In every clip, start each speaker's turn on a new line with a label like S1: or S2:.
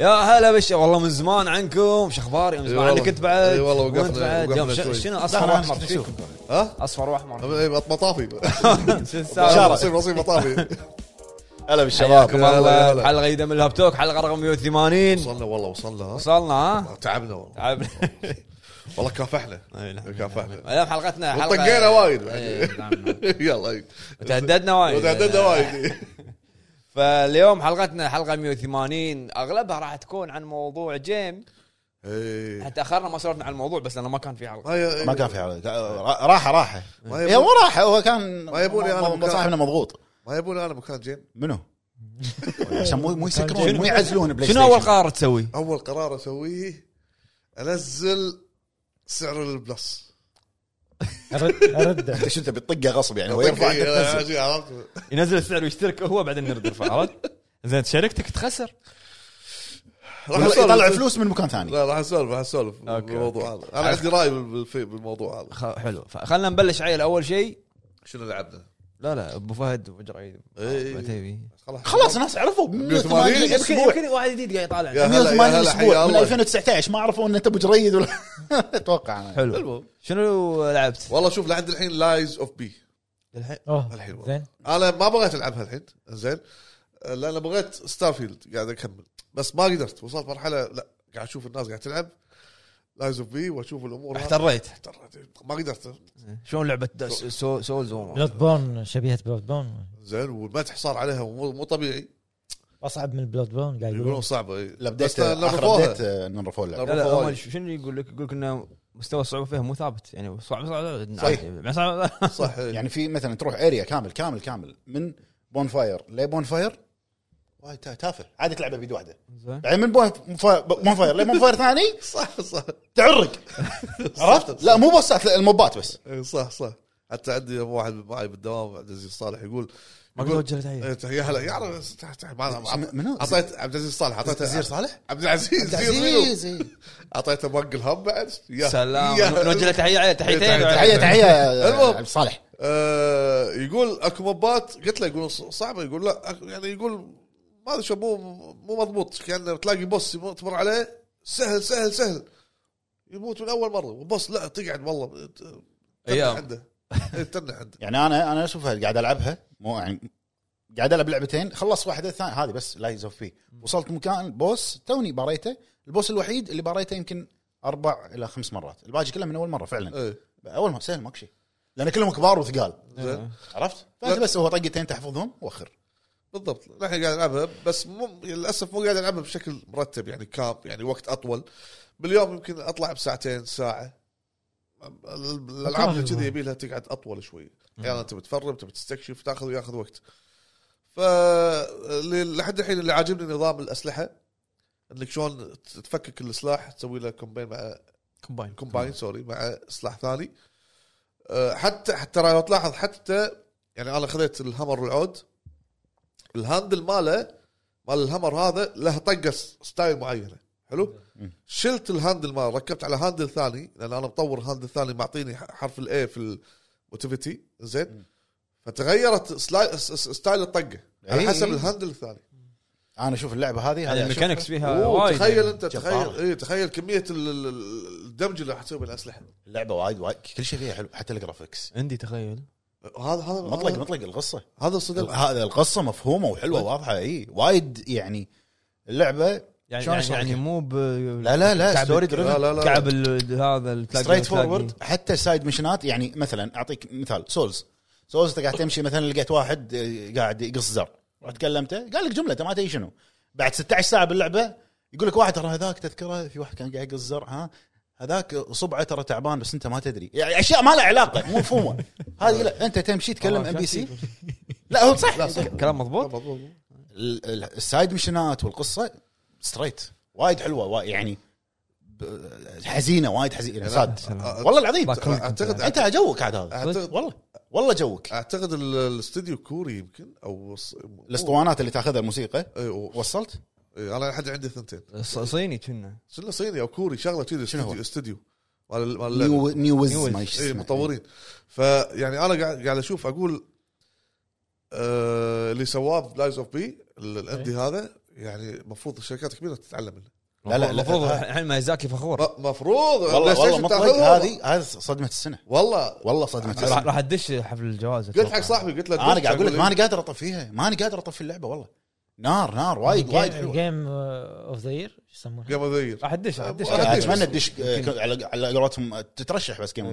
S1: يا هلا بش والله من زمان عنكم شو اخباري من زمان
S2: والله.
S1: عنك انت بعد
S2: إي والله
S1: وأنت
S2: وقفنا-
S1: بعد
S2: وقفنا
S1: يوم ش-
S2: شوي.
S1: شنو اصفر
S3: دخل
S1: واحمر
S3: أنا
S1: فيكم
S3: أشوف.
S2: ها؟
S1: اصفر واحمر
S2: مطافي
S1: شو السالفه
S2: نصيب نصيب مطافي
S3: هلا بالشباب
S1: حياكم
S2: يا هلا، يا
S1: الله
S2: هلا.
S1: حلقه جديده من الهابتوك حلقه رقم 180
S2: وصلنا والله وصلنا ها
S1: وصلنا ها
S2: تعبنا والله
S1: تعبنا
S2: والله كافحنا
S1: أي نعم.
S2: كافحنا
S1: اليوم حلقتنا حلقه
S2: طقينا وايد بعد.
S1: إي، نعم.
S2: يلا
S1: تهددنا وايد
S2: تعددنا وايد
S1: فاليوم حلقتنا حلقه 180 اغلبها راح تكون عن موضوع جيم
S2: إي.
S1: احنا تاخرنا ما سولفنا عن الموضوع بس لانه ما كان في حلقه
S2: إيه. ما ي-
S3: ما إيه، كان في حلقة. را- راحه راحه
S2: ما
S3: هي مو
S2: يبون
S3: راحه هو كان
S2: ما يبوني أنا
S3: م- م-
S2: مكان.
S3: صاحبنا مضغوط
S2: ما يبون انا مكان جيم
S3: منو؟ عشان مو مو يسكرون
S1: شنو-
S3: مو يعزلون بلاي
S1: شنو اول
S3: ستيشن.
S1: قرار تسوي؟
S2: اول قرار اسويه انزل سعر البلس
S4: رده
S3: انت شو تبي تطقه غصب يعني هو
S2: أعطيك-
S3: يرفع أنت تنزل.
S2: أجي عرفت
S1: ينزل السعر ويشترك هو بعدين نرد نرفع عرفت؟ زين شركتك تخسر
S2: راح
S3: يطلع-
S2: أسولف.
S3: يطلع فلوس من مكان ثاني
S2: لا راح اسولف راح اسولف
S1: أوكي،
S2: بالموضوع هذا انا عندي راي بال- بالفي- بالموضوع هذا
S1: خ- حلو خلينا نبلش عيل اول شيء
S2: شنو لعبنا؟
S1: لا لا ابو فهد واجر عيد
S2: إي.
S1: عتيبي.
S3: آه، خلاص الناس عرفوا
S2: 180
S3: 180
S1: يمكن
S2: أسبوع.
S1: يمكن واحد جديد قاعد
S2: يا
S1: يطالع
S2: هلا، يا
S3: 180
S2: هلا، حيا
S3: اسبوع من
S2: الله.
S3: 2019 ما عرفوا ان انت ابو جريد ولا اتوقع انا
S1: حلو
S2: المهم.
S1: شنو لعبت؟
S2: والله شوف لعند الحين لايز اوف بي
S1: الحين
S2: الحين
S4: اوه
S2: والله.
S4: زين
S2: انا ما بغيت العبها الحين زين لان بغيت ستارفيلد قاعد اكمل بس ما قدرت وصلت مرحله لا قاعد اشوف الناس قاعد تلعب لايز اوف بي واشوف الامور هذه.
S1: احتريت
S2: احتريت. ما قدرت
S1: شلون لعبه دا- سو- سولز وما
S4: بلاد بورن شبيهه بلاد بورن
S2: زين والمدح صار عليها مو مو طبيعي
S4: اصعب من بلاد بورن قاعد
S2: يقولون
S4: يقولون
S2: صعبه إي.
S3: لا
S2: بس
S3: بديت آه، اخر
S2: نرفوها.
S3: بديت نرفوا اللعبه
S1: لا لا
S2: فوايد.
S1: هم ش- شنو يقول لك يقول لك انه مستوى الصعوبه فيها مو ثابت يعني صعب صعب نعم.
S2: صحيح.
S1: عادي. صعب-
S2: صح إي.
S3: يعني في مثلا تروح اريا كامل كامل كامل من بون فاير لبون فاير وايد تا- تافه عادي تلعبها بيد واحده
S1: زين.
S3: يعني من بون فاير بون فاير لبون فاير ثاني
S2: صح صح
S3: تعرق عرفت؟ لا مو بوسات لا الموبات بس
S2: إي، إيه، صح صح حتى عندي واحد معي بالدوام عبد العزيز صالح يقول
S1: ما
S2: يقول-
S1: قدرت وجه تحيه
S2: إي، تحيه إيه، هلا يعرف تح- تح- معنا-
S3: اسم- منو؟
S2: اعطيت عبد العزيز صالح اعطيته
S3: زير صالح؟
S2: عبد العزيز زير منو؟
S3: عزيز إي.
S2: اعطيته مق الهب بعد يا-
S1: سلام
S2: يا-
S1: نوجه له تحيه عيل
S2: تحية-
S1: تحيتين
S3: تحيه تحيه
S2: المهم.
S3: عبد صالح
S2: آه، يقول اكو مبات قلت له يقول ص- صعبه يقول لا أك- يعني يقول ما ادري شو مو مو مضبوط كان تلاقي بوس يمو- تمر عليه سهل سهل سهل يموت من اول مره وبوس لا تقعد والله ت- تنح
S1: أيام.
S2: عنده إيه، تنح عنده
S3: يعني انا انا اشوفها قاعد العبها مو يعني قاعد العب لعبتين خلص واحده ثانيه هذه بس لا يزوف فيه وصلت مكان بوس توني باريته البوس الوحيد اللي باريته يمكن اربع الى خمس مرات الباقي كله من اول مره فعلا
S2: إيه،
S3: اول ما سهل ماكو شيء لان كلهم كبار وثقال
S1: آه.
S2: زين
S3: عرفت فانت
S2: لا.
S3: بس هو طقتين تحفظهم وخر
S2: بالضبط نحن قاعد نلعبها بس مو للاسف مو قاعد العبها بشكل مرتب يعني كام يعني وقت اطول باليوم يمكن اطلع بساعتين ساعه ال- الالعاب اللي كذي يبي لها تقعد اطول شوي احيانا يعني تبي تفرم تبي تستكشف تاخذ ياخذ وقت ف ل- لحد الحين اللي عاجبني نظام الاسلحه انك شلون ت- تفكك السلاح تسوي له كومباين مع
S1: كومباين
S2: كومباين سوري مع سلاح ثاني أه، حتى حتى لو تلاحظ حتى يعني انا خذيت الهمر العود الهاندل ماله مال الهمر هذا له طقه س- ستايل معينه حلو
S3: مم.
S2: شلت الهاندل ماله ركبت على هاندل ثاني لان انا مطور هاندل ثاني معطيني ح- حرف الاي في الموتيفيتي زين
S3: مم.
S2: فتغيرت سلاي- س- س- ستايل الطقه على
S3: إي.
S2: حسب الهاندل الثاني
S3: انا اشوف اللعبه هذه
S1: يعني
S3: هذه أشوفها-
S1: الميكانكس فيها
S2: أوه،
S1: وايد
S2: تخيل
S1: يعني.
S2: انت
S3: جبارة.
S2: تخيل اي تخيل كميه ال- ال- ال- الدمج اللي راح تسوي بالاسلحه
S3: اللعبه وايد وايد كل شيء فيها حلو حتى الجرافكس
S1: عندي تخيل
S2: هذا هذا
S3: مطلق
S2: هذا-
S3: مطلق القصه
S2: هذا صدق
S3: هذا القصه مفهومه وحلوه واضحه اي وايد يعني اللعبه
S1: يعني
S3: شلون
S1: يعني,
S3: أشرح
S1: يعني
S3: لك؟
S1: مو ب
S3: لا لا لا
S1: كعب-
S3: ستوري
S2: لا
S3: دريفن
S2: لا لا
S1: كعب ال- هذا ال- تلاقي-
S3: ستريت
S1: تلاقي-
S3: فورورد حتى السايد مشنات يعني مثلا اعطيك مثال سولز سولز انت قاعد تمشي مثلا لقيت واحد آه، قاعد يقص زر رحت كلمته قال لك جمله انت ما تدري شنو بعد 16 ساعه باللعبه يقول لك واحد ترى هذاك تذكره في واحد كان قاعد يقص زر ها هذاك صبعه ترى تعبان بس انت ما تدري يعني اشياء ما لها علاقه مو مفهومه هذه لا انت تمشي تكلم
S1: آه،
S3: ام بي سي
S1: شكلك.
S3: لا هو صح
S2: لا، صح.
S1: كلام مضبوط
S2: مضبوط.
S3: ال- ال- السايد مشنات والقصه ستريت وايد حلوه وايد يعني ب- حزينه وايد حزينه ساد
S2: سلام.
S3: والله العظيم
S1: باكر.
S2: اعتقد
S3: انت جوك عاد هذا
S2: اعتقد
S3: والله والله جوك
S2: اعتقد ال- الاستديو كوري يمكن او ص-
S3: الاسطوانات اللي تاخذها الموسيقى
S2: إيه، و-
S3: وصلت
S2: إيه، انا لحد عندي ثنتين
S1: ص- صيني كنا
S2: شنو صيني او كوري شغله كذي
S3: شنو هو؟
S2: استديو استديو مال ال- مال اللعبة.
S3: نيو نيوز
S1: نيوز.
S3: ما
S2: اي
S3: يشتغل
S2: مطورين فيعني انا قاعد قاعد اشوف اقول آه، اللي سواه بلايز اوف بي الاندي هذا يعني المفروض الشركات الكبيره تتعلم منه
S3: لا، لا، لا.
S5: المفروض الحين ميزاكي فخور
S2: م- مفروض بلاي
S3: والله والله
S2: ستيشن
S3: مطلق
S2: تاخذها.
S3: هذه هذه صدمه السنه
S2: والله
S3: والله صدمه
S5: راح
S3: السنه
S5: راح تدش حفل الجوائز
S2: قلت حق صاحبي قلت له
S3: انا قاعد اقول لك ماني قادر اطفي فيها ماني قادر اطفي اللعبه والله نار نار وايد وايد حلوه
S4: جيم اوف ذا يير شو يسمونه؟
S2: قبل اذير
S5: راح تدش راح تدش
S2: أنا
S3: يعني
S2: أدش.
S3: اتمنى تدش آه، على على قولتهم آه، تترشح بس جيم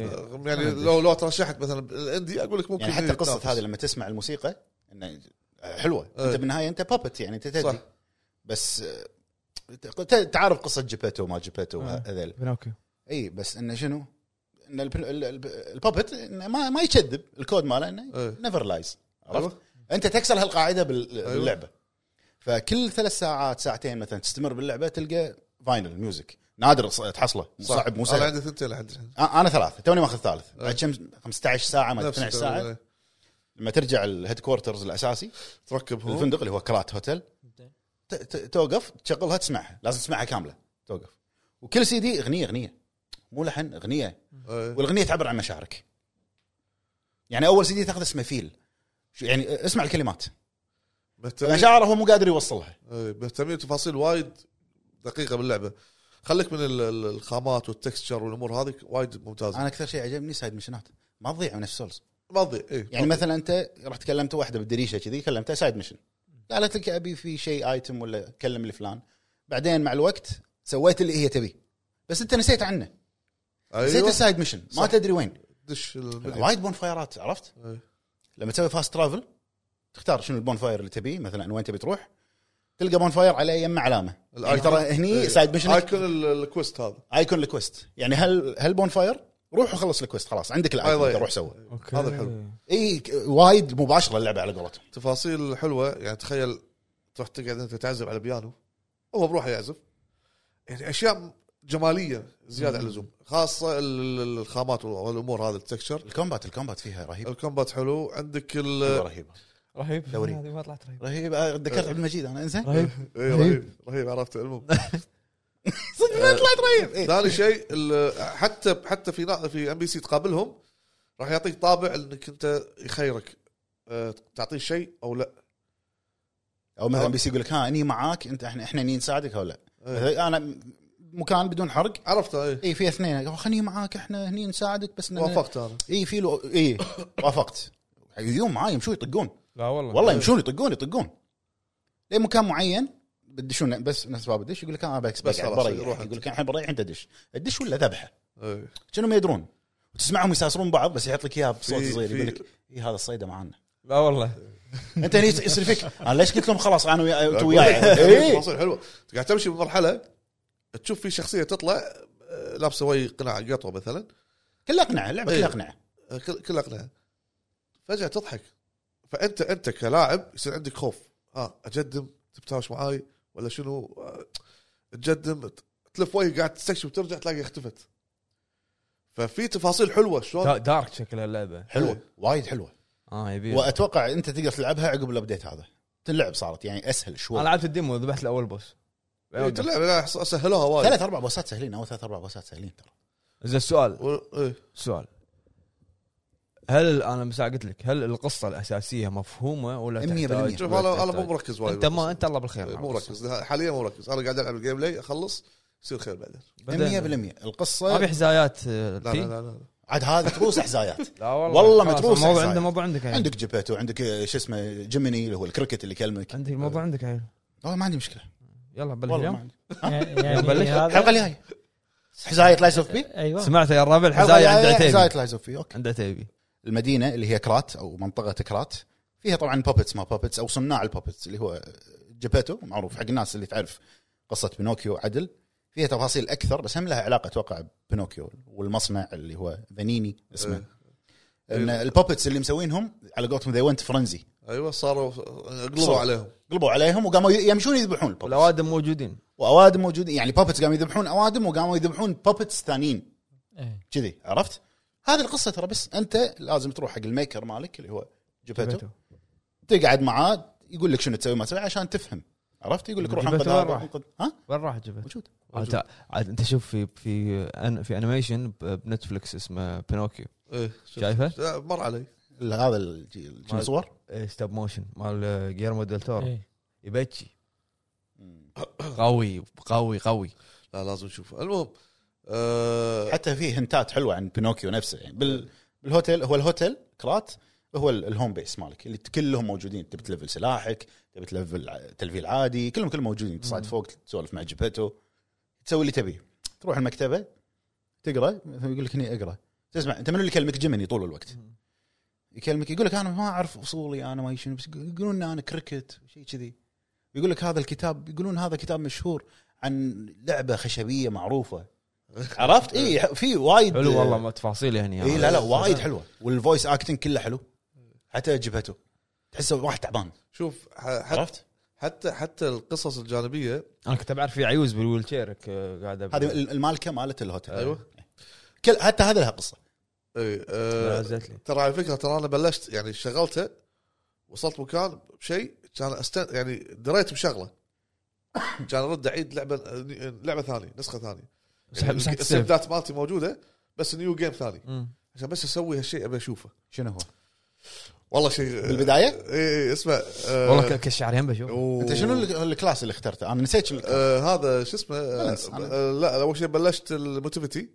S2: يعني لو لو ترشحت مثلا الاندي اقول لك ممكن
S3: يعني حتى
S2: يتنافس.
S3: قصه هذه لما تسمع الموسيقى انه حلوه انت
S2: إيه.
S3: بالنهايه انت بابت يعني انت تدري
S2: صح.
S3: بس آه، ت- تعرف قصه جيبيتو ما جيبيتو
S2: إيه.
S5: آه.
S3: هذيل
S5: بنوكيو
S3: اي بس انه شنو؟ ان الب- ال- ال- البابت إنه ما ما يكذب الكود ماله انه
S2: إيه. أيوه.
S3: نيفر لايز عرفت؟
S2: أيوة.
S3: انت تكسر هالقاعده بال- باللعبه فكل ثلاث ساعات ساعتين مثلا تستمر باللعبه تلقى فاينل ميوزك نادر ص- تحصله
S2: صح.
S3: صعب مو
S2: انا
S3: سهل
S2: عندي ثنتين لحد الحين
S3: أ- انا ثلاثه توني ماخذ ثالث
S2: إيه.
S3: بعد كم 15 ساعه ما أدري
S2: نفس إيه.
S3: 12 ساعه
S2: التو-
S3: لما ترجع الهيد كوارترز الاساسي
S2: تركبهم
S3: الفندق اللي هو كرات هوتيل ت- ت- توقف تشغلها تسمعها لازم تسمعها كامله توقف وكل سي دي اغنيه اغنيه مو لحن اغنيه
S2: إيه.
S3: والاغنيه تعبر عن مشاعرك يعني اول سي دي تاخذ اسمه فيل شو- يعني اسمع الكلمات
S2: مهتمين-
S3: مشاعره هو مو قادر يوصلها
S2: إيه، مهتمين تفاصيل وايد دقيقه باللعبه خليك من ال- ال- الخامات والتكستشر والامور هذه وايد ممتازه
S3: انا اكثر شيء عجبني سايد مشنات ما تضيع من السولز
S2: ما تضيع إيه،
S3: يعني
S2: ما
S3: مثلا انت رحت كلمت واحده بالدريشه كذي كلمتها سايد مشن قالت لك ابي في شيء ايتم ولا كلم الفلان بعدين مع الوقت سويت اللي هي تبي بس انت نسيت عنه
S2: تضيع.
S3: نسيت
S2: أيوة.
S3: السايد مشن ما
S2: صح. أيوه.
S3: تدري وين
S2: دش المنيو.
S3: وايد بون فايرات عرفت
S2: إيه.
S3: لما تسوي فاست ترافل تختار شنو البون فاير اللي تبيه مثلا وين تبي تروح تلقى بون فاير على يم علامه يعني
S2: الآيكون.
S3: ترى هني
S2: إيه.
S3: سايد مشن
S2: ايكون ال- الكويست هذا
S3: ايكون الكويست يعني هل هل بون فاير روح وخلص الكويست خلاص عندك
S2: أيوة.
S3: الايكون روح سوى
S5: اوكي
S2: هذا الحلو.
S3: اي ك- وايد مباشره اللعبه على قولتهم
S2: تفاصيل حلوه يعني تخيل تروح تقعد انت تعزف على بيانو هو بروحه يعزف يعني اشياء جماليه زياده عن اللزوم خاصه ال- ال- الخامات والامور هذه التكشر
S3: الكومبات الكومبات فيها رهيب
S2: الكومبات حلو عندك ال
S3: حلوة رهيبه
S5: رهيب
S3: دوري.
S5: هذه ما طلعت رهيب
S3: رهيب آه، ذكرت عبد المجيد انا انزين
S5: رهيب
S2: إيه، رهيب رهيب عرفت المهم
S3: صدق ما طلعت رهيب إيه.
S2: ثاني شيء ال- حتى حتى في نا- في ام بي سي تقابلهم راح يعطيك طابع انك انت يخيرك أه، تعطيه شيء او لا
S3: او مثلا بيسي يقول لك ها اني معاك انت احنا احنا ني نساعدك او لا
S2: إيه.
S3: مثلاً انا م- مكان بدون حرق
S2: عرفته اي
S3: اي إيه، في اثنين قالوا خليني معاك احنا هني نساعدك بس إننا-
S2: إيه. وافقت انا
S3: اي في له اي وافقت يجون معاي يمشون يطقون
S5: لا والله
S3: والله يمشون يطقون يطقون لين مكان معين بدشون بس ناس باب الدش يقول لك انا بكس
S2: بس
S3: بس
S2: خلاص،
S3: بريح
S2: روح
S3: يقول
S2: أنت.
S3: لك الحين بريح انت دش الدش ولا ذبحه
S2: إيه.
S3: كانهم يدرون وتسمعهم يساسرون بعض بس يحط لك اياها بصوت
S2: في-
S3: صغير
S2: في-
S3: يقول لك اي هذا الصيده معانا
S5: لا والله
S3: انت هني يصير فيك انا ليش قلت لهم خلاص انا ويا انت
S2: أقول لك،
S3: وياي إيه.
S2: في
S3: إي.
S2: تفاصيل حلوه قاعد تمشي بمرحله تشوف في شخصيه تطلع أه، لابسه وي قناع قطوه مثلا
S3: كلها اقنعه اللعبه
S2: إي.
S3: كلها اقنعه
S2: أه، كل كل اقنعه فجاه تضحك فانت انت كلاعب يصير عندك خوف ها اجدم تبتاوش معاي ولا شنو أه، تجدم ت- تلف وجهي قاعد تستكشف ترجع تلاقي اختفت ففي تفاصيل حلوه شلون إيه.
S5: دا- دارك شكل اللعبه
S3: حلوه
S2: إي.
S3: وايد حلوه
S5: اه يبي انا
S3: واتوقع انت إيه. تقدر تلعبها عقب الابديت هذا تلعب صارت يعني اسهل شوي
S5: لعبت الديمو ذبحت الاول بوس
S2: إيه، اللعبة لا، س- سهلوها وايد
S3: ثلاث اربع بوسات سهلين اول ثلاث اربع بوسات سهلين ترى
S5: زين السؤال
S2: و- إيه.
S5: سؤال هل انا مساء قلت لك هل القصه الاساسيه مفهومه ولا
S3: 100%
S5: تحتاج-
S2: شوف
S5: ولا
S2: انا انا مو
S5: تحتاج؟
S2: مركز وايد
S5: انت ما
S2: بالقصة.
S5: انت الله بالخير نعم.
S2: إيه، مو مركز حاليا مو مركز انا قاعد العب الجيم بلاي اخلص يصير خير بعدين
S3: 100%
S5: بعدين-
S3: القصه
S5: ابي حزايات
S2: لا لا لا, لا.
S3: عاد هذا تروس حزايات
S5: لا
S3: والله
S5: خلاص،
S3: متروس
S5: الموضوع
S3: حزايات.
S5: عندك الموضوع عندك عيل.
S3: عندك جيبيتو عندك آه، شو اسمه جيميني اللي هو الكريكت اللي يكلمك
S5: عندك الموضوع عندك عيل
S3: والله ما عندي مشكله
S5: يلا بلش
S3: والله ما
S5: أه. اليوم
S3: عندي
S4: يعني
S5: بلش.
S4: يعني
S3: الحلقه
S4: هذا
S3: الجايه حزايه لايز اوف بي
S4: ايوه
S5: سمعت يا الربع
S3: الحلقة
S5: الحزايه عند
S3: الجاية
S5: عتيبي
S3: حزايه لايز اوف بي اوكي
S5: عند عتيبي
S3: المدينه اللي هي كرات او منطقه كرات فيها طبعا بوبتس ما بوبتس او صناع البوبتس اللي هو جبهته معروف حق الناس اللي تعرف قصه بينوكيو عدل فيها تفاصيل اكثر بس هم لها علاقه اتوقع ببينوكيو والمصنع اللي هو فانيني اسمه ان البوبتس اللي مسوينهم على قولتهم ذي ونت فرنزي
S2: ايوه صاروا قلبوا
S3: صار.
S2: عليهم
S3: قلبوا عليهم وقاموا يمشون يذبحون البوبتس
S5: الاوادم موجودين
S3: واوادم موجودين يعني بوبتس قاموا يذبحون اوادم وقاموا يذبحون بوبتس ثانيين
S4: إيه.
S3: كذي عرفت؟ هذه القصه ترى بس انت لازم تروح حق الميكر مالك اللي هو جبهته تقعد معاه يقول لك شنو تسوي ما تسوي عشان تفهم عرفت يقول لك روح
S5: جبهته
S3: انقذ
S5: وين
S3: هذا، روح
S5: راح؟
S3: انقذ ها
S5: وين راح جبت؟
S3: موجود
S5: عاد- عاد انت شوف في في أن- في انيميشن ب- بنتفلكس اسمه بينوكيو
S2: ايه شوف.
S5: شايفه؟
S2: لا، مر علي
S3: ال- هذا ال- شنو
S5: مال-
S3: صور
S1: آه.
S5: ستوب موشن مال جيرمو ديل تورو
S4: إيه.
S5: يبكي قوي قوي قوي
S2: لا لازم نشوفه المهم آه
S3: حتى في هنتات حلوه عن بينوكيو نفسه يعني بال... بالهوتيل هو الهوتيل كرات هو ال- الهوم بيس مالك اللي كلهم موجودين تبي تلفل سلاحك تبي تلفل ع- تلفيل عادي كلهم كلهم موجودين تصعد فوق تسولف مع جبهته تسوي اللي تبيه تروح المكتبه تقرا مثلا يقول لك هني اقرا تسمع انت من اللي يكلمك جيمني طول الوقت يكلمك يقول لك انا ما اعرف اصولي انا ما شنو بس يقولون انا كريكت شيء كذي يقول لك هذا الكتاب يقولون هذا كتاب مشهور عن لعبه خشبيه معروفه عرفت اي في وايد
S5: حلو والله ما تفاصيل يعني. هني
S2: إيه،
S3: اي لا لا وايد حلوه والفويس اكتنج كله حلو حتى جبهته تحسه واحد تعبان
S2: شوف ح- حتى
S3: عرفت؟
S2: حتى حتى القصص الجانبيه
S5: انا كنت بعرف في عيوز بالويل شير قاعده
S3: هذه ال- المالكه مالت الهوتيل
S2: أيوة.
S3: كل حتى هذا لها قصه
S2: إيه،
S5: لا،
S2: آه
S5: عزت لي
S2: ترى على فكره ترى انا بلشت يعني شغلته وصلت مكان بشيء كان أستن... يعني دريت بشغله كان ارد اعيد لعبه لعبه ثانيه نسخه ثانيه
S5: سحب- سحبت يعني السيف.
S2: السيفدات يعني مالتي موجوده بس نيو جيم ثاني
S5: مم.
S2: عشان بس اسوي هالشيء ابي اشوفه
S3: شنو هو؟
S2: والله شيء
S3: بالبدايه؟
S2: اي اسمه آه،
S5: والله كل- كل شعر هم بشوف
S2: أوه.
S3: انت شنو ال- الكلاس اللي اخترته؟ انا نسيت شنو الكلاس.
S2: آه هذا شو اسمه آه
S3: بالانس، أنا-
S2: آه لا اول شيء بلشت الموتيفيتي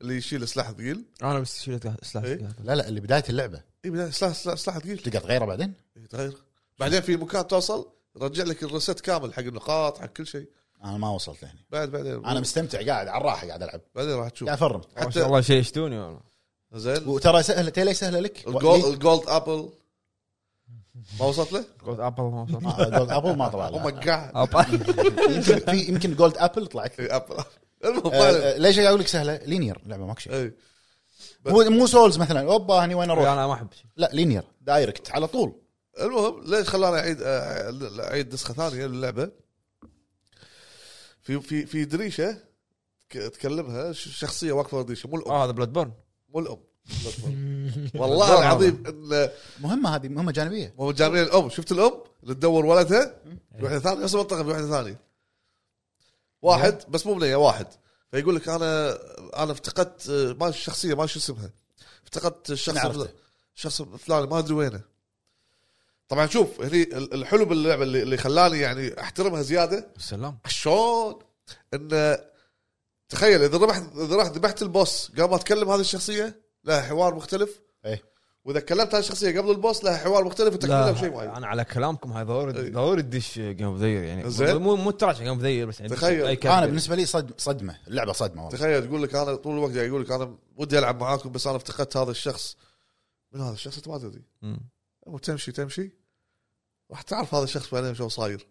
S2: اللي يشيل سلاح ثقيل
S5: انا بس شلت سلاح
S2: إيه؟
S3: لا لا اللي بدايه اللعبه
S2: اي بداية سلاح سلاح, سلاح ثقيل
S3: تقدر تغيره بعدين؟
S2: يتغير بعدين في مكان توصل رجع لك الريست كامل حق النقاط حق كل شيء
S3: انا ما وصلت لهنا
S2: بعد بعدين
S3: انا مستمتع قاعد على الراحه قاعد العب
S2: بعدين راح تشوف
S3: قاعد افرم
S5: ما شاء
S2: حتى
S5: الله شيء يشتوني والله
S2: زين
S3: وترى سهله تي ليه سهله لك؟
S2: الجولد
S3: لي-
S2: الجولد ابل ما وصلت له؟ Oh
S5: قلت ابل ما وصلت.
S3: ما- آه، جولد ابل ما طلع
S2: او
S3: لا.
S2: ماي جاد
S5: ابل
S3: يمكن في يمكن جولد ابل طلعت لك.
S2: ابل المهم
S3: آه،
S2: بعدين-
S3: آه، ليش قاعد اقول لك سهله؟ لينير لعبه ماكو شيء
S2: إيه.
S3: مو مو سولز مثلا اوبا هني وين اروح؟
S5: انا ما احب شيء.
S3: لا لينير دايركت على طول
S2: المهم ليش خلاني اعيد آه، اعيد نسخه ثانيه للعبه في في في دريشه ك- تكلمها ش- شخصيه واقفه ورا الدريشه مو الام
S5: اه هذا بلاد بورن
S2: مو الام والله العظيم ان
S3: مهمه هذه مهمه جانبيه
S2: هم جايبين الام شفت الام اللي تدور ولدها في واحده ثانيه نفس المنطقه في واحده ثانيه واحد بس مو بنيه واحد فيقول لك انا انا افتقدت آه، ما الشخصيه ما شو اسمها افتقدت الشخص
S3: عرفته.
S2: الفل- الشخص الفلاني ما ادري وينه طبعا شوف هني ال- الحلو باللعبه اللي اللي خلاني يعني احترمها زياده
S5: السلام
S2: شلون ان تخيل اذا ربحت اذا رحت ذبحت البوس قبل ما اتكلم هذه الشخصيه لها حوار مختلف
S3: ايه
S2: واذا كلمت هذه الشخصيه قبل البوس لها حوار مختلف وتكمله بشيء معين
S5: انا على كلامكم هاي ضروري
S2: إيه.
S5: ضروري تدش جيم اوف ذير يعني
S2: زين.
S5: مو مو تراش جيم اوف ذير بس يعني
S2: تخيل.
S5: أي كلمة.
S3: انا بالنسبه لي صدمه صدمه اللعبه صدمه والله
S2: تخيل تقول لك انا طول الوقت قاعد اقول لك انا ودي العب معاكم بس انا افتقدت هذا الشخص من هذا الشخص انت ما تدري
S5: مم.
S2: أما تمشي تمشي راح تعرف هذا الشخص بعدين شو صاير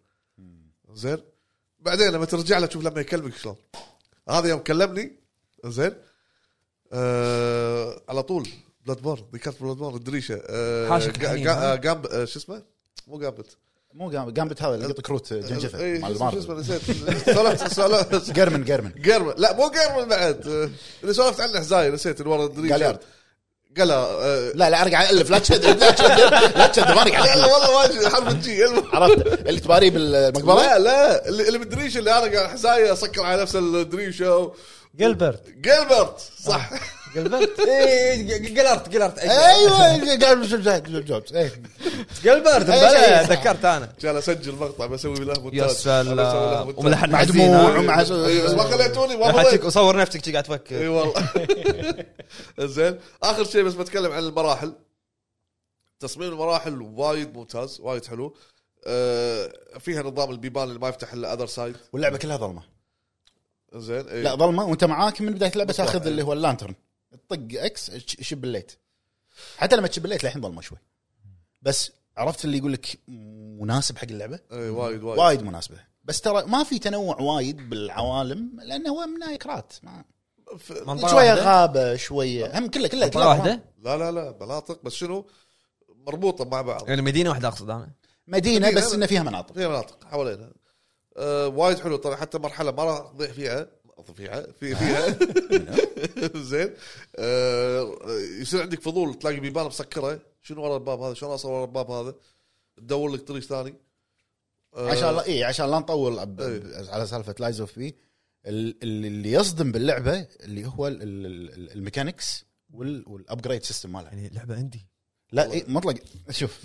S2: زين بعدين لما ترجع له تشوف لما يكلمك شلون هذا يوم كلمني زين آه على طول بلاد بورن ذكرت بلاد بورن الدريشه آه
S5: حاشك
S2: جا-
S5: الحنين،
S2: جا-
S5: ها؟
S2: آه، جامب آه، شو اسمه مو جامبت
S3: مو جام- جامبت هذا اللي يقط كروت جنجفه
S2: إيه،
S3: مال
S2: شو اسمه- شو اسمه
S3: المارفل
S2: نسيت سولفت سولفت
S3: جيرمن جيرمن
S2: جيرمن لا مو جيرمن بعد آه، اللي سولفت عنه حزاي نسيت اللي ورا الدريشه
S3: جاليارد.
S2: قال آه،
S3: لا لا انا قاعد الف لا تشذب لا تشذب لا تشذب انا قاعد
S2: لا لا
S3: أألف.
S2: والله واجد حرف الجي المهم.
S3: عرفت اللي تباريه بالمقبره
S2: لا لا اللي اللي بالدريشه اللي انا قاعد حسايه اسكر على نفس الدريشه و...
S4: جلبرت
S2: جيلبرت صح
S4: جلبرت
S5: إيه، اي قلرت قلرت
S3: ايوه قال شو جاي- شو جوبز إيه.
S5: قلبرت
S3: إيه،
S5: بلا
S3: صح.
S5: ذكرت انا
S2: كان اسجل مقطع بسوي له مونتاج
S5: يا
S2: بسوي له
S5: سلام
S2: مونتاج.
S5: وملحن
S3: مع
S5: حزين، ها؟
S3: دموع ومع
S2: إي، بس ما خليتوني ما
S5: حتك
S2: خليت
S5: وصور نفسك شي قاعد
S2: اي
S5: تفكر
S2: والله زين اخر شيء بس بتكلم عن المراحل تصميم المراحل وايد ممتاز وايد حلو آه، فيها نظام البيبان اللي ما يفتح الا اذر سايد
S3: واللعبه كلها ظلمه
S2: زين إيه. إي.
S3: لا ظلمه وانت معاك من بدايه اللعبه تاخذ اللي هو اللانترن تطق اكس ش- شب الليت حتى لما تشب الليت للحين ظلمه شوي بس عرفت اللي يقول لك مناسب حق اللعبه
S2: إي، إيه، وايد وايد
S3: وايد مناسبه بس ترى ما في تنوع وايد بالعوالم لانه هو من كرات ما-
S5: منطقة
S3: شويه
S5: واحدة؟
S3: غابه شويه هم كله كله
S5: منطقة واحدة
S2: لا لا لا مناطق بس شنو مربوطه مع بعض
S5: يعني مدينة واحدة اقصد انا
S3: مدينه
S2: مدينة.
S3: بس انه فيها مناطق
S2: في مناطق حوالينا آه وايد حلو طبعا حتى مرحله ما راح تضيع فيها فيها في فيها زين آه يصير عندك فضول تلاقي بيبان مسكره شنو ورا الباب هذا شلون اوصل ورا الباب هذا تدور لك طريق ثاني آه،
S3: عشان لا اي عشان لا نطول ب- ب- على سالفه لايز اوف بي اللي يصدم باللعبه اللي هو ال- ال- ال- الميكانكس وال- والابجريد سيستم مالها
S5: يعني لعبة عندي
S3: لا إيه مطلق شوف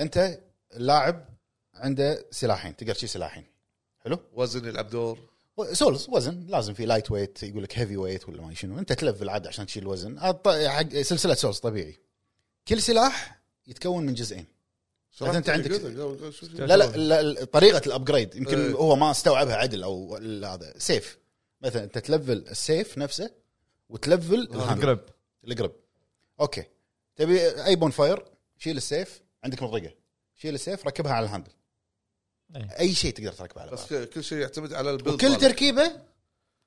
S3: انت اللاعب عنده سلاحين تقدر تشيل سلاحين حلو
S2: وزن يلعب دور
S3: سولز وزن لازم في لايت ويت يقول لك هيفي ويت ولا ما شنو انت تلفل عاد عشان تشيل وزن هذا ط- حق سلسله سولز طبيعي كل سلاح يتكون من جزئين
S2: شرحت
S3: أنت عندك-
S2: قلت لك قبل- قبل- شو- شو-
S3: لا لا, لا, لا طريقه الابجريد يمكن
S2: إيه.
S3: هو ما استوعبها عدل او ال- هذا سيف مثلا انت تلفل السيف نفسه وتلفل الهاندل.
S1: قرب
S3: القرب اوكي تبي اي بون فاير شيل السيف عندك مضرقه شيل السيف ركبها على الهاندل
S4: إيه.
S3: اي شيء تقدر تركبه على
S2: بس
S3: بعض.
S2: ك- كل شيء يعتمد على البيلد
S3: وكل
S2: مالك.
S3: تركيبه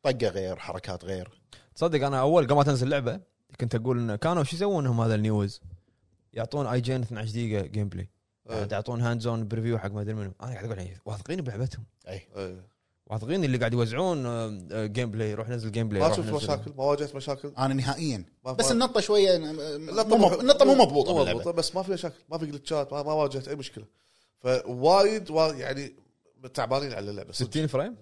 S3: طقه غير حركات غير
S1: تصدق انا اول قبل ما تنزل اللعبه كنت اقول انه كانوا شو يسوون هم هذا النيوز يعطون اي جين 12 دقيقه جيم بلاي
S2: إيه.
S1: قاعد يعطون هاند زون بريفيو حق ما ادري منو انا قاعد اقول يعني واثقين بلعبتهم
S3: اي
S2: إيه.
S1: واثقين اللي قاعد يوزعون آه، آه، جيم بلاي روح نزل جيم بلاي
S2: ما
S1: روح
S2: شفت
S1: نزل.
S2: مشاكل ما واجهت مشاكل
S3: انا نهائيا
S2: ما
S3: بس
S2: ما-
S3: النطه شويه
S2: النطة
S3: النطه مو النطه مو مضبوطه
S2: مو
S3: باللعبة.
S2: مضبوطه بس ما في مشاكل ما في جلتشات ما, ما واجهت اي مشكله فوايد وا- يعني تعبانين على اللعبه صدق.
S1: 60 فريم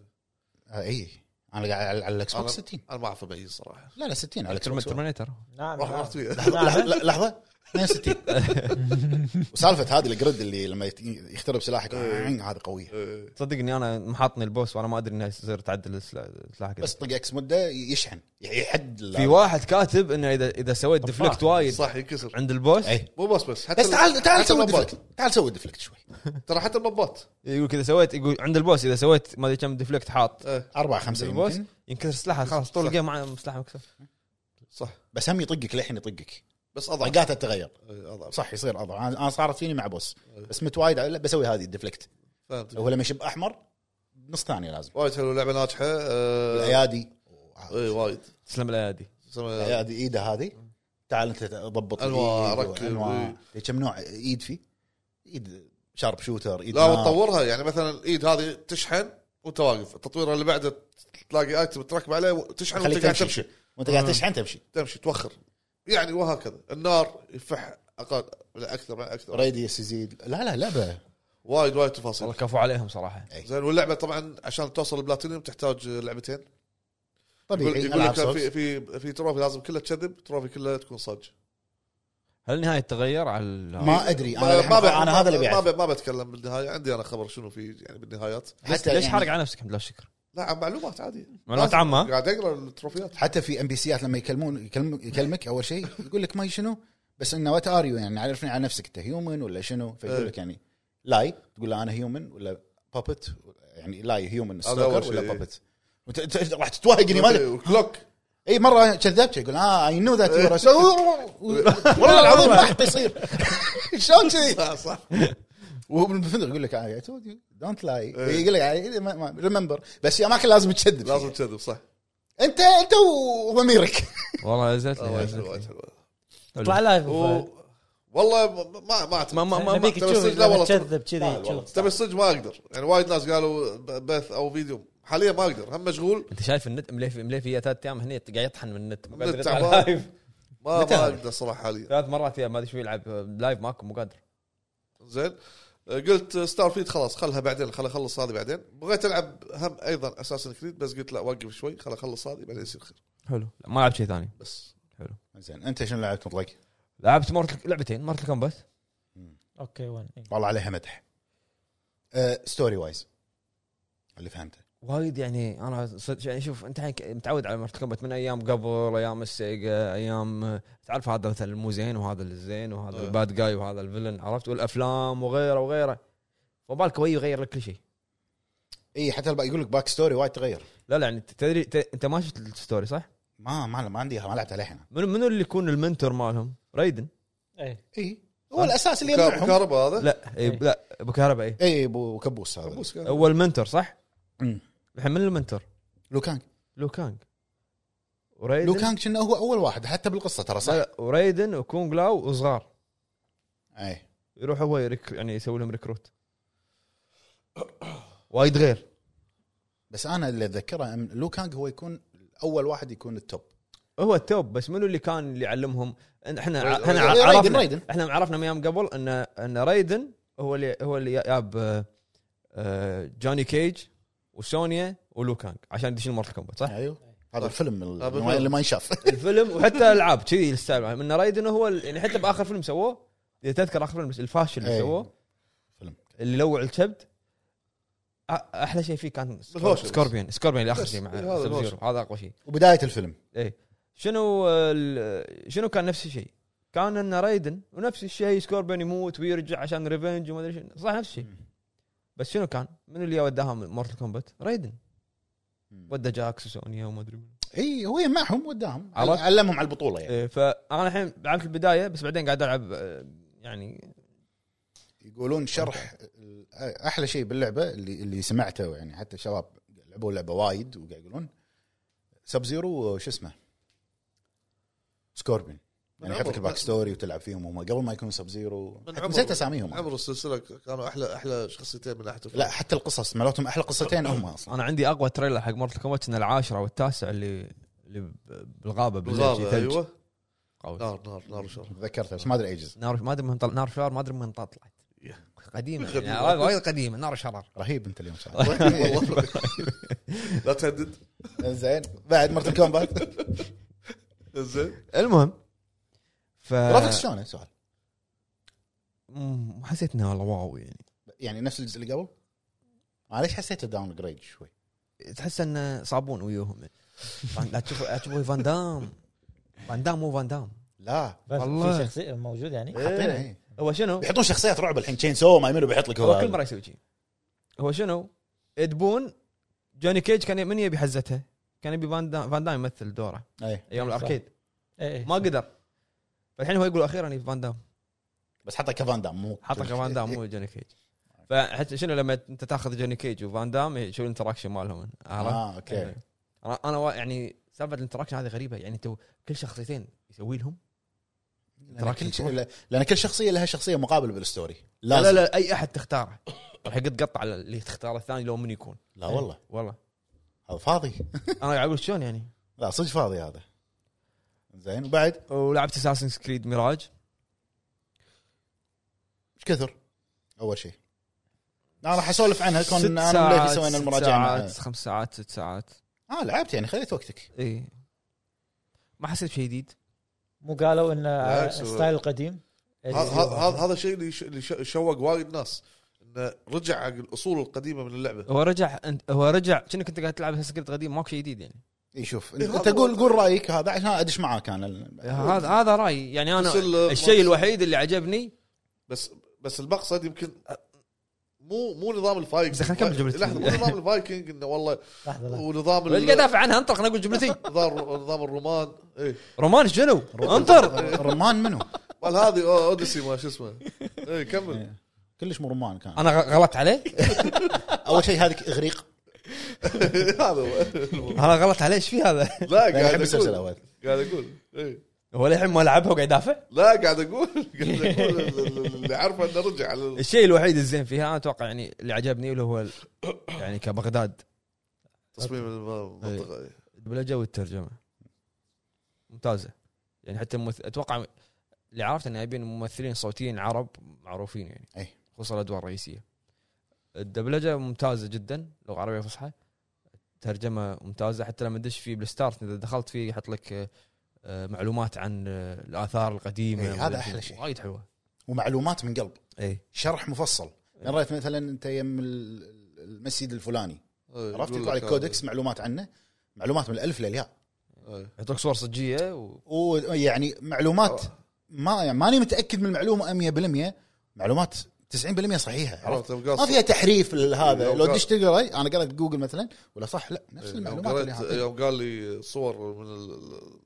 S3: آه، اي انا قاعد على- على الاكس
S2: أنا-
S3: بوكس 60
S2: انا ما اعرف ابين صراحه
S3: لا لا 60 على الاكس بوكس
S1: ترمينيتر
S4: نعم
S2: رحت
S4: نعم.
S2: رحت وياه
S3: لحظه لحظة- لحظه 62 وسالفه هذه الجريد اللي لما يت- يخترب سلاحك
S2: إيه.
S3: هذه قويه
S2: إيه.
S1: تصدق اني انا محاطني البوس وانا ما ادري انه يصير تعدل السلا- السلاح كذا
S3: بس طق اكس مده يشحن يحد ال-
S1: في واحد كاتب انه اذا اذا سويت ديفلكت
S3: آه،
S1: وايد
S2: صح ينكسر
S1: عند البوس
S3: اي
S2: مو بس بس حتى
S3: إيه. بس تعال تعال
S2: حتى
S3: سوي
S2: المبات.
S3: ديفلكت تعال سوي ديفلكت شوي
S2: ترى حتى المبات
S1: يقول كذا سويت يقول عند البوس اذا سويت ما ادري كم ديفلكت حاط
S2: إيه.
S3: أربعة خمسة
S1: البوس
S3: يمكن
S1: ينكسر سلاحه خلاص طول الجيم مع سلاحه مكسور
S2: صح
S3: بس هم يطقك للحين يطقك
S2: بس اضعف
S3: طقاته تتغير
S2: إيه، اضعف
S3: صح يصير اضعف أنا- انا صارت فيني مع بوس بس متوايد على- بسوي هذه الديفلكت
S2: فهمت
S3: هو لما يشب احمر نص ثانيه لازم
S2: وايد حلو لعبه ناجحه آه،
S3: الايادي
S2: اي وايد
S1: تسلم الايادي
S2: اسمها-
S3: الايادي ايده هذه تعال انت ضبط
S2: أنواع،
S3: الإيد
S2: ركب،
S3: وأنواع.
S2: إيه.
S3: كم نوع ايد فيه؟ ايد شارب شوتر ايد
S2: لا
S3: نار.
S2: وتطورها يعني مثلا الايد هذه تشحن وانت واقف التطوير اللي بعده تلاقي ايتم تركب عليه وتشحن
S3: خليك
S2: وانت قاعد
S3: تمشي
S2: تمشي آه.
S3: وانت قاعد تشحن تمشي
S2: تمشي توخر يعني وهكذا النار يفح اقل لا اكثر لا اكثر
S3: راديوس يزيد لا لا لعبه
S2: وايد وايد
S1: والله
S2: تفاصيل
S1: كفو عليهم صراحه
S2: زين واللعبه طبعا عشان توصل البلاتينيوم تحتاج لعبتين يقول,
S3: طبيعي
S2: يقول لك
S3: ألعاب سولز.
S2: في في في تروفي لازم كلها تكذب تروفي كلها تكون صج
S1: هل النهايه تغير على ال-
S3: ما ادري انا الحين خلاص، انا هذا اللي
S2: ما
S3: بيعرف
S2: ب- ما بتكلم بالنهايه عندي انا خبر شنو في يعني بالنهايات
S3: حتى
S1: ليش
S3: يعني-
S1: حارق على نفسك الحمد لله شكر
S2: لا عن معلومات عادي
S1: معلومات عامه
S2: قاعد اقرا التروفيات
S3: حتى في ام بي سيات لما يكلمون يكلم يكلمك اول شيء يقول لك ما شنو بس انه وات ار يو يعني عرفني على نفسك انت هيومن ولا شنو فيقول
S2: إيه.
S3: لك يعني لاي تقول له انا هيومن ولا بابت يعني لاي هيومن
S2: هذا أول
S3: ستوكر
S2: شيء،
S3: ولا
S2: إيه.
S3: بابت وأنت- أنت راح تتوهقني إيه، ما
S2: كلوك
S3: اي مره كذبت يقول اه اي نو ذات
S2: إيه.
S3: والله العظيم ما حتى يصير شلون كذي
S2: صح صح
S3: وهو بالفندق يقول لك اي تود دونت لاي يقول لك ريمبر بس في اماكن لازم تكذب
S2: إيه. لازم
S3: لازم
S2: تكذب صح
S3: انت انت وضميرك
S1: والله نزلت
S2: آه،
S1: لي
S2: وايد
S1: نزلت
S2: حلو
S1: لي.
S2: وايد حلو
S4: اطلع لايف
S2: و- والله ما- ما ما
S1: ما
S2: اعتمد
S1: ما ما, ما.
S4: نبيك
S2: ترى
S4: تشوف
S2: الصج- لا والله
S4: لما تكذب كذي
S2: والله.
S4: تشوف.
S2: تبي الصج ما اقدر يعني وايد ناس قالوا ب- بث او فيديو حاليا ما اقدر هم مشغول
S1: انت شايف النت مليفي مليفي يا ثلاث ايام هني قاعد يطحن من النت مو قادر
S2: النت
S1: يطلع
S2: تعبان.
S1: لايف
S2: ما
S1: متى؟
S2: ما اقدر صراحه حاليا
S1: ثلاث مرات يا ما ادري شو يلعب لايف معاكم مو قادر
S2: زين أه، قلت ستار فيد خلاص خلها بعدين خل اخلص هذه بعدين بغيت العب هم ايضا اساسا كريد بس قلت لا وقف شوي خل اخلص هذه بعدين يصير خير
S1: حلو ما لعبت شيء ثاني
S2: بس
S3: زين انت شنو لعبت مطلق؟
S1: لعبت مارتل لعبتين مارتل كومبات
S4: اوكي وين إيه.
S3: والله عليها مدح أه ستوري وايز اللي فهمته
S1: وايد يعني انا صدق يعني شوف انت هيك متعود على مارتل كومبات من ايام قبل ايام السيجا ايام تعرف هذا مثلا مو زين وهذا الزين وهذا
S2: أه.
S1: الباد جاي وهذا الفيلن عرفت والافلام وغيره وغيره فبالك هو يغير لك كل شيء
S3: اي حتى الب- يقول لك باك ستوري وايد تغير
S1: لا لا يعني تدري ت- انت ما شفت الستوري صح؟
S3: ما ما ما عندي ما لعبت عليها انا
S1: منو منو اللي يكون المنتور مالهم؟ رايدن
S4: إيه.
S3: اي هو الاساس اللي
S2: كا-
S3: يمنعهم
S2: كهرباء هذا
S1: لا إيه
S4: إيه.
S1: لا ابو كهرباء اي
S3: اي ابو كبوس هذا
S2: كابوس كان.
S1: هو المنتور صح؟
S3: أمم.
S1: الحين من المنتور؟
S3: لو كانج
S1: لو كانج ورايدن
S3: لو كانج كنا هو اول واحد حتى بالقصه ترى صح
S1: لا لا ورايدن وكونغ لاو وصغار
S3: اي
S1: يروح هو يرك يعني يسوي لهم ريكروت وايد غير
S3: بس انا اللي اتذكره أن لو كانج هو يكون اول واحد يكون التوب
S1: هو التوب بس منو اللي كان اللي يعلمهم إن احنا ع- احنا
S3: رايدن-
S1: ع- عرفنا
S3: رايدن.
S1: احنا عرفنا من ايام قبل ان ان رايدن هو اللي هو اللي جاب آه، آه، جوني كيج وسونيا ولو كانج عشان يدشون مارتل كومبات صح؟
S3: ايوه هذا الفيلم
S2: هذا
S3: ال-
S2: الفيلم.
S3: اللي ما ينشاف
S1: الفيلم وحتى الالعاب كذي الستايل مالهم. ان رايدن هو ال- يعني حتى باخر فيلم سووه اذا تذكر اخر فيلم الفاشل اللي
S3: إيه.
S1: سووه
S3: فيلم
S1: اللي لوع الكبد أ- احلى شيء فيه كان
S2: بالهوش بس.
S1: سكوربيون سكوربيون اللي اخر
S2: بس،
S1: شيء مع
S2: هذا
S1: Sub-Zero.
S2: الهوش.
S1: هذا اقوى شيء
S3: وبدايه الفيلم
S1: شنو ال- شنو كان نفس الشيء؟ كان ان رايدن ونفس الشيء سكوربيون يموت ويرجع عشان ريفنج وما ادري شنو صح نفس الشيء بس شنو كان؟ من اللي وداهم مورتل كومبات؟ رايدن ودا جاكس وسونيا وما ادري منو.
S3: اي هو يجمعهم وداهم
S1: عرفت؟
S3: علمهم على البطوله يعني
S1: إيه، فانا الحين لعبت البدايه بس بعدين قاعد العب آه، يعني
S3: يقولون شرح احلى شيء باللعبه اللي اللي سمعته يعني حتى شباب لعبوا اللعبه وايد وقاعد يقولون سب زيرو شو اسمه سكوربين يعني
S2: من عمر-
S3: يحط لك الباك ستوري وتلعب فيهم هم قبل ما يكونوا سب زيرو
S2: من عمر-
S3: نسيت اساميهم
S2: عمر السلسله كانوا احلى احلى شخصيتين من ناحيه الفن.
S3: لا حتى القصص مالتهم احلى قصتين هم اصلا
S1: انا عندي اقوى تريلر حق مورتل كومبات ان العاشره والتاسع اللي اللي ب- بالغابه بالليل، شي
S2: بالغابه
S1: ثلج
S2: ايوه
S1: قوي.
S2: نار نار نار وشر
S3: تذكرتها بس ما ادري ايجز
S1: نار ما ادري من طل... نار شرار ما ادري من طلعت قديمه
S2: قديمة.
S1: يعني وايد- وايد قديمه نار شرار
S3: رهيب انت اليوم صح
S2: والله لا تهدد
S3: زين بعد مرت الكومبات
S2: زين
S1: المهم ف
S2: آه.
S3: جرافكس شلونه سؤال
S1: مم، ما حسيت انه والله واو يعني
S3: يعني نفس الجزء اللي قبل انا ليش حسيته داون جريد شوي
S1: تحس انه صابون ويوهم فان- لا تشوف لا تشوف فان دام فان دام مو فان دام
S3: لا
S4: بس
S1: والله.
S4: في شخصيه موجود يعني
S2: إيه.
S3: حطينا ايه
S1: هو شنو؟
S3: بيحطون شخصيات رعب الحين تشين سو ما يمنو بيحط لك
S1: هو كل مره يسوي شيء هو شنو؟ يدبون جوني كيج كان ي- من يبي حزتها؟ كان يبي فان دام فان دام يمثل دوره
S3: اي
S1: ايام
S4: صح.
S1: الاركيد
S4: إيه، إيه.
S1: ما قدر فالحين هو يقول اخيرا فان دام
S3: بس حطه كفان دام مو إيه.
S1: حطك فان دام مو جوني كيج فحتى شنو لما انت تاخذ جوني كيج وفان دام إيه، شو الانتراكشن مالهم عرفت؟
S3: اه
S1: إيه.
S3: اوكي
S1: انا انا وا- يعني سالفه الانتراكشن هذه غريبه يعني تو كل شخصيتين يسوي لهم
S3: لأن كل ش- لا- لان كل شخصيه لها شخصيه مقابل بالستوري
S1: لا لا
S3: لا
S1: لا اي احد تختاره راح يقطع على اللي تختاره الثاني لو من يكون
S3: لا والله
S1: والله
S3: هذا فاضي
S1: انا قاعد اقول شلون يعني
S3: لا صدق فاضي هذا زين وبعد
S1: ولعبت اساسن كريد ميراج
S3: ايش كثر اول شيء انا راح اسولف عنها
S1: ست
S3: كون انا
S1: ساعات،
S3: وليفي سوينا
S1: ست
S3: المراجعه
S1: ساعات
S3: مع-
S1: خمس ساعات ست ساعات
S3: اه لعبت يعني خليت وقتك
S1: اي ما حسيت بشيء جديد
S4: مو قالوا آه، ان
S2: بالعكس، هو-
S4: الستايل القديم
S3: أيوة.
S2: هذا هذا الشيء اللي ش- اللي ش- شوق وايد ناس انه رجع حق الاصول القديمه من اللعبه
S1: هو رجع أنت- هو رجع كأنك انت قاعد تلعب اساسن كريد قديم ماكو شيء جديد يعني
S3: اي شوف
S2: إيه،
S3: انت
S2: هذا
S3: قول
S2: هو-
S3: قول رايك هذا عشان ادش معاك انا
S1: هذا هذا رايي يعني انا
S2: تسل-
S1: الشيء الوحيد اللي عجبني
S2: بس بس المقصد يمكن مو مو نظام الفايكنج
S1: زين، خلينا نكمل جملتي.
S2: لحظه مو نظام الفايكنج انه والله
S4: لحظه لحظة.
S2: ونظام
S1: قاعد
S2: ال-
S1: ادافع عنها انطق انا اقول جملتي
S2: نظام نظام الرومان ايه
S1: رومان شنو؟ انطر
S3: رمان منو؟
S2: مال هذه أو- اوديسي ما شو اسمه ايه كمل
S3: كلش مو رمان كان
S1: انا غ- غلطت عليه؟
S3: اول شيء هذيك اغريق
S2: هذا هو
S1: انا غلطت عليه ايش في هذا؟
S2: لا قاعد
S3: انا احب
S2: أقول.
S3: السلسله اول
S2: قاعد اقول ايه
S1: هو للحين ما لعبها وقاعد يدافع؟
S2: لا قاعد اقول قاعد اقول اللي عارفه انه رجع على ال-
S1: الشيء الوحيد الزين فيها انا اتوقع يعني اللي عجبني اللي هو ال- يعني كبغداد
S2: تصميم المنطقه إيه.
S1: الدبلجه والترجمه ممتازه يعني حتى الممث... اتوقع اللي عرفت انه يبين ممثلين صوتيين عرب معروفين يعني
S3: أي.
S1: خصوصا الادوار الرئيسيه الدبلجه ممتازه جدا لغه عربيه فصحى ترجمه ممتازه حتى لما تدش في بالستارت اذا دخلت فيه يحط لك آه، آه، معلومات عن آه، الاثار القديمه
S3: إي، إيه، هذا
S1: ولا
S3: أحلى شيء. إيه.
S1: وايد حلوه
S3: ومعلومات من قلب
S1: اي
S3: شرح مفصل يعني رايت مثلا انت يم ال- المسجد الفلاني
S2: إيه،
S3: عرفت
S2: يقول
S3: يطلع لك
S2: هذا.
S3: كودكس معلومات عنه معلومات من الالف للياء
S2: إيه.
S1: يعطوك صور صجيه و...
S3: ويعني يعني معلومات
S2: آه.
S3: ما يعني ماني متاكد من المعلومه 100% معلومات 90% صحيحه عرفت
S2: عرفت
S3: ما فيها تحريف هذا
S2: يوم
S3: لو
S2: قال-
S3: دش تقرا انا قرأت جوجل مثلا ولا صح لا نفس
S2: يوم
S3: المعلومات اللي
S2: قريت
S3: إيه، حاطينها.
S2: يعني يوم قال لي صور من ال-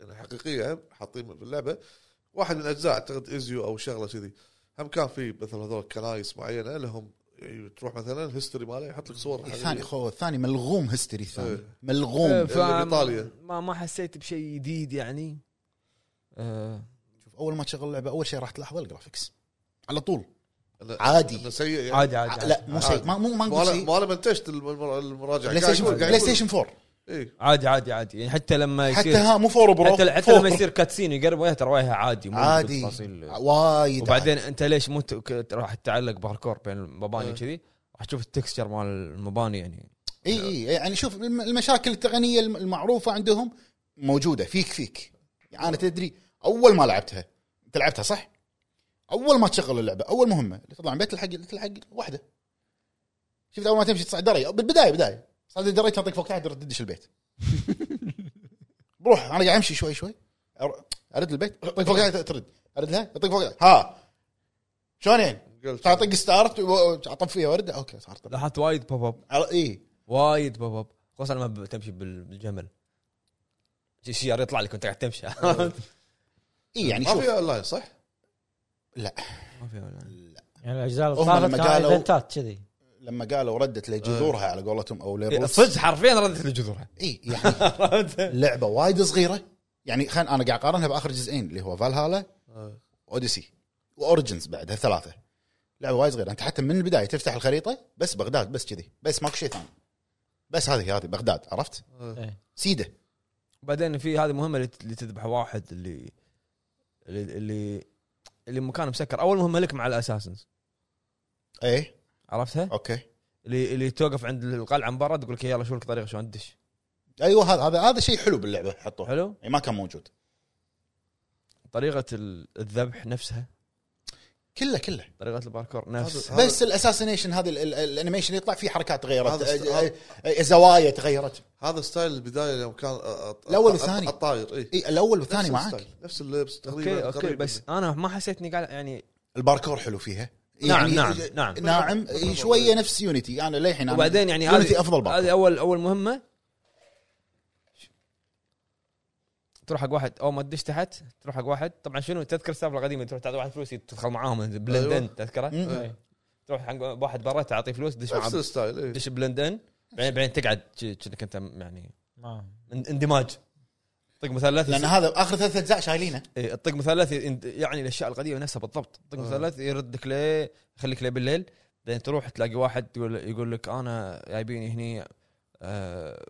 S2: يعني حقيقيه هم حاطين في اللعبه واحد من اجزاء اعتقد ازيو او شغله كذي هم كان في مثل هذول كنايس معينه لهم يعني تروح مثلا الهيستوري ماله يحط لك صور
S3: الثاني
S2: حقيقيه
S3: خو الثاني ملغوم هستري الثاني
S2: إيه.
S3: ملغوم
S1: ف-
S2: اللي بإيطاليا.
S1: آه، ما ما حسيت بشيء جديد يعني آه،
S3: شوف اول ما تشغل اللعبه اول شيء راح تلاحظ الجرافكس على طول
S2: أنا-
S3: عادي.
S2: أنا سيء يعني
S1: عادي عادي, عادي
S3: لا مو شيء ما مو ما
S2: ما
S3: نقول
S2: انا
S3: شيء
S2: ما انا منتجت المر- المراجعه
S3: بلاي
S2: قاعد
S3: ستيشن
S2: يقول- آه، قاعد
S3: بلاي
S2: يقول.
S3: ستيشن 4
S2: إيه.
S1: عادي عادي عادي يعني حتى لما يصير
S3: حتى ها مو 4 برو
S1: حتى حتى
S3: 4.
S1: لما يصير كاتسين يقرب وجهه ترى وجهه عادي مو
S3: عادي
S1: بالتفاصيل.
S3: وايد
S1: وبعدين انت ليش مو ت- ك- راح تعلق باركور بين المباني
S2: إيه.
S1: كذي راح تشوف التكستشر مال المباني يعني
S3: اي اي يعني شوف الم- المشاكل التقنيه الم- المعروفه عندهم موجوده فيك فيك يعني انا تدري اول ما لعبتها انت لعبتها صح؟ اول ما تشغل اللعبه اول مهمه اللي تطلع من بيت الحق تلحق واحده شفت اول ما تمشي تصعد دري بالبدايه بدايه تصعد الدري تنطق فوق تحت تدش البيت بروح انا قاعد امشي شوي شوي أر- ارد البيت طق فوق تحت ترد ارد لها طق فوق تحت. ها شلون يعني؟
S2: قلت
S3: تعطيك ستارت و- اطب فيها وارد اوكي صارت
S1: لاحظت وايد بوب اب
S3: اي
S1: وايد بوب اب خصوصا لما ب- تمشي بال- بالجمل الشيار يطلع لك وانت قاعد تمشي
S3: إيه. اي يعني
S2: ما
S3: شوف
S2: في اون لاين صح؟
S3: لا
S1: ما في ولا.
S4: يعني الاجزاء اللي
S3: هم
S4: صارت
S3: لما
S4: كان
S3: قالوا-
S4: ايفنتات كذي
S3: لما قالوا ردت لجذورها على قولتهم او
S2: إيه،
S3: للروس
S1: صدق حرفيا ردت لجذورها
S3: اي يعني لعبه وايد صغيره يعني خل انا قاعد اقارنها باخر جزئين اللي هو فالهالا اوديسي واوريجنز بعد هالثلاثه لعبه وايد صغيره انت حتى من البدايه تفتح الخريطه بس بغداد بس كذي بس ماكو شيء ثاني بس هذه هذه بغداد عرفت؟
S4: إيه.
S3: سيده
S1: بعدين في هذه مهمه اللي ت- اللي تذبح واحد اللي اللي اللي, اللي مكانه مسكر اول مهمه لك مع الاساسنز
S3: ايه
S1: عرفتها؟
S3: اوكي
S1: اللي اللي توقف عند القلعه من برا تقول لك يلا شو لك طريقه شلون تدش
S3: ايوه هذا هذا هذا شيء حلو باللعبه حطوه حلو.
S1: حلو؟
S3: ما كان موجود
S1: طريقه ال- الذبح نفسها
S3: كله كله
S1: طريقه الباركور نفسها
S2: هذا-
S3: بس الاساسينيشن هذه ال- ال- الانيميشن يطلع فيه حركات تغيرت
S2: هذا است-
S3: آه، آه، آه، زوايا تغيرت
S2: هذا ستايل البدايه يوم كان آه، آه،
S3: الأول
S2: آه،
S3: والثاني.
S2: آه، الطاير اي
S3: اي الاول والثاني معاك
S2: الستايل، نفس اللبس تقريبا
S1: اوكي اوكي
S2: قريب
S1: بس
S2: منه.
S1: انا ما حسيت اني قاعد يعني
S3: الباركور حلو فيها
S1: نعم، نعم، نعم.
S3: نعم إي، شويه نفس يونيتي انا للحين أنا-
S1: وبعدين يعني
S3: يونيتي
S1: هذه
S3: افضل باركور
S1: هذه اول اول مهمه تروح حق واحد اول ما تدش تحت تروح حق واحد طبعا شنو تذكر السالفه القديمه تروح تعطي واحد فلوس تدخل معاهم
S2: أيوة.
S1: بلندن تذكره
S3: أيوه. مم.
S4: إيه.
S1: تروح حق واحد برا تعطيه فلوس تدش معاه
S2: نفس الستايل إيه. اي
S1: تدش بلندن بعدين بعدين تقعد ج- كأنك انت يعني
S4: ما
S1: ان- اندماج طق مثلث
S3: لان هذا اخر ثلاث اجزاء شايلينه
S1: إيه، الطق مثلث يند- يعني الاشياء القديمه نفسها بالضبط طق مثلث يردك ليه يخليك ليه بالليل بعدين تروح تلاقي واحد يقول يقول لك انا جايبيني هني آه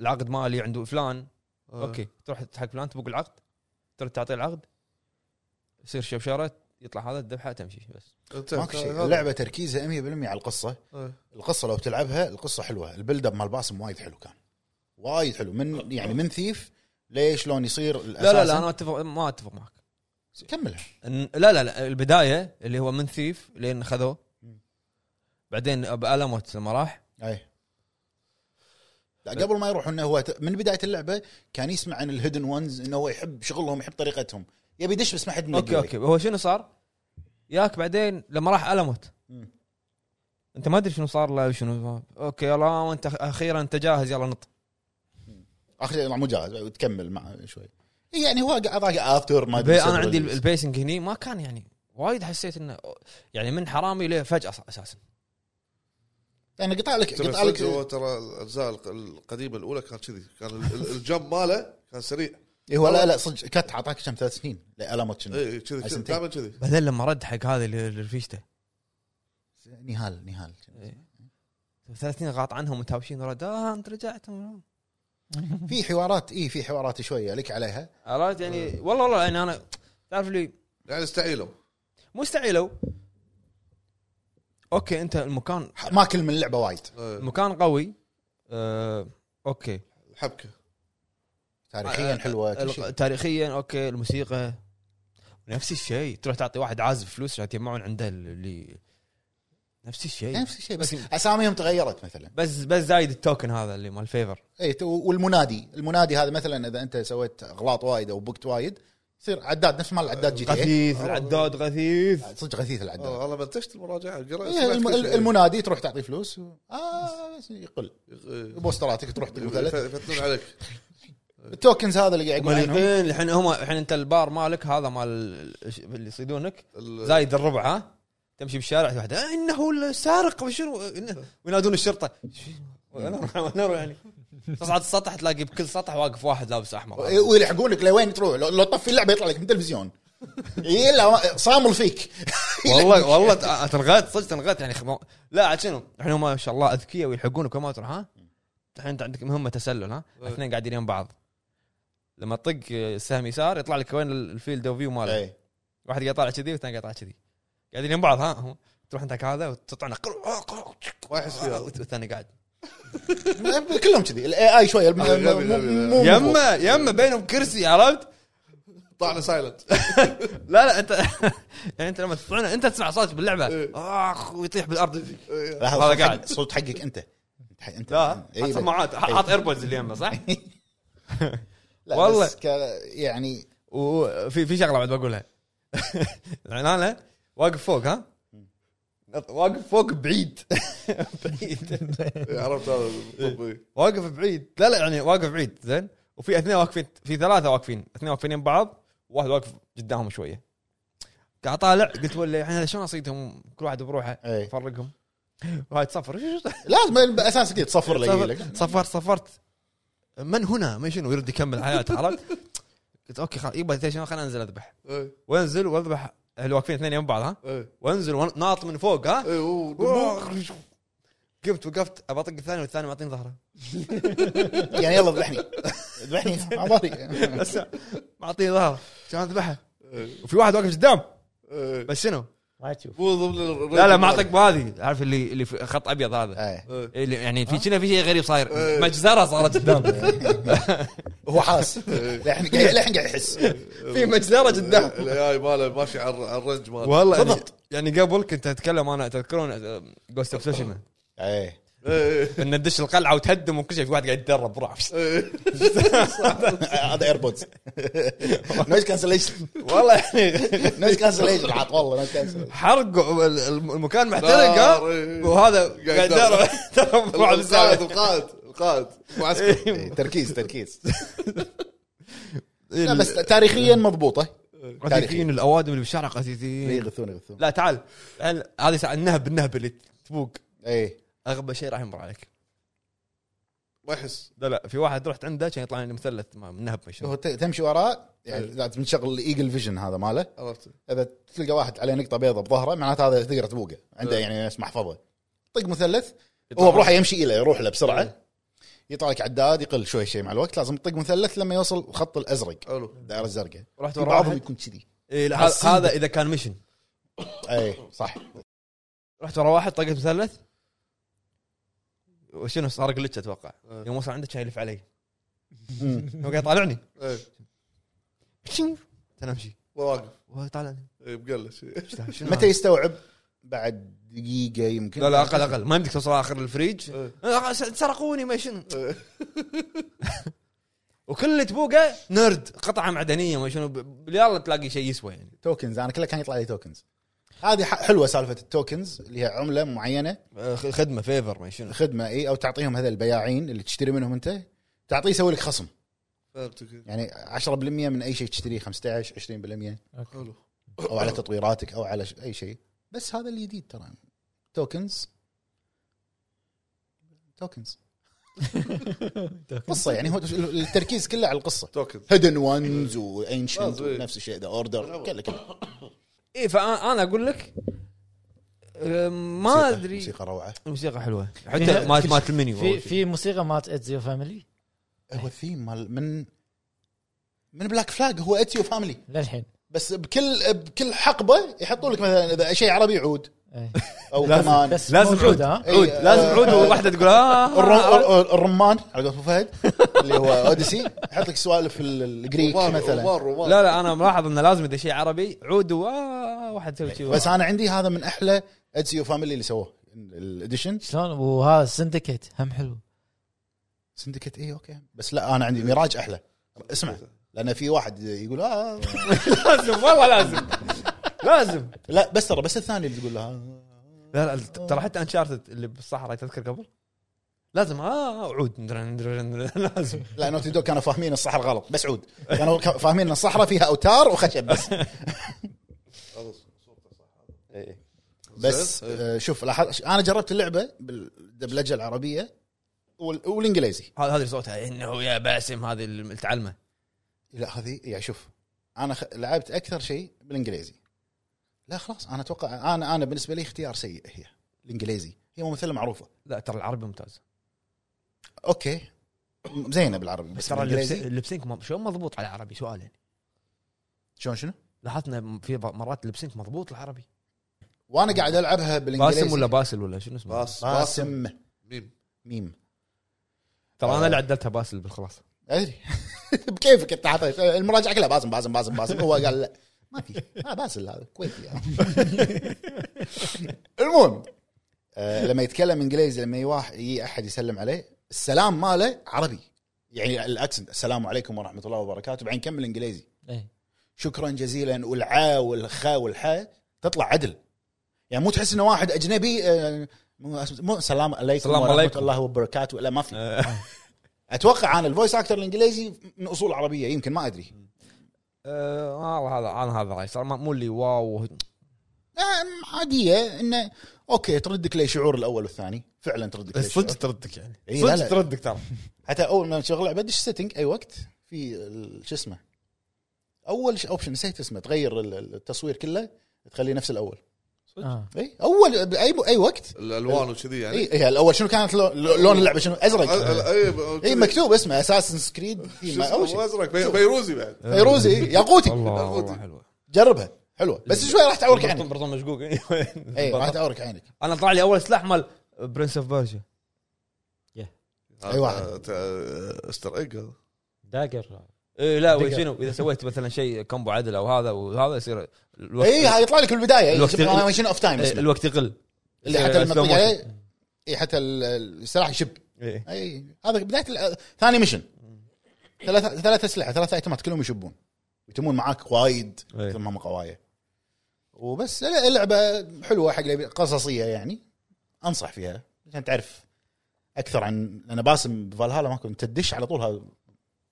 S1: العقد مالي عند فلان
S2: آه.
S1: اوكي تروح حق فلان تبوق العقد تروح تعطيه العقد يصير شبشره يطلع هذا الذبحه تمشي بس
S2: انتهى.
S3: ماكو شيء
S2: طيب، هذا.
S3: اللعبه تركيزها 100% على القصه
S2: آه.
S3: القصه لو بتلعبها القصه حلوه البيلد اب مال باسم وايد حلو كان وايد حلو من يعني من ثيف ليش شلون يصير
S1: لا لا لا انا اتفق ما اتفق معك
S3: كملها
S1: إن- لا لا لا البدايه اللي هو من ثيف لين خذوه
S3: مم.
S1: بعدين بالموت لما راح
S3: اي إيه. لا قبل ما يروح انه هو ت- من بدايه اللعبه كان يسمع عن الهيدن ونز انه هو يحب شغلهم يحب طريقتهم يبي يدش بس ما حد ملقي
S1: اوكي اوكي هو شنو صار؟ ياك بعدين لما راح الموت
S3: مم.
S1: انت ما ادري شنو صار له شنو اوكي يلا وانت اخيرا انت جاهز يلا نط
S3: اخر شيء يطلع مو جاهز وتكمل معه شوي إي يعني هو قاعد افتر ما
S1: بي- انا
S3: several
S1: عندي
S3: years.
S1: البيسنج هني ما كان يعني وايد حسيت انه يعني من حرامي ليه فجاه ص- اساسا
S3: يعني قطع لك
S2: ترى
S3: قطع
S2: صدق هو
S3: لك
S2: ترى الاجزاء الق- القديمه الاولى كان كذي كان ال- ال- الجمب ماله كان سريع
S3: إي إيه، هو لا لا صدق كت عطاك كم ثلاث سنين لألمت شنو
S2: اي إيه، كذي كذي،
S3: سنتين.
S2: دائما كذي
S1: بعدين لما رد حق هذه اللي اللي رفيجته
S3: نهال نهال
S1: ثلاث سنين غاط عنهم متهاوشين ورد اه انت رجعت
S3: في حوارات اي في حوارات شويه لك عليها
S1: عرفت يعني والله والله يعني انا تعرف لي
S2: يعني استعيلوا
S1: مو استعيلوا اوكي انت المكان
S3: ح- ماكل من اللعبه وايد
S2: آه،
S1: المكان قوي أه اوكي
S2: الحبكه
S3: تاريخيا حلوه كل شيء
S1: الق- تاريخيا اوكي الموسيقى نفس الشيء تروح تعطي واحد عازف فلوس عشان يجمعون عنده اللي نفس الشيء
S3: نفس الشيء بس اساميهم تغيرت مثلا
S1: بس بس زايد التوكن هذا اللي مال فيفر
S3: اي تو- إيه، والمنادي المنادي هذا مثلا اذا انت سويت اغلاط وايد او بقت وايد يصير عداد نفس مال العداد جي تي إيه.
S1: غثيث العداد غثيث
S3: صدق غثيث العداد
S2: آه، انا منتجت المراجعه قرأت
S3: إيه،
S2: سمعت
S3: الم-
S2: كل شيء.
S3: المنادي تروح تعطي فلوس و... اه بس يقل
S2: إيه.
S3: بوستراتك تروح تقول
S2: يفتنون عليك
S3: التوكنز هذا اللي قاعد يقول عنهم.
S1: مليقين الحين هم الحين انت البار مالك هذا مال ال- اللي يصيدونك
S2: ال-
S1: زايد الربع ها تمشي بالشارع واحد آه انه السارق وشنو إنه- وينادون الشرطه ونرو يعني تصعد السطح تلاقي بكل سطح واقف واحد لابس احمر
S3: إيه، ويلحقونك لوين تروح لو, لو طفي اللعبه يطلع لك من التلفزيون إيه، لا صامل فيك
S1: والله والله ت- تنغت صدق تنغت يعني خم... لا عاد شنو الحين هم ما شاء الله اذكياء ويلحقونك وما تروح ها الحين انت عندك مهمه تسلل ها
S3: إيه.
S1: اثنين قاعدين يم بعض لما تطق السهم يسار يطلع لك وين الفيلد اوف فيو ماله
S3: إيه.
S1: واحد قاعد طالع كذي والثاني قاعد طالع كذي قاعدين يم بعض ها هم تروح انت حق هذا وتطعنه قر- آه، قر-
S2: ما يحس فيها.
S1: وت- والثاني قاعد
S3: كلهم كذي الاي اي شويه
S2: غبي،
S3: مو-
S2: غبي،
S3: مو- مو-
S1: يما يما بينهم كرسي عرفت
S2: طعنا سايلنت
S1: لا لا انت يعني انت لما تطعنه انت تسمع صوت باللعبه اخ ويطيح بالارض يجي. هذا
S3: لحظه صوت حق-
S1: قاعد.
S3: صوت حقك انت أنت- انت
S1: لا
S3: إي
S1: حاط
S3: بس-
S1: سماعات
S3: إي.
S1: حاط ايربودز اللي يمه صح؟
S3: لا
S1: والله.
S3: بس ك- يعني
S1: وفي في شغله بعد بقولها العنانه واقف فوق ها واقف فوق بعيد بعيد
S2: إيه، عرفت هذا الطب، إيه.
S1: واقف بعيد لا لا يعني واقف بعيد زين وفي اثنين واقفين في ثلاثه واقفين اثنين واقفين يم بعض واحد واقف قدامهم شويه قاعد طالع قلت ولا يعني شلون اصيدهم كل واحد بروحه
S3: إي.
S1: افرقهم وهاي تصفر شو- شو-
S3: لازم باساس كذي تصفر لي يجي لك
S1: صفرت صفرت صفرت من هنا من شنو يرد يكمل حياته عرفت قلت اوكي خلاص يبا شنو خلينا انزل اذبح
S2: إيه،
S1: وانزل واذبح اللي واقفين اثنين يم بعض ها
S2: إيه،
S1: وانزل وناط من فوق ها
S2: إيه، أوه، دموع.
S1: قمت وقفت ابى اطق الثاني والثاني معطيني ظهره
S3: يعني يلا ذبحني ذبحني على ظهري
S1: بس معطيني ظهره عشان اذبحه
S2: إيه،
S1: وفي واحد واقف قدام
S2: إيه.
S1: بس شنو؟
S4: ما تشوف
S2: مو ضمن الريت
S1: لا لا ما
S2: المالي.
S1: اعطيك بهذه عارف اللي اللي في خط ابيض هذا
S3: إيه.
S2: إيه.
S1: اللي يعني في كنا في شيء غريب صاير
S2: إيه.
S1: مجزره صارت قدام
S3: هو حاس للحين قاعد- للحين قاعد يحس
S1: في مجزره قدام
S2: الاي إيه، ماله ماشي على على الرنج ماله
S1: والله يعني-
S3: بالضبط.
S1: يعني قبل كنت اتكلم انا تذكرون جوست اوف سوشيما
S3: إيه.
S2: إيه،
S1: ان تدش القلعه وتهدم وكل شيء في واحد قاعد يتدرب بروح
S2: إيه.
S3: هذا ايربودز نويز كانسليشن
S1: والله يعني
S3: نويز كانسليشن عاد والله نويز كانسليشن
S1: حرق ال- ال- المكان محترق ها؟
S2: نار، إيه.
S1: وهذا قاعد
S2: قاعد
S1: يتدرب يتدرب بروح
S2: القائد
S1: بالساعة.
S2: القائد القائد معسكر
S3: إيه. تركيز تركيز
S1: إيه.
S3: لا بس تاريخيا مضبوطه
S1: قثيثين الاوادم اللي بالشارع قثيثين
S3: يغثون يغثون
S1: لا تعال تعال، هذه ساعة النهب النهب اللي تفوق
S3: اي
S1: اغبى شيء راح يمر عليك
S2: ما يحس
S1: لا لا في واحد رحت عنده كان يطلع لي مثلث ما- من نهب مش
S3: هو ت- تمشي وراه يعني لازم تشغل الايجل فيجن هذا ماله
S2: عرفت
S3: اذا تلقى واحد عليه نقطه بيضاء بظهره معناته هذا تقدر تبوقه عنده يعني ناس محفظه طق مثلث هو بروحه يمشي الى يروح له
S1: إيه.
S3: بسرعه يطلع لك عداد يقل شوي شيء مع الوقت لازم تطق مثلث لما يوصل الخط الازرق
S2: حلو
S3: الدائره الزرقاء
S1: رحت
S3: في
S1: ورا
S3: بعضهم
S1: واحد
S3: يكون كذي
S1: إيه لا، هذا- هذا اذا كان ميشن
S3: اي إيه، صح
S1: نعم. رحت ورا واحد طقت مثلث وشنو صار جلتش اتوقع
S2: إيه.
S1: يوم وصل عندك كان يلف علي
S3: مم.
S1: هو قاعد يطالعني
S2: إيه،
S1: انا امشي
S2: واقف
S1: وهو يطالعني
S2: إيه، مقلش إيه.
S1: إيش ده؟ شنو
S3: متى
S1: هذا؟
S3: يستوعب بعد دقيقه يمكن
S1: لا لا اقل اقل ما يمديك توصل اخر الفريج
S2: إيه.
S1: آه، سرقوني ما شنو وكل اللي تبوقه نرد قطعه معدنيه ما شنو ب- يلا تلاقي شيء يسوى يعني
S3: توكنز انا كله كان يطلع لي توكنز هذه ح- حلوه سالفه التوكنز اللي هي عمله معينه
S1: آه، خدمه فيفر ما شنو
S3: خدمه اي او تعطيهم هذا البياعين اللي تشتري منهم انت تعطيه يسوي لك خصم
S2: فهمتك
S3: يعني 10% من اي شيء تشتريه 15 20%
S2: حلو
S3: او على تطويراتك او على ش- اي شيء بس هذا الجديد ترى توكنز توكنز قصه يعني هو التركيز كله على القصه
S2: توكن
S3: هيدن وانز وانشنت
S2: خلاص، إيه.
S3: نفس الشيء ذا اوردر كله كله
S1: اي فانا اقول لك آه، ما
S3: موسيقى-
S1: ادري
S3: موسيقى روعه
S1: الموسيقى حلوه حتى مات مات المنيو
S4: في في موسيقى مات اتزيو فاميلي
S3: هو الثيم مال من من بلاك فلاج هو اتيو فاميلي
S4: للحين
S3: بس بكل بكل حقبه يحطوا لك مثلا اذا شيء عربي عود
S4: إيه.
S3: او
S1: لازم-
S3: كمان
S4: بس
S1: لازم عود.
S4: موجود ها
S3: إيه،
S1: عود
S3: آه،
S1: لازم عود وواحده تقول آه،
S3: الر-
S1: آه آه.
S3: الر- الرمان على قولت ابو فهد اللي هو اوديسي يحط لك سوالف ال- الجريك
S2: رومان
S3: مثلا
S2: رومان رومان
S1: لا لا انا ملاحظ انه لازم اذا شيء عربي عود واه واحد تسوي شيء
S3: بس انا عندي هذا من احلى ادسيو فاميلي اللي سووه الاديشن
S4: شلون وهذا السندكيت هم حلو
S3: سندكت اي اوكي إيه، بس لا انا عندي ميراج احلى اسمع لان في واحد يقول اه
S1: لازم والله لازم لازم
S3: لا بس ترى بس الثاني اللي تقول آه. لها
S1: لا لا ترى حتى انشارتد اللي بالصحراء تذكر قبل لازم اه عود لازم
S3: لا نوتي دوغ كانوا فاهمين الصحراء غلط بس عود كانوا كا- فاهمين ان الصحراء فيها اوتار وخشب بس
S2: إيه،
S3: بس آه، شوف لاحظ انا جربت اللعبه بالدبلجه العربيه وال- والانجليزي
S1: هذا هذا اللي صوتها انه يا باسم هذه اللي تعلمه
S3: لا هذه يعني شوف انا خ... لعبت اكثر شيء بالانجليزي لا خلاص انا اتوقع انا انا بالنسبه لي اختيار سيء هي الانجليزي هي ممثله معروفه
S1: لا ترى العربي ممتاز
S3: اوكي م- زينه بالعربي
S1: بس
S3: بس
S1: ترى اللبس-
S3: بالانجليزي
S1: اللبسينك ما- شلون مضبوط على العربي سؤال يعني
S3: شلون شنو؟
S1: لاحظنا في بعض مرات لبسينك مضبوط العربي
S3: وانا قاعد العبها بالانجليزي
S1: باسم ولا باسل ولا شنو اسمه؟
S2: باس
S3: باسم
S2: ميم
S3: ميم
S1: ترى انا اللي عدلتها باسل بالخلاصه
S3: ادري بكيفك انت عطيت المراجعه كلها باسم باسم باسم باسم هو قال لا ما في ما باسل هذا كويتي يعني. المهم آه لما يتكلم انجليزي لما يواح يجي احد يسلم عليه السلام ماله عربي يعني الاكسنت السلام عليكم ورحمه الله وبركاته بعدين كمل انجليزي
S4: إيه.
S3: شكرا جزيلا والعا والخا والحاء تطلع عدل يعني مو تحس انه واحد اجنبي آه، مو مو سلام عليكم
S5: سلام
S3: ورحمه
S5: عليكم. آه.
S3: الله وبركاته لا ما في اتوقع انا الفويس اكتر الانجليزي من اصول عربيه يمكن ما ادري
S1: آه والله هذا انا هذا رايي صار ما- مو اللي واو
S3: أم، عاديه انه اوكي تردك لي شعور الاول والثاني فعلا تردك لي شعور
S5: صدق تردك يعني
S1: إيه،
S3: إي، لا،
S5: صدق
S3: لا.
S5: تردك ترى
S3: حتى اول ما تشغل لعبه دش سيتنج اي وقت في ال- شو اسمه اول اوبشن نسيت اسمه تغير ال- ال- التصوير كله تخليه نفس إيه؟ الاول
S4: آه.
S3: اي اول باي اي وقت
S2: الالوان وكذي يعني
S3: اي إي، الاول شنو كانت لو- لو- لون اللعبه شنو ازرق اي
S2: اي
S3: إيه، مكتوب اسمه اساسن سكريد اول شيء
S2: ازرق بي- بيروزي بعد
S1: آه.
S3: فيروزي
S5: إيه.
S3: ياقوتي
S1: الله
S2: أخوتي.
S1: والله حلوه
S3: جربها حلوه بس شوي راح تعورك عينك
S1: برطم مشقوق
S3: اي راح تعورك عينك
S1: انا طلع لي اول سلاح مال برنس اوف بيرجا
S3: أي واحد.
S2: آه، آه، استر ايج
S4: داقر
S1: إيه لا
S4: دقيقة.
S1: وشنو اذا سويت مثلا شيء كومبو عدل او هذا وهذا يصير الوقت
S3: اي هاي يطلع لك البدايه
S1: الوقت-
S3: اي شنو اوف تايم
S1: إيه،
S3: اسمه
S1: الوقت يقل إيه،
S3: اللي
S1: يصير
S3: حتى
S1: slow
S3: لما إيه. تطق
S1: motion.
S3: عليه اي حتى ال- ال- السلاح يشب
S1: إيه.
S3: اي هذا بدايه ال- ثاني ميشن ثلاث ثلاث اسلحه ثلاث ايتمات كلهم يشبون يتمون معاك وايد
S1: إيه.
S3: مثل ما هم قوايه وبس لا، اللعبه حلوه حق اللي يبي- قصصيه يعني انصح فيها عشان تعرف اكثر عن انا باسم بفالهالا ما كنت تدش على طول هذا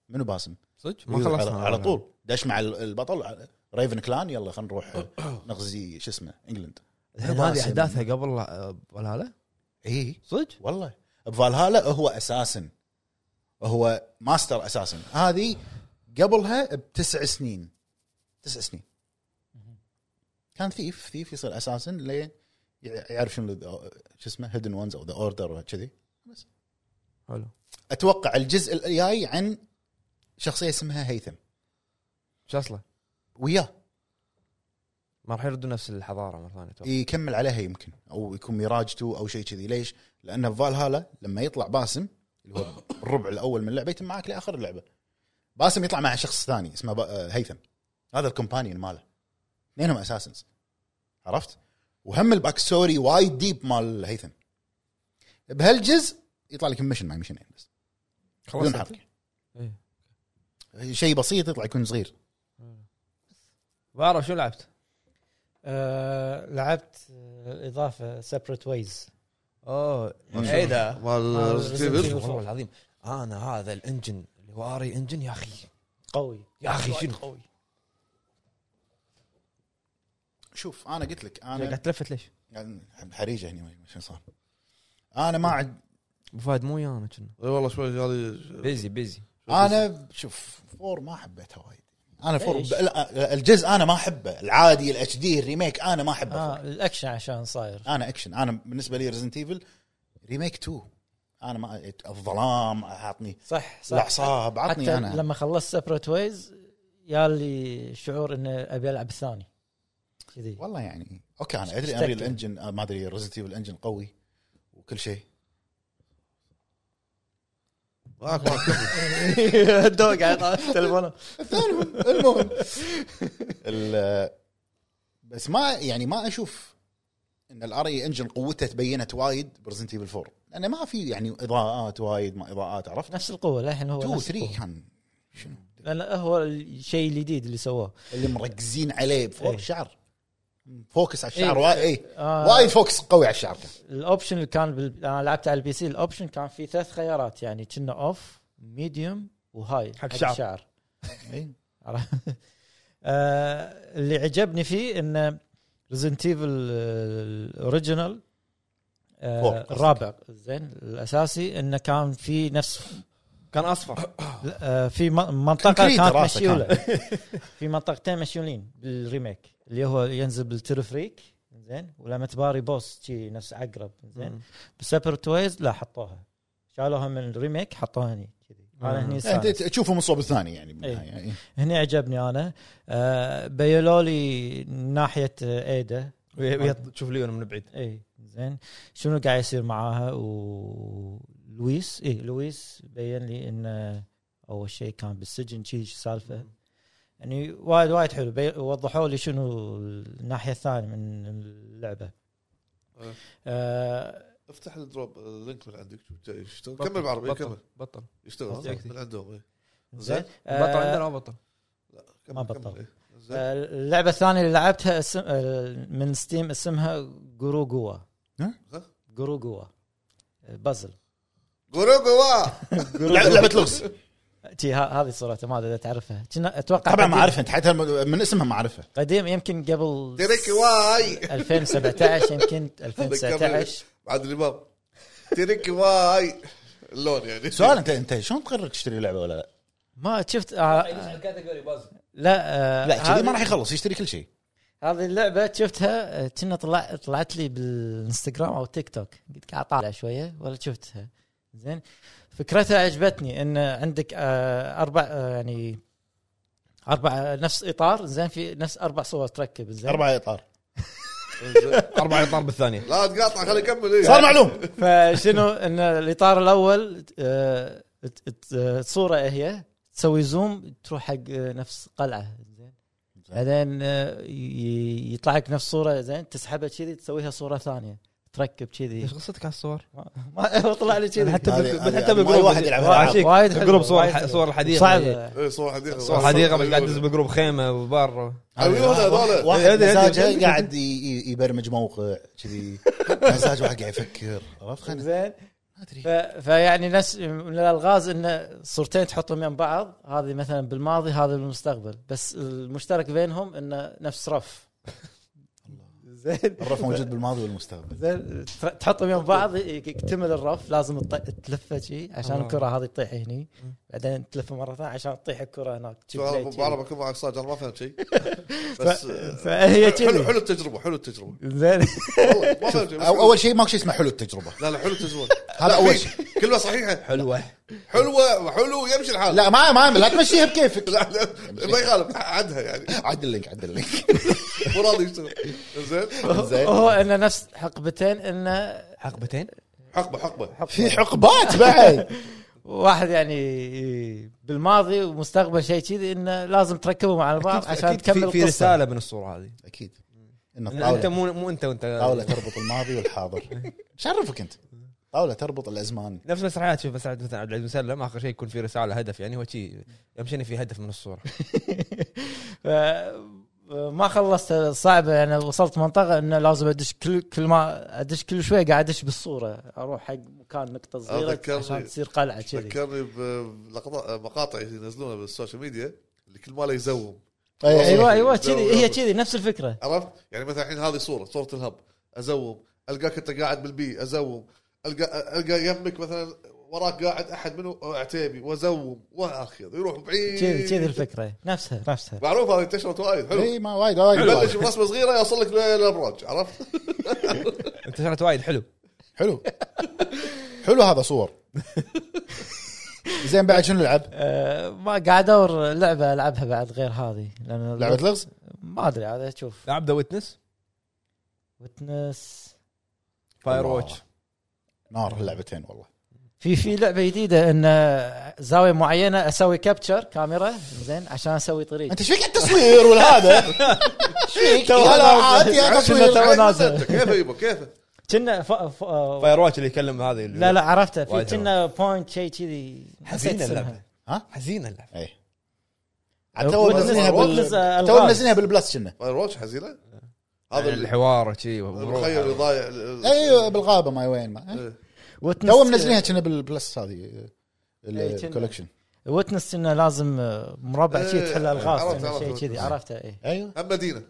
S3: منو باسم؟
S1: صدق ما خلصنا
S3: إيه،
S1: يعني.
S3: على, على طول دش مع ال- البطل ريفن كلان يلا خلينا نروح نغزي شو اسمه انجلند
S1: الحين إيه، هذه احداثها قبل آه، ولا لا
S3: اي
S1: صدق
S3: والله بفالهالا هو اساسن هو ماستر اساسن هذه قبلها بتسع سنين تسع سنين كان ثيف ثيف يصير اساسن لين يع- يعرف شنو ال- شو اسمه هيدن وانز او ذا اوردر كذي
S1: حلو
S3: اتوقع الجزء الجاي عن شخصيه اسمها هيثم
S1: شو اصله
S3: وياه
S1: ما راح يردوا نفس الحضاره مره ثانيه أتوقع.
S3: يكمل عليها يمكن او يكون ميراجته او شيء كذي ليش؟ لان فالهالا لما يطلع باسم اللي هو الربع الاول من اللعبه يتم معك لاخر اللعبه. باسم يطلع مع شخص ثاني اسمه با- آه، هيثم هذا الكومبانيون ماله اثنينهم اساسنز عرفت؟ وهم الباك ستوري وايد ديب مال هيثم بهالجزء يطلع لك ميشن مع ميشنين بس بدون حركه
S1: إيه.
S3: شيء بسيط يطلع يكون صغير
S1: بعرف شو لعبت
S4: آه، لعبت آه، الاضافه سيبريت ويز
S1: اوه
S2: شاء
S1: ايه ده
S2: مال
S3: آه،
S4: Resident Evil.
S2: ريزنت
S1: والله العظيم انا هذا الانجن اللي هو اري انجن يا اخي
S4: قوي
S1: يا اخي شنو
S3: شوف انا قلت لك يعني
S1: قاعد
S3: انا
S1: تلفت ليش؟
S3: حريجه هنا شو صار؟ انا ما عد
S1: ابو فهد مو ويانا كنا
S2: والله شوي جالي
S1: بيزي بيزي
S3: انا شوف فور ما حبيتها وايد انا فور
S4: ليش؟
S3: ب... لا، الجزء انا ما احبه العادي الاتش دي الريميك انا ما احبه
S4: اه
S3: آه.
S4: الاكشن عشان صاير
S3: انا اكشن انا بالنسبه لي ريزنت ايفل ريميك 2 انا ما الظلام عطني
S4: صح صح
S3: الاعصاب عطني
S4: حتى
S3: انا
S4: لما خلصت سيبريت ويز يا لي شعور انه ابي العب الثاني كذي
S3: والله يعني اوكي انا ادري
S4: اشتقت
S3: انريل
S4: يعني.
S3: انجن ما ادري ريزنت ايفل انجن قوي وكل شيء
S2: معك معك كمل.
S4: الدوق على تليفونه
S3: المهم ال- بس ما يعني ما اشوف ان الار اي انجن قوته تبينت وايد برزنت ايفل 4 لانه ما في يعني اضاءات وايد ما اضاءات عرفت
S4: نفس القوه للحين هو
S3: 2
S4: نفس
S3: 3
S4: القوة.
S3: كان شنو
S4: لان هو الشيء الجديد اللي سووه
S3: اللي مركزين عليه بفور
S4: إيه.
S3: الشعر فوكس على الشعر
S4: إيه.
S3: وايد إيه.
S4: آه إيه.
S3: وايد فوكس قوي على الشعر كان
S4: الاوبشن اللي كان بال... انا لعبت على البي سي الاوبشن كان فيه ثلاث خيارات يعني كنا اوف ميديوم وهاي
S1: حق الشعر.
S3: إيه.
S4: عرفت؟ آه، اللي عجبني فيه انه ريزنت ايفل آه، الاوريجينال
S3: فور، قصدك.
S4: الرابع آه، زين الاساسي انه كان في نفس
S1: كان اصفر
S4: آه، في م- منطقه
S3: كونكريت
S4: كانت
S3: راسه كان.
S4: مشيوله في منطقتين مشيولين بالريميك اللي هو ينزل بالترفريك زين ولما تباري بوس شي نفس عقرب زين بسيبرت ويز لا حطوها شالوها من الريميك حطوها هني كذي انا
S1: مم.
S4: هني
S3: انت
S4: استانست.
S3: تشوفه من صوب الثاني يعني بالنهايه إيه.
S4: هني عجبني انا آه بيولوا لي ناحيه آه، ايدا
S1: وي- وي- تشوف ليون من بعيد
S4: اي زين شنو قاعد يصير معاها ولويس اي لويس بين لي انه اول شيء كان بالسجن شي شو سالفه يعني وايد وايد حلو بي- وضحوا لي شنو الناحيه الثانيه من اللعبه
S2: إيه.
S4: آه
S2: افتح الدروب اللينك من عندك شوف جاي يشتغل كمل بالعربي كمل
S1: بطل
S2: يشتغل
S1: بطل.
S2: من عندهم إيه.
S4: زين آه،
S1: بطل عندنا ما بطل
S2: كمل،
S4: ما
S2: كمل،
S4: بطل.
S2: إيه. زين.
S4: آه، اللعبه الثانيه اللي لعبتها اسم آه، من ستيم اسمها جرو جوا
S3: ها؟
S4: جرو جوا آه، بازل
S2: قولوا قوا
S3: لعبه لعبة لغز
S4: تي ه- هذه صورته ما ادري اذا تعرفها كنا اتوقع
S3: طبعا ما
S4: قديم-
S3: اعرفها انت حتى الم- من اسمها ما اعرفها
S4: قديم يمكن قبل
S2: تريكي واي
S4: 2017 يمكن 2019
S2: بعد الامام تريكي واي اللون يعني
S3: سؤال انت انت شلون تقرر تشتري لعبه ولا لا؟
S4: ما شفت آه
S1: الكاتيجوري باز
S4: لا آه
S3: لا كذي ما
S4: هذه-
S3: راح يخلص يشتري كل شيء
S4: هذه اللعبه شفتها آه، كنا طلع طلعت لي بالانستغرام او تيك توك قلت قاعد اطالع شويه ولا شفتها زين فكرتها عجبتني ان عندك آه، اربع آه، يعني اربع نفس اطار زين في نفس اربع صور تركب زين
S3: اربع اطار
S1: اربع اطار بالثانيه
S2: لا تقاطع خليه يكمل إيه.
S3: صار معلوم
S4: فشنو ان الاطار الاول آه، ت- ت- صوره هي تسوي زوم تروح حق آه، نفس قلعه زين بعدين آه، ي- يطلع لك نفس صوره زين تسحبها كذي تسويها صوره ثانيه تركب كذي
S1: ايش إيه. قصتك على الصور؟
S4: ما طلع لي كذي
S1: حتى
S3: هذه-
S1: بال-
S3: هذه-
S4: يعني
S1: حتى
S3: ما
S1: بالجروب
S3: واحد يلعبها.
S1: عاشيك.
S4: وايد حلو،
S1: بالجروب صور
S4: وايد
S1: الح-
S4: حلو.
S1: صور الحديقه
S4: صعبه
S2: ايه صور حديقه
S1: صور الحديقه
S2: إيه،
S1: بس قاعد تدز بالجروب خيمه وبار
S2: عيون هذول
S3: واحد
S1: إيه، أدري، أدري،
S3: مزاجه
S1: أدري.
S3: قاعد ي- ي- يبرمج موقع كذي مزاج واحد قاعد يفكر عرفت خلنا
S4: زين
S3: ما ادري
S4: ف... فيعني نفس من الالغاز ان صورتين تحطهم يم بعض هذه مثلا بالماضي هذه بالمستقبل بس المشترك بينهم انه نفس رف زين
S3: الرف موجود بالماضي والمستقبل
S4: زين تر- تحطهم يم بعض ي- يكتمل الرف لازم تط- تلفه شي عشان
S1: الله.
S4: الكره هذه تطيح هني بعدين تلفه مره ثانيه عشان تطيح الكره هناك شي
S2: سؤال
S4: بلاي
S2: أبو
S4: شي.
S2: بعرب اكون معك صادق انا ما فهمت شيء بس
S4: ف-
S2: آه،
S4: فهي
S2: حلو
S4: كذي
S2: حلو التجربه حلو التجربه
S4: زين
S2: والله ما فهمت شيء بس
S3: أو اول شيء ماكو شيء اسمه حلو التجربه
S2: لا لا حلو التجربه
S3: هذا
S2: لا،
S3: أول
S2: في- كلمه صحيحه
S1: حلوه
S2: حلوه وحلو يمشي الحال
S3: لا ما ما لا تمشيها بكيفك
S2: لا لا، ما يخالف عدها يعني
S3: عدل لك عدل لك
S2: مو راضي يشتغل زين
S3: زين
S4: هو انه نفس حقبتين انه
S1: حقبتين
S2: حقبه حقبه
S3: في حقبات بعد
S4: واحد يعني بالماضي ومستقبل شيء كذي انه لازم تركبهم على بعض طيب، عشان
S1: أكيد في-
S4: تكمل
S1: في
S4: القصه
S1: رساله من الصوره هذه
S3: اكيد
S1: إن
S3: ان
S1: انت
S3: الطاوله
S1: مو مو انت وانت
S3: الطاوله تربط الماضي والحاضر شرفك انت طاوله تربط الازمان
S1: نفس مسرحيات شوف مسرحيات مثلا عبد العزيز مسلم اخر شيء يكون في رساله هدف يعني هو شيء يمشيني في هدف من الصوره
S4: ف- ما خلصت صعبه يعني وصلت منطقه انه لازم ادش كل كل ما ادش كل شوي قاعد ادش بالصوره اروح حق مكان نقطه صغيره
S2: أتذكرني-
S4: عشان تصير قلعه كذي
S2: ذكرني بلقطه مقاطع ينزلونها بالسوشيال ميديا اللي كل ماله يزوم
S4: ايوه
S2: أي-
S4: ايوه
S2: أي-
S4: كذي
S2: أي-
S4: هي كذي نفس الفكره
S2: عرفت؟ يعني مثلا الحين هذه صوره صوره الهب ازوم القاك انت قاعد بالبي ازوم القى القى يمك مثلا وراك قاعد احد منو عتيبي وازوم واخذ يروح بعيد
S4: كذي كذي
S1: إيه.
S4: الفكره نفسها نفسها
S2: معروف هذه انتشرت وايد حلو
S3: اي ما وايد إيه، وايد
S2: يبلش
S3: وايد.
S2: برسمه صغيره يوصل لك للابراج عرفت؟
S1: انتشرت وايد حلو
S3: حلو حلو هذا صور زين بعد شنو نلعب؟
S4: أه ما قاعد ادور لعبه العبها بعد غير هذه لان
S3: لعبه لغز؟
S4: ما ادري عاد اشوف
S1: لعب ذا ويتنس
S4: وتنس
S1: فاير
S3: الله.
S1: واتش
S3: نار اللعبتين والله
S4: في في لعبه جديده ان زاويه معينه اسوي كابتشر كاميرا زين عشان اسوي طريق
S3: انت ايش فيك التصوير والهذا؟ ايش فيك؟
S4: تو
S3: يا لا
S4: نازل.
S3: عاد يا تصوير
S4: تو
S2: عين
S4: نازل.
S2: مزنتك. كيفه يبا كيفه؟
S4: كنا ف... ف... آه،
S1: فاير واتش اللي يكلم هذه اللي-
S4: لا لا عرفته في
S1: وايد
S4: كنا بوينت شيء كذي
S1: حزينه اللعبه
S3: ها؟
S1: حزينه اللعبه
S3: اي إيه. عاد تو منزلينها
S4: ويتنس
S3: بال
S4: ألغاز.
S3: تو منزلينها بالبلس كنا
S2: فاير واتش حزينه؟ هذا
S1: هذا
S2: اللي-
S1: يعني الحوار شيء
S2: المخيل يضايع
S3: ايوه بالغابه ما وين
S4: أه.
S3: ما إيه. تو منزلينها
S4: وتنس
S3: كنا بالبلس هذه
S4: إي، إيه، كنا.
S3: الكولكشن
S4: وتنس انه لازم آه، مربع شيء
S2: إيه،
S4: تحل
S2: عرفت،
S4: الغاز إنه
S2: عرفت
S4: شيء
S2: Witness.
S4: كذي عرفته إيه. اي
S3: ايوه
S2: هم مدينه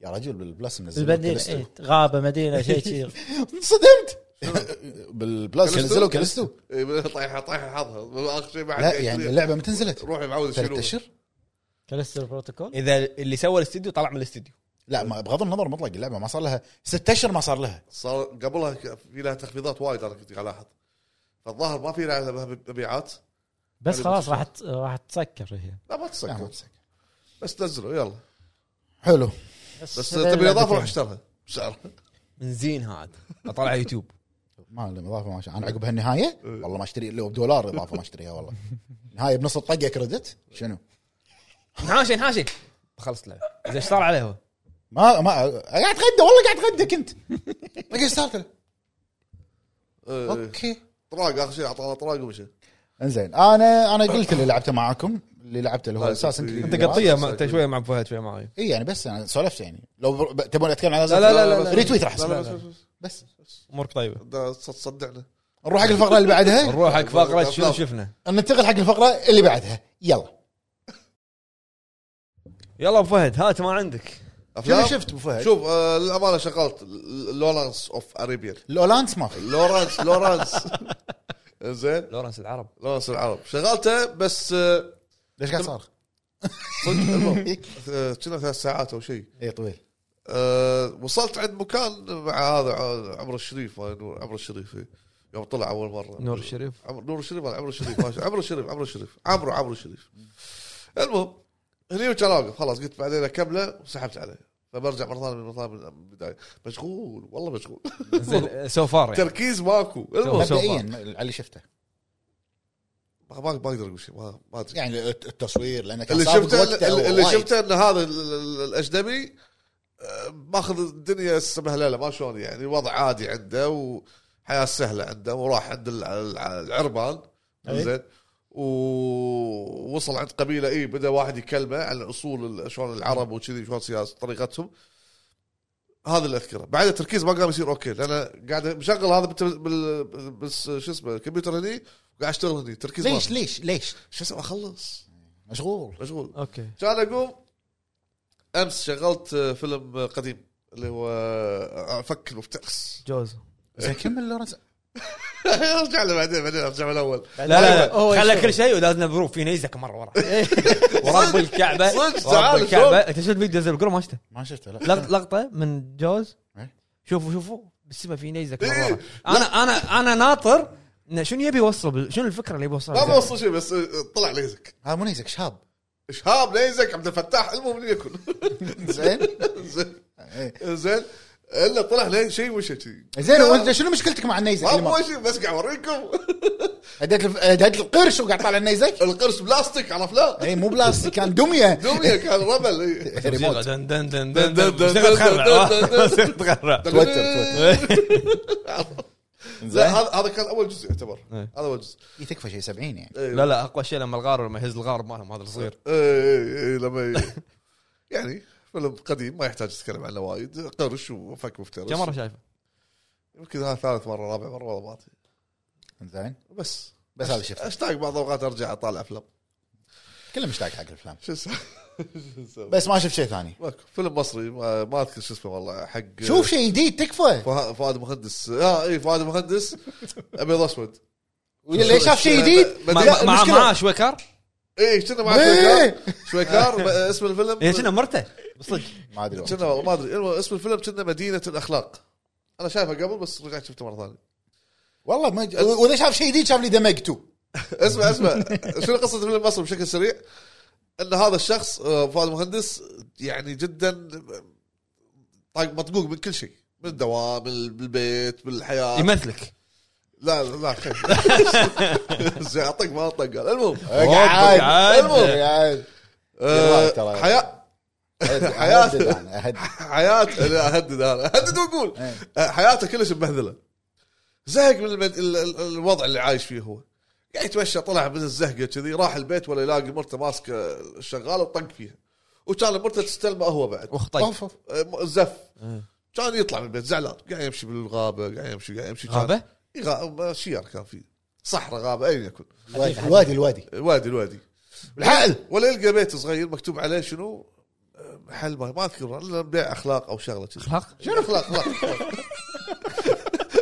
S3: يا رجل بالبلس منزلين
S4: المدينه إيه، غابه مدينه شيء كذي
S3: صدمت
S4: أه.
S3: بالبلس
S2: كلستو؟
S3: نزلوا كلستو
S2: إيه، طايحه طايحه حظها اخر شيء بعد
S3: لا يعني اللعبه متى نزلت؟
S2: روحي معود
S3: ثلاث
S2: يشيلوها
S3: اشهر؟
S4: كالستر بروتوكول
S1: اذا اللي سوى الاستديو طلع من الاستديو
S3: لا ما بغض النظر مطلق اللعبه ما صار لها ست اشهر ما صار لها
S2: صار قبلها ك- في لها تخفيضات وايد انا كنت قاعد الاحظ فالظاهر ما في لها مبيعات
S4: بس خلاص راح ت- راح تسكر هي
S2: لا ما
S3: لا، ما
S2: تسكر
S3: بصير.
S2: بس نزلوا يلا
S3: حلو
S2: بس
S4: هذول
S2: تبي اضافه روح
S4: لعبتين.
S2: اشترها بسعر
S1: من زين هذا اطلع يوتيوب
S3: ما لهم اضافه ما شاء انا عقب هالنهايه والله ما اشتري لو بدولار اضافه ما اشتريها والله نهايه بنص الطقه كريدت شنو؟
S1: انحاشي انحاشي خلص اللعبه زين ايش صار عليه هو؟
S3: ما ما قاعد اتغدى والله قاعد اتغدى كنت ما قاعد صار
S2: آه،
S3: اوكي
S2: طراق اخر شيء اعطانا طراق ومشى
S3: انزين انا انا قلت اللي لعبته معاكم اللي لعبته اللي هو
S2: لا،
S3: اساسا
S2: أنت
S1: انت قطيه ما- انت شويه مع أبو فهد شويه معي
S3: اي يعني بس انا سولفت يعني لو بر- ب- تبون اتكلم على
S1: لا، لا، لا، لا، لا.
S3: ريتويت راح
S2: لا لا
S3: أسوي.
S2: بس بس بس
S3: بس
S1: امورك طيبه
S2: ده تصدعنا
S3: نروح حق الفقره اللي بعدها
S1: نروح حق فقره شنو شفنا
S3: ننتقل حق الفقره اللي بعدها يلا
S1: يلا ابو فهد هات ما عندك
S3: شنو
S2: افلام
S3: شفت ابو فهد؟
S2: شوف آه، للامانه شغلت ل- لورانس اوف اريبيان
S3: الاولانس ما في
S2: لورانس لورانس زين
S1: لورنس العرب
S2: لورانس العرب شغلته بس آه،
S3: ليش قاعد صار؟
S2: صدق المهم آه، كنا ثلاث ساعات او شيء
S3: اي إيه، طويل
S2: أه وصلت عند مكان مع هذا ع- عمرو الشريف ما ينور- عمرو الشريف إيه. يوم طلع اول مره
S1: نور الشريف
S2: عمرو نور الشريف ولا عمرو الشريف ماشي. عمرو الشريف عمرو الشريف عمرو عمرو الشريف المهم هني كان واقف خلاص قلت بعدين اكمله وسحبت عليه فبرجع مره ثانيه مره ثانيه من البدايه مشغول والله مشغول
S1: زين سو فار يعني.
S2: تركيز ماكو المهم
S1: سو
S3: مبدئيا
S1: فار.
S3: على اللي شفته
S2: ما ما اقدر اقول شيء ما ما ادري
S3: يعني الت- التصوير لانه كان
S2: اللي
S3: سابق
S2: شفته
S3: وقته
S2: اللي- اللي
S3: وايد.
S2: شفته ان هذا ال- ال- الاجنبي آه، ماخذ الدنيا سهله ما شلون يعني وضع عادي عنده وحياه سهله عنده وراح عند ال- ال- العربان
S3: إيه.
S4: أي.
S2: زين ووصل عند قبيله اي بدا واحد يكلمه عن اصول ال- شلون العرب وكذي شلون سياسه طريقتهم هذا اللي اذكره بعد التركيز ما قام يصير اوكي لان قاعد مشغل هذا بال, بال... بال... شو اسمه الكمبيوتر هني وقاعد اشتغل هني تركيز
S3: ليش
S2: ليش
S3: ليش ليش؟
S2: شو اسوي اخلص
S3: مشغول
S2: مشغول
S1: اوكي
S2: كان اقوم امس شغلت فيلم قديم اللي هو افك المفترس
S1: جوز
S3: زين كمل لورنس
S2: ارجع له بعدين بعدين ارجع له الاول
S1: لا
S2: أيوة.
S1: لا,
S4: هو
S1: لا. خلى
S4: يشوف.
S1: كل شيء ولازم نبروف فينا يزك مره ورا ورب الكعبه
S2: صدق،
S1: ورب
S2: تعال
S1: الكعبه انت شفت فيديو نزل بالجروب ما شفته
S3: ما شفته لا
S1: لق- لقطه من جوز
S3: إيه.
S1: شوفوا شوفوا بالسما في نيزك مرة
S2: إيه.
S1: ورا. انا انا انا ناطر إنه شنو يبي يوصل بال- شنو الفكره اللي يبي
S2: ما
S1: يوصلها
S2: بوصل شيء بس طلع ليزك
S3: هذا مو نيزك شاب
S2: شهاب ليزك عبد الفتاح المهم اللي يكون
S3: زين
S2: زين
S3: إيه.
S2: زين الا طلع لي شيء وش شيء
S3: زين وانت شنو مشكلتك مع النيزك اللي
S2: ما
S3: ما-
S2: شيء بس قاعد اوريكم
S3: هديت الف- هديت القرش وقاعد طالع النيزك
S2: القرش بلاستيك عرفت لا
S3: اي مو بلاستيك كان دميه
S2: دميه كان رمل إيه.
S1: موسيقى
S3: ريموت
S1: دن دن دن دن
S2: دن-
S1: دن
S2: دن- دن-
S1: موسيقى تخرع.
S2: دن- دن-
S1: موسيقى تخرع
S3: توتر توتر
S2: لا
S3: زين
S2: هذا هذا كان اول جزء يعتبر هذا اول جزء
S3: إيه، تكفى شيء 70 يعني
S2: إيه.
S1: لا لا اقوى شيء لما الغار لما يهز الغار مالهم هذا الصغير
S2: اي اي اي إيه، لما ي- يعني فيلم قديم ما يحتاج تتكلم عنه وايد قرش وفك مفترس
S1: كم مره شايفه؟
S2: يمكن هذا ثالث مره رابع مره والله ما ادري
S3: زين
S2: بس
S3: بس هذا شفته
S2: اشتاق بعض الاوقات ارجع اطالع افلام
S3: كله مشتاق حق الافلام
S2: شو اسمه شو اسمه؟
S3: بس ما شفت شيء ثاني
S2: ماكو فيلم مصري ما, ما اذكر شو اسمه والله حق
S3: شوف شيء جديد تكفى
S2: فه- فؤاد مهندس اه اي فؤاد مهندس ابيض اسود
S3: ليش شاف شيء جديد
S2: ما- ما-
S3: لا،
S1: مع
S3: المشكلة-
S1: معاه شوي كار
S2: اي كنا مع
S3: إيه.
S2: شويكار شويكار ب- اسم الفيلم
S1: هي كنا إيه، مرته صدق
S3: ما ادري والله.
S2: كنا والله ما ادري المهم اسم الفيلم كنا مدينه الاخلاق انا شايفه قبل بس رجعت شفته مره ثانيه
S3: والله ما ج- واذا شاف شيء جديد شاف لي دمجته
S2: اسمع اسمع شنو قصه الفيلم المصري بشكل سريع؟ ان هذا الشخص آه، فؤاد المهندس يعني جدا طاق مطقوق من كل شيء من الدوام من بالبيت بالحياه
S1: يمثلك
S2: لا لا لا خير زين اعطيك ما اطق قال المهم
S3: اقعد
S1: قاعد.
S3: اقعد
S2: آه،
S3: ترى.
S2: حياه حياة.
S3: أهدد أنا، أهدد.
S2: حياته لا اهدد انا اهدد واقول
S3: إيه.
S2: آه، حياته كلش مبهذله زهق من المد... ال- ال- الوضع اللي عايش فيه هو قاعد يتمشى طلع من الزهقه كذي راح البيت ولا يلاقي مرته ماسكه الشغاله وطق فيها وكان مرته تستلمه هو بعد
S1: اخ طيب
S3: أوف، أوف.
S2: آه، زف كان يطلع من البيت زعلان قاعد يمشي بالغابه قاعد يمشي قاعد يمشي كان-
S1: غابه؟
S2: إي غا- شيار كان فيه صحراء غابه اين يكن
S3: الوادي الوادي الوادي
S2: الوادي الوادي
S3: الحقل
S2: ولا يلقى بيت صغير مكتوب عليه شنو آه، محل ما ما اذكر إلا بيع اخلاق او شغله كذي
S1: اخلاق
S2: شنو اخلاق اخلاق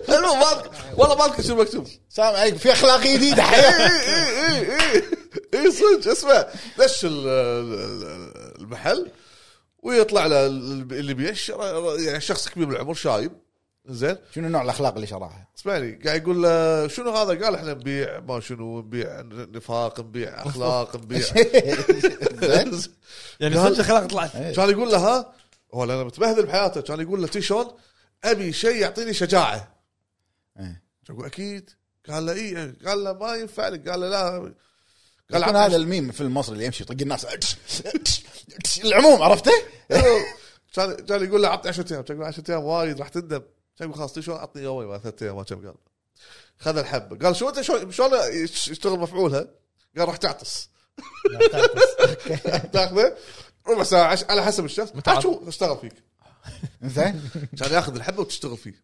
S2: المهم ما أذكر- والله ما اذكر شنو مكتوب
S3: سلام عليكم إيه، في اخلاق جديده
S2: اي
S3: حياه
S2: اي اي اي اي إيه، صدق اسمع دش ال- ال- المحل ويطلع له ال- اللي بيش يعني شخص كبير بالعمر شايب زين
S3: شنو نوع الاخلاق اللي شرحها؟
S2: اسمعني قاعد يقول له شنو هذا قال احنا نبيع ما شنو نبيع نفاق نبيع اخلاق نبيع إيه.
S1: يعني صدق اخلاق طلعت
S2: كان يقول له ها ولا انا متبهذل بحياته كان يقول له تي شلون ابي شيء يعطيني شجاعه
S3: إيه.
S2: اقول اكيد قال له اي قال له ما ينفع لك قال له لا قال
S3: يكون
S2: عطني
S3: هذا الميم في المصري اللي يمشي يطق الناس العموم عرفته؟
S2: كان كان يقول له عطني 10 ايام كان يقول 10 ايام وايد راح تندم كان يقول خلاص تدري شلون عطني يومين بعد ثلاث ايام ما كم قال خذ الحبه قال شو انت شلون شلون يشتغل مفعولها؟ قال راح تعطس تاخذه ربع ساعه عش... على حسب الشخص تعال شو اشتغل فيك
S3: زين
S2: كان ياخذ الحبه وتشتغل فيه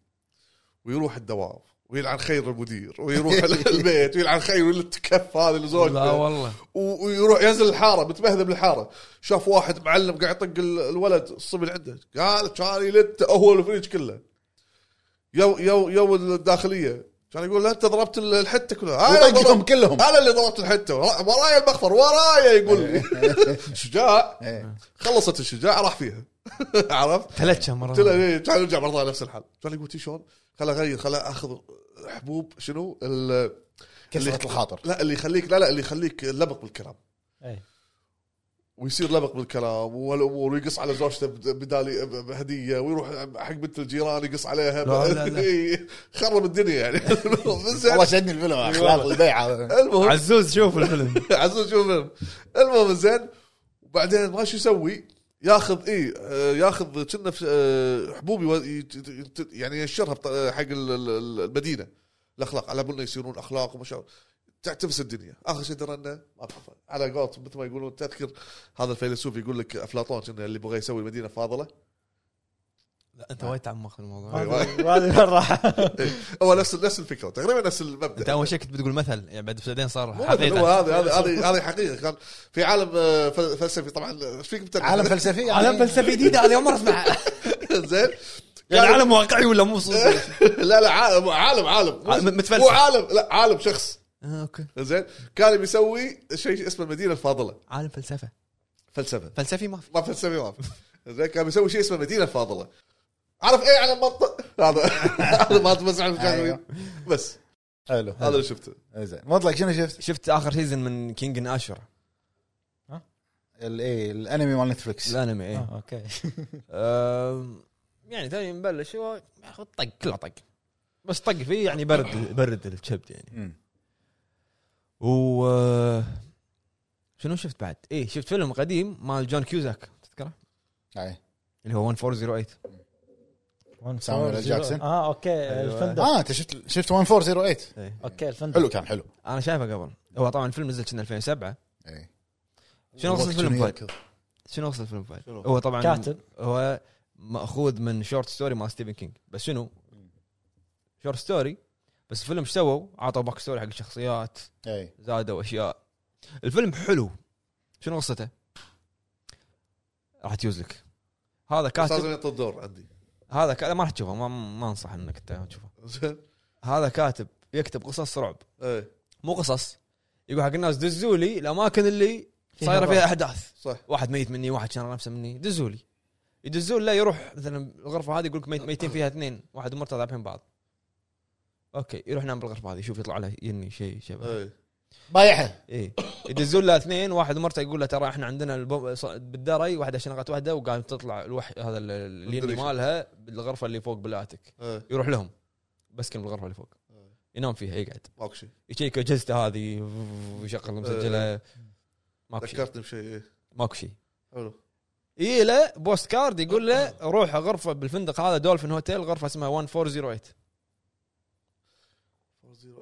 S2: ويروح الدوام ويلعن خير المدير ويروح البيت ويلعن خير التكف هذا
S1: لا
S2: لزوجته
S1: والله
S2: و- ويروح ينزل الحاره متبهذب بالحاره شاف واحد معلم قاعد يطق ال- الولد الصبي اللي عنده قال كان يلت هو الفريج كله يو يو يو الداخليه كان يقول لا انت ضربت ال- الحته كلها أنا
S3: وطقهم
S2: ضربت-
S3: كلهم.
S2: انا اللي ضربت الحته ورا- وراي المخفر وراي يقول لي شجاع
S3: إيه.
S2: خلصت الشجاع راح فيها عرفت
S3: آه.
S1: ثلاث مرات
S2: قلت له إيه، تعال نرجع مره ثانيه نفس الحال قال لي قلت شلون؟ خل اغير خل اخذ حبوب شنو؟ ال-
S3: كسرة الخاطر
S2: لا اللي يخليك لا لا اللي يخليك لبق بالكلام
S4: إيه.
S2: ويصير لبق بالكلام والامور ويقص على زوجته بد- بدالي ب- بهديه ويروح حق بنت الجيران يقص عليها
S1: لا، لا، لا.
S2: إيه، خرب الدنيا يعني
S3: والله
S2: زين
S3: شدني الفيلم اخلاق البيعه
S2: المهم
S1: عزوز شوف الفيلم
S2: عزوز شوف الفيلم. المهم زين وبعدين ما شو يسوي ياخذ اي ياخذ كنا في آه، حبوب يو- يت- يت- يعني ينشرها بط- آه، حق ال- ال- ال- المدينه الاخلاق على بالنا يصيرون اخلاق وما شاء تعتبس الدنيا اخر شيء درنا ما أعرف. على قولت مثل ما يقولون تذكر هذا الفيلسوف يقول لك افلاطون كنا اللي بغى يسوي مدينه فاضله
S1: لا انت وايد تعمق في الموضوع
S2: أيوة.
S4: وهذه وين راح؟
S2: هو نفس نفس الفكره تقريبا نفس المبدا
S1: انت اول شيء كنت بتقول مثل يعني بعد بعدين صار
S2: مو مثل هو
S1: حقيقه
S2: هذه هذه هذه هذه حقيقه كان في عالم آه، فل- فلسفي طبعا ايش فيك بتعرف؟
S3: عالم فلسفي يعني
S1: فلسفه جديده هذا اول مره اسمعها
S2: زين
S1: يعني عالم واقعي ولا مو صدق؟
S2: لا لا عالم عالم عالم
S3: آه،
S1: عالم متفلسف.
S2: مو عالم لا عالم شخص
S1: آه، اوكي
S2: زين كان بيسوي شيء اسمه المدينه الفاضله
S1: عالم فلسفه
S2: فلسفه
S1: فلسفي ما في
S2: ما فلسفي ما في. زين كان بيسوي شيء اسمه المدينه الفاضله عارف ايه على المنطق هذا هذا ما بس عن
S3: أيوه.
S2: بس
S3: حلو
S2: هذا اللي شفته
S3: زين مطلق شنو شفت؟
S1: شفت اخر سيزون من كينج ان اشر
S3: ال- ايه الانمي مال نتفلكس
S1: الانمي
S2: إيه.
S1: ايه
S4: آه، اوكي
S1: أم، يعني ثاني مبلش هو ياخذ طق كله طق بس طق فيه يعني برد برد الكبد يعني
S3: مم.
S1: و آه، شنو شفت بعد؟ ايه شفت فيلم قديم مال جون كيوزاك تذكره؟
S3: أي.
S1: اللي هو 1408
S3: سامويل إل جاكسون.
S4: اه اوكي
S1: أيوة.
S4: الفندق
S3: اه انت شفت شفت 1408
S1: ايه
S4: اوكي الفندق
S3: حلو كان حلو
S1: انا شايفه قبل هو طبعا الفيلم نزل كنا 2007
S3: إيه.
S1: شنو قصه
S3: وقت
S1: الفيلم
S3: شنو
S1: فايد؟
S3: يركض؟
S1: شنو قصه الفيلم فايد؟
S2: شنو؟
S1: هو طبعا
S4: كاتب.
S1: هو ماخوذ من شورت ستوري مال ستيفن كينج بس شنو؟ شورت ستوري بس الفيلم ايش سووا؟ عطوا باك ستوري حق الشخصيات
S3: اي
S1: زادوا اشياء الفيلم حلو شنو قصته؟ راح تجوز لك هذا
S2: بس
S1: كاتب
S2: لازم يعطي الدور عندي
S1: هذا كاتب ما راح تشوفه ما, ما انصح انك تشوفه
S2: زين
S1: هذا كاتب يكتب قصص رعب
S2: ايه
S1: مو قصص يقول حق الناس دزوا لي الاماكن اللي
S4: فيها
S1: صايره
S4: رعب.
S1: فيها احداث
S2: صح
S1: واحد ميت مني واحد شان نفسه مني دزوا لي يدزون له يروح مثلا الغرفه هذه يقول لك ميت ميتين فيها اثنين واحد ومرته ذابحين بعض اوكي يروح نام بالغرفه هذه يشوف يطلع له يني شيء شبه
S2: ايه
S3: بايعها
S1: ايه يدزون له اثنين واحد مرته يقول له ترى احنا عندنا البو... ص- بالدار اي واحده شنقت واحده وقامت تطلع الوح... هذا ال- اليني
S2: بالدريشة.
S1: مالها بالغرفه اللي فوق بالاتك
S2: ايه
S1: يروح لهم بسكن بالغرفه اللي فوق ينام فيها يقعد
S2: ماكو شيء
S1: يشيك اجهزته هذه ويشغل مسجله ماكو شيء
S2: ذكرتني بشيء إيه.
S1: ماكو شيء
S2: حلو
S1: اي له إيه، بوست كارد يقول له روح غرفه بالفندق هذا دولفين هوتيل غرفه اسمها 1408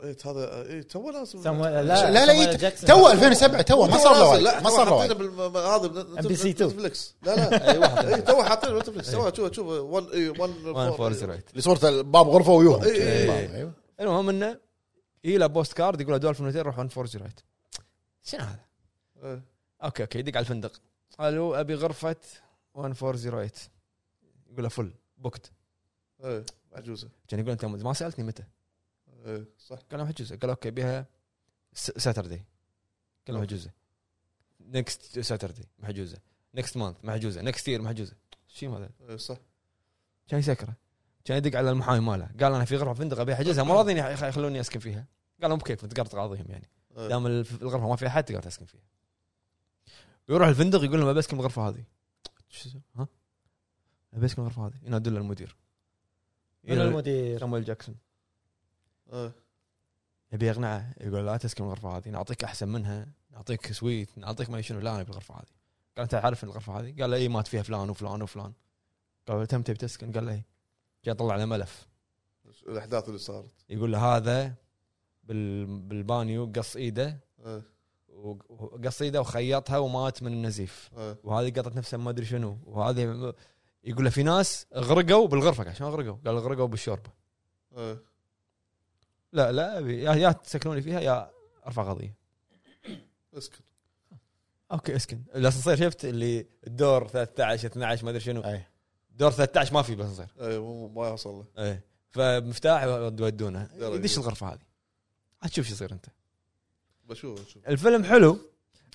S2: ايه هذا ايه تو لازم
S4: سامويل
S2: آه،
S3: لا لا
S4: سامويل
S3: لا يت-
S4: جاكسون.
S3: تو 2007 تو ما صار له
S2: لازم.
S3: وايد.
S2: لا
S3: ما صار له
S2: حطينا
S3: وايد. أيوه.
S2: بالم- هذا بن-
S4: ام بي سي تو.
S2: نتفلكس لا لا
S1: إيه،
S2: اي إيه، تو حاطينه نتفلكس تو شوف إيه، شوف 1 اي 1
S1: 1408
S3: اللي صورته باب غرفه ويوهم
S2: إيه، إيه،
S1: إيه.
S3: أيوه.
S1: المهم انه اي له بوست كارد يقول له دولفين هوتيل روح 1408 شنو هذا؟
S2: إيه.
S1: اوكي اوكي يدق على الفندق قالوا ابي غرفه 1408 يقول له فل بوكت
S2: ايه عجوزه
S1: كان يقول انت ما سالتني متى
S2: ايه صح
S1: قال لهم حجزه قال اوكي بيها ساتردي قال لهم حجزه نكست ساتردي محجوزه نكست مانث محجوزه نكست يير محجوزه شو هذا
S2: إيه صح
S1: كان يسكره كان يدق على المحامي ماله قال انا في غرفه فندق ابي احجزها مو راضيين يخ- يخلوني اسكن فيها قال لهم كيف انت قاعد تقاضيهم يعني
S2: إيه.
S1: دام الف- الغرفه ما فيها احد تقدر تسكن فيها يروح الفندق يقول لهم ابي اسكن بالغرفه هذه شو اسمه؟ ها ابي اسكن بالغرفه هذه ينادون له المدير
S4: من المدير
S1: سامويل جاكسون
S2: إيه.
S1: ابي اقنعه يقول لا تسكن الغرفه هذه نعطيك احسن منها نعطيك سويت نعطيك ما شنو لا انا بالغرفه هذه قال انت عارف إن الغرفه هذه قال له اي مات فيها فلان وفلان وفلان قال له تم تبي تسكن قال له اي جاي طلع له ملف
S2: الاحداث اللي صارت
S1: يقول له هذا بال- بالبانيو قص ايده
S2: إيه.
S1: و- وقص ايده وخيطها ومات من النزيف
S2: إيه.
S1: وهذه قطت نفسها ما ادري شنو وهذه م- يقول له في ناس غرقوا بالغرفه قال شلون غرقوا؟ قال غرقوا بالشوربه
S2: إيه.
S1: لا لا أبي. يا يا تسكنوني فيها يا ارفع قضيه
S2: اسكت
S1: اوكي اسكن الاسانسير شفت اللي الدور 13 12 ما ادري شنو
S3: اي
S1: دور 13 ما في بالاسانسير
S2: اي إيه، مو مو- ما يوصل له
S1: ايه فمفتاح يودونه
S2: يلا
S1: يدش
S2: يلا.
S1: الغرفه هذه هتشوف شو يصير انت
S2: بشوف بشوف
S1: الفيلم حلو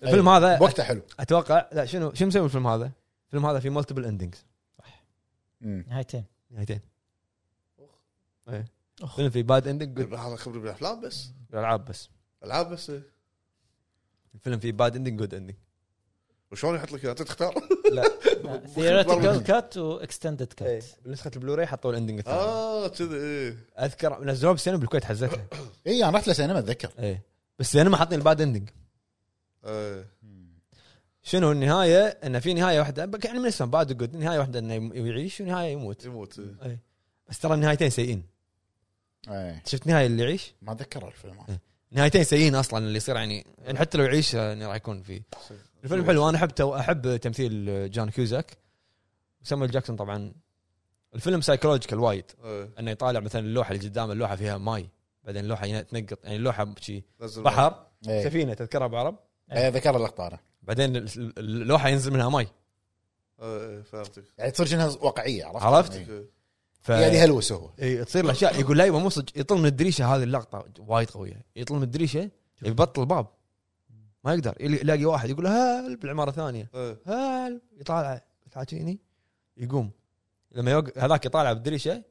S1: الفيلم هذا
S3: وقته حلو
S1: اتوقع لا شنو شو مسوي الفيلم هذا؟ الفيلم هذا في مالتيبل اندنجز
S3: مم.
S4: نهايتين
S1: نهايتين
S2: أخ.
S1: ايه فيلم في باد اندنج
S2: يعني هذا خبري بالافلام بس
S1: العاب بس
S2: العاب بس إيه.
S1: الفيلم في باد اندنج جود اندنج
S2: وشلون يحط لك إياه؟ انت تختار
S4: ثيوريتيكال كات واكستندد
S3: إيه.
S4: كات
S1: نسخه إيه. البلوراي حطوا الاندنج الثاني
S2: اه كذي ايه
S1: اذكر نزلوه بالسينما بالكويت حزتها
S3: اي انا رحت لسينما اتذكر
S1: ايه بس السينما حاطين الباد اندنج
S2: إيه.
S1: شنو النهايه؟ انه في نهايه واحده يعني من اسمه باد جود نهايه واحده انه يم- يعيش ونهايه يموت
S2: يموت إيه.
S1: بس ترى النهايتين سيئين
S3: اي
S1: شفت نهايه اللي يعيش؟
S3: إيه، ما اتذكر الفيلم هذا.
S1: نهايتين سيئين اصلا اللي يصير يعني يعني حتى لو يعيش آه، يعني راح يكون في الفيلم حلو انا احب تو... احب تمثيل جان كيوزاك وسامويل جاكسون طبعا الفيلم سايكولوجيكال وايد
S2: إيه.
S1: انه يطالع مثلا اللوحه اللي قدام اللوحه فيها ماي بعدين اللوحه هنا تنقط يعني اللوحه شي
S2: نزل
S1: بحر
S3: اي
S1: سفينه تذكرها بعرب
S3: اي إيه، ذكر اللقطه انا
S1: بعدين ال- اللوحه ينزل منها ماي
S2: إيه، إيه، فهمتك
S3: يعني تصير شنها واقعيه عرفت؟
S1: عرفت؟
S3: إي.
S2: إيه.
S1: ف...
S3: يعني هلوس هو
S1: إي، تصير الاشياء يقول لا يبا مو صدق يطل من الدريشه هذه اللقطه وايد قويه يطل من الدريشه يبطل الباب ما يقدر يل- يلاقي واحد يقول له هل بالعماره الثانيه
S2: إيه.
S1: هل يطالع تعاتيني يقوم لما يوق... هذاك يطالع بالدريشه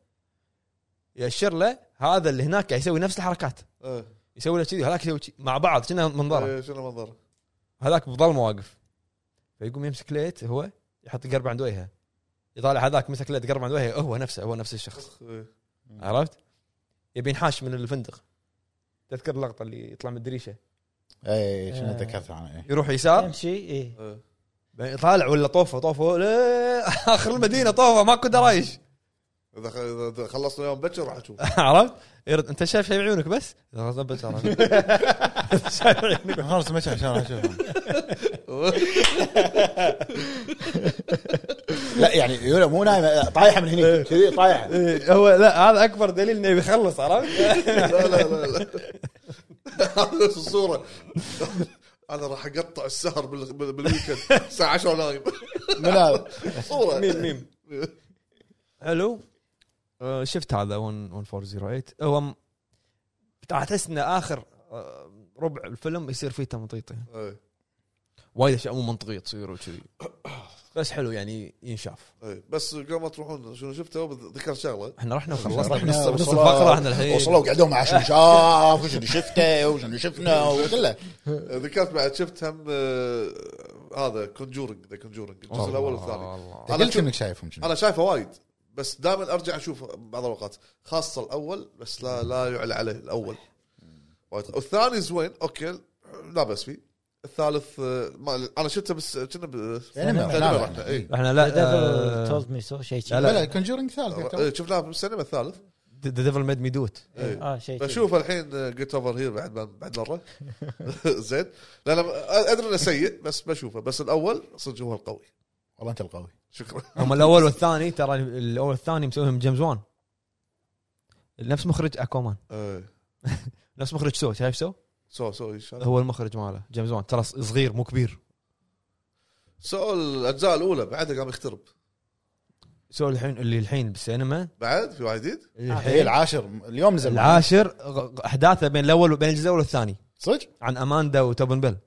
S1: يأشر له هذا اللي هناك قاعد يسوي نفس الحركات
S2: إيه.
S1: يسوي له كذي هذاك يسوي كذي مع بعض كنا منظره
S2: إيه، شنو منظره
S1: هذاك بظلمه واقف فيقوم يمسك ليت هو يحط قرب عند وجهه يطالع هذاك مسك ليت قرب عند وجهه هو نفسه هو نفس الشخص
S2: أخ، إيه.
S1: عرفت؟ يبي ينحاش من الفندق تذكر اللقطه اللي يطلع من الدريشه
S3: اي إيه، شنو
S4: آه.
S3: تذكرت انا إي.
S1: يروح يسار
S4: يمشي اي
S2: إيه.
S1: بعدين يطالع ولا طوفه طوفه لا، اخر المدينه طوفه ماكو درايش
S2: اذا خ- اذا خلصنا يوم بكر راح اشوف
S1: عرفت؟ يرد انت شايف شيء بعيونك بس؟ خلاص نبت شايف عيونك
S3: خلاص ما شاف شلون اشوف لا يعني يولا مو نايمه طايحه من هني كذي طايحه
S1: إيه، هو لا هذا اكبر دليل انه بيخلص عرفت؟
S2: لا لا لا لا هذا شو الصوره انا راح اقطع السهر بال- بال- بالويكند الساعه 10 نايم
S3: من هذا؟
S2: صوره
S1: ميم ميم حلو آه، شفت هذا 1408 هو م- تحس انه اخر آه، ربع الفيلم يصير فيه تمطيطه
S2: إيه.
S1: وايد اشياء مو منطقيه تصير وكذي بس حلو يعني ينشاف
S2: إيه. بس قبل ما تروحون شنو شفته ذكرت شغله
S1: احنا رحنا وخلصنا
S3: رحنا
S1: بنص بنص
S3: وصلوا-
S1: الفقره احنا الحين
S3: وصلوا وقعدوا مع شنو شاف وشنو شفته وشنو شفنا وكله
S2: ذكرت بعد شفت هم آه، هذا كونجورنج ذا كونجورنج الجزء
S1: الله
S2: الاول والثاني
S1: الله.
S2: أنا
S3: قلت
S2: شوف-
S3: انك شايفهم شنو
S2: انا شايفه وايد بس دائما ارجع اشوف بعض الاوقات خاصه الاول بس لا لا يعلى عليه الاول وايد والثاني زوين اوكي لا بس فيه الثالث آه، ما انا شفته بس كنا ب-
S3: سينما.
S2: سينما
S3: لا، لا،
S2: رحنا،
S3: لا.
S2: إيه.
S1: احنا
S4: ذا
S1: لا آه،
S4: ديفل تولد مي سو شيء
S1: لا،
S3: آه. لا
S4: كذي
S3: لا كونجورنج ثالث
S2: آه، شفناه بالسينما الثالث
S1: ذا ديفل ميد مي دو ات
S2: إيه.
S4: اه شيء كذي.
S2: بشوف الحين جيت اوفر هير بعد ما- بعد مره زين لا لا ادري انه سيء بس بشوفه بس الاول صدق هو القوي
S3: والله انت القوي
S2: شكرا
S1: هم الاول والثاني ترى الاول والثاني مسويهم جيمز وان نفس مخرج اكوامان
S2: إيه.
S1: نفس مخرج سو شايف سو
S2: سو سو ان شاء الله
S1: هو المخرج ماله جيمز وان ترى صغير مو كبير
S2: سو الاجزاء الاولى بعدها قام يخترب
S1: سو الحين اللي الحين بالسينما
S2: بعد في واحد جديد
S1: اللي
S3: هي
S1: الحين
S3: إيه، العاشر اليوم نزل
S1: العاشر غ- غ- احداثه بين الاول بين الجزء الاول والثاني
S3: صدق؟
S1: عن اماندا وتوبن بيل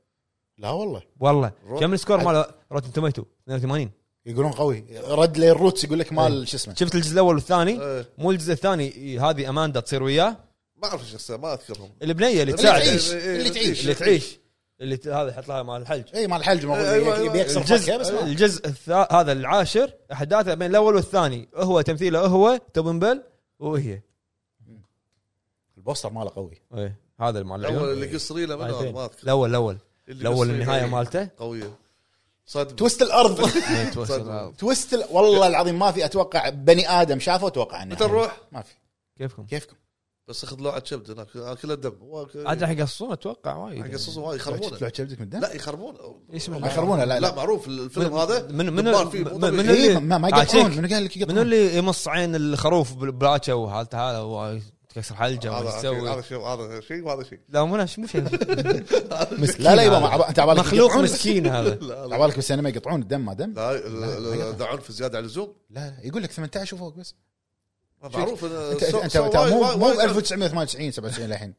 S3: لا والله
S1: والله
S2: رو-
S1: كم السكور مال روتن توميتو 82
S3: يقولون قوي رد للروتس يقول لك
S1: إيه.
S3: مال شو اسمه
S1: شفت الجزء الاول والثاني
S2: إيه.
S1: مو الجزء الثاني هذه اماندا تصير وياه
S2: ما اعرف الشخصيه ما اذكرهم
S1: البنيه اللي
S3: اللي
S1: تساعد
S3: تعيش
S2: إيه، إيه،
S3: اللي تعيش
S1: اللي تعيش اللي ت- هذا يحط لها مال الحلج
S3: اي إيه، مال الحلج المفروض
S2: أيوة،
S3: يك-
S2: أيوة.
S3: بيكسر فكه بس
S1: الجزء إيه.
S3: ما-
S1: الجزء الثا- هذا العاشر احداثه بين الاول والثاني هو تمثيله هو توبن بيل وهي
S3: البوستر ماله قوي
S1: إيه، هذا المال
S2: الاول
S1: العيون
S2: اللي قص ريله منه
S4: بعدين.
S2: ما اذكر
S1: الاول الاول
S2: اللي
S1: الاول
S2: قص إيه. ريلة
S1: النهايه مالته
S2: قويه صدمه
S3: توست الارض
S1: إيه، توصل.
S3: توست ال- والله العظيم ما في اتوقع بني ادم شافه اتوقع انه
S2: متى نروح؟
S3: ما في
S1: كيفكم؟
S3: كيفكم
S2: بس اخذ لوعه كبد هناك آه، كله دم واك-
S1: عاد راح يقصون اتوقع وايد
S2: حق قصص وايد
S3: تطلع
S2: يخربونه
S3: كبدك من الدم؟
S2: لا يخربون
S1: يسمع.
S3: ما يخربونه لا
S2: لا
S3: لا
S2: معروف الفيلم
S1: من-
S2: هذا
S1: من- من-
S2: دبان فيه،
S1: من-
S2: مو طبيعي.
S1: من-
S3: إيه،
S1: اللي-
S3: ما ما
S1: عاشيك.
S3: يقطعون منو قال لك
S1: منو
S3: يقطعون؟
S1: اللي يمص عين الخروف بالبراشه وحالته هذا هو تكسر حلجه
S2: هذا
S1: وش
S2: شيء- هذا
S1: يسوي
S2: شيء هذا شيء وهذا شيء
S1: لا مو ناش- مو شيء
S3: مسكين لا لا يبا ما- عب- انت عبالك
S1: مخلوق
S3: يقطعون-
S1: مسكين هذا
S2: لا لا
S3: عبالك بالسينما يقطعون الدم ما دم؟
S2: لا ال- ال- ذا عنف زياده عن اللزوم
S3: لا لا، يقول لك 18 وفوق بس
S2: معروف
S3: انت انت انت مو مو 1998 97 للحين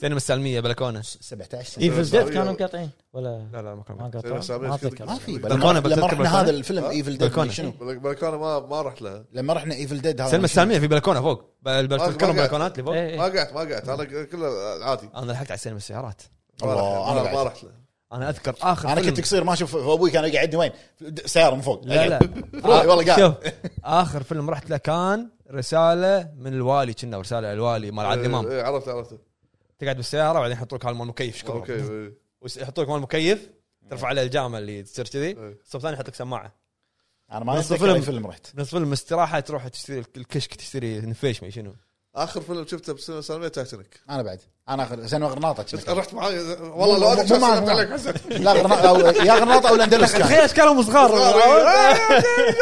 S1: سينما السلميه بلكونه
S3: 17
S4: ايفل ديث كانوا مقاطعين ولا
S1: لا لا ما
S4: ما
S1: كان
S4: قطعوا ما
S3: ما
S4: اتذكر
S3: في
S1: بلكونة،
S3: لما- لما
S1: بلكونة،
S3: رحنا
S1: بلكونة.
S3: هذا الفيلم ايفل
S1: بلكونة.
S3: ديد شنو؟
S2: بلكونه ما ما رحت لها
S3: لما رحنا ايفل ديد هذا
S1: سينما
S3: شنو؟
S1: السلميه في بلكونه فوق بل- بل-
S2: ما- ما
S1: تذكرون
S2: قاعد.
S1: بلكونات اللي فوق
S4: إيه،
S2: ما
S4: إيه.
S2: قعدت ما قعدت انا كله عادي
S1: انا لحقت على سينما السيارات
S2: ما
S3: الله،
S2: رحت-
S3: أنا
S2: ما- ما
S3: بعد.
S2: رحت له
S1: انا اذكر اخر
S3: انا
S1: فيلم
S3: كنت قصير ما اشوف ابوي كان يقعدني وين؟ د- سياره من فوق
S1: لا لا
S3: روح، والله قاعد.
S1: شوف اخر فيلم رحت له كان رساله من الوالي كنا رساله الوالي مال عادل امام
S2: إيه، عرفت عرفت
S1: تقعد بالسياره وبعدين يحطوا لك هالمال مكيف أه.
S2: اوكي
S1: شكرا
S2: إيه.
S1: ويحطوا لك مال مكيف ترفع عليه الجامه اللي تصير كذي
S2: إيه.
S1: الصف الثاني يحط لك سماعه
S3: انا ما
S1: بس
S3: اتذكر اي
S1: فيلم-
S3: فيلم رحت
S1: بنص فيلم استراحه تروح تشتري الك- الكشك تشتري نفيش ما شنو
S2: اخر فيلم شفته بالسينما السينمائيه تايتانيك
S3: انا بعد انا اخر سينما غرناطه
S2: بس
S3: كنا.
S2: رحت معاي والله لو
S3: مو-
S2: انا
S3: مو-
S2: كان
S3: مو-
S2: سلمت
S3: مو-
S2: عليك حسن
S3: لا غرناطه او يا غرناطه او الاندلس كان
S1: تخيل اشكالهم صغار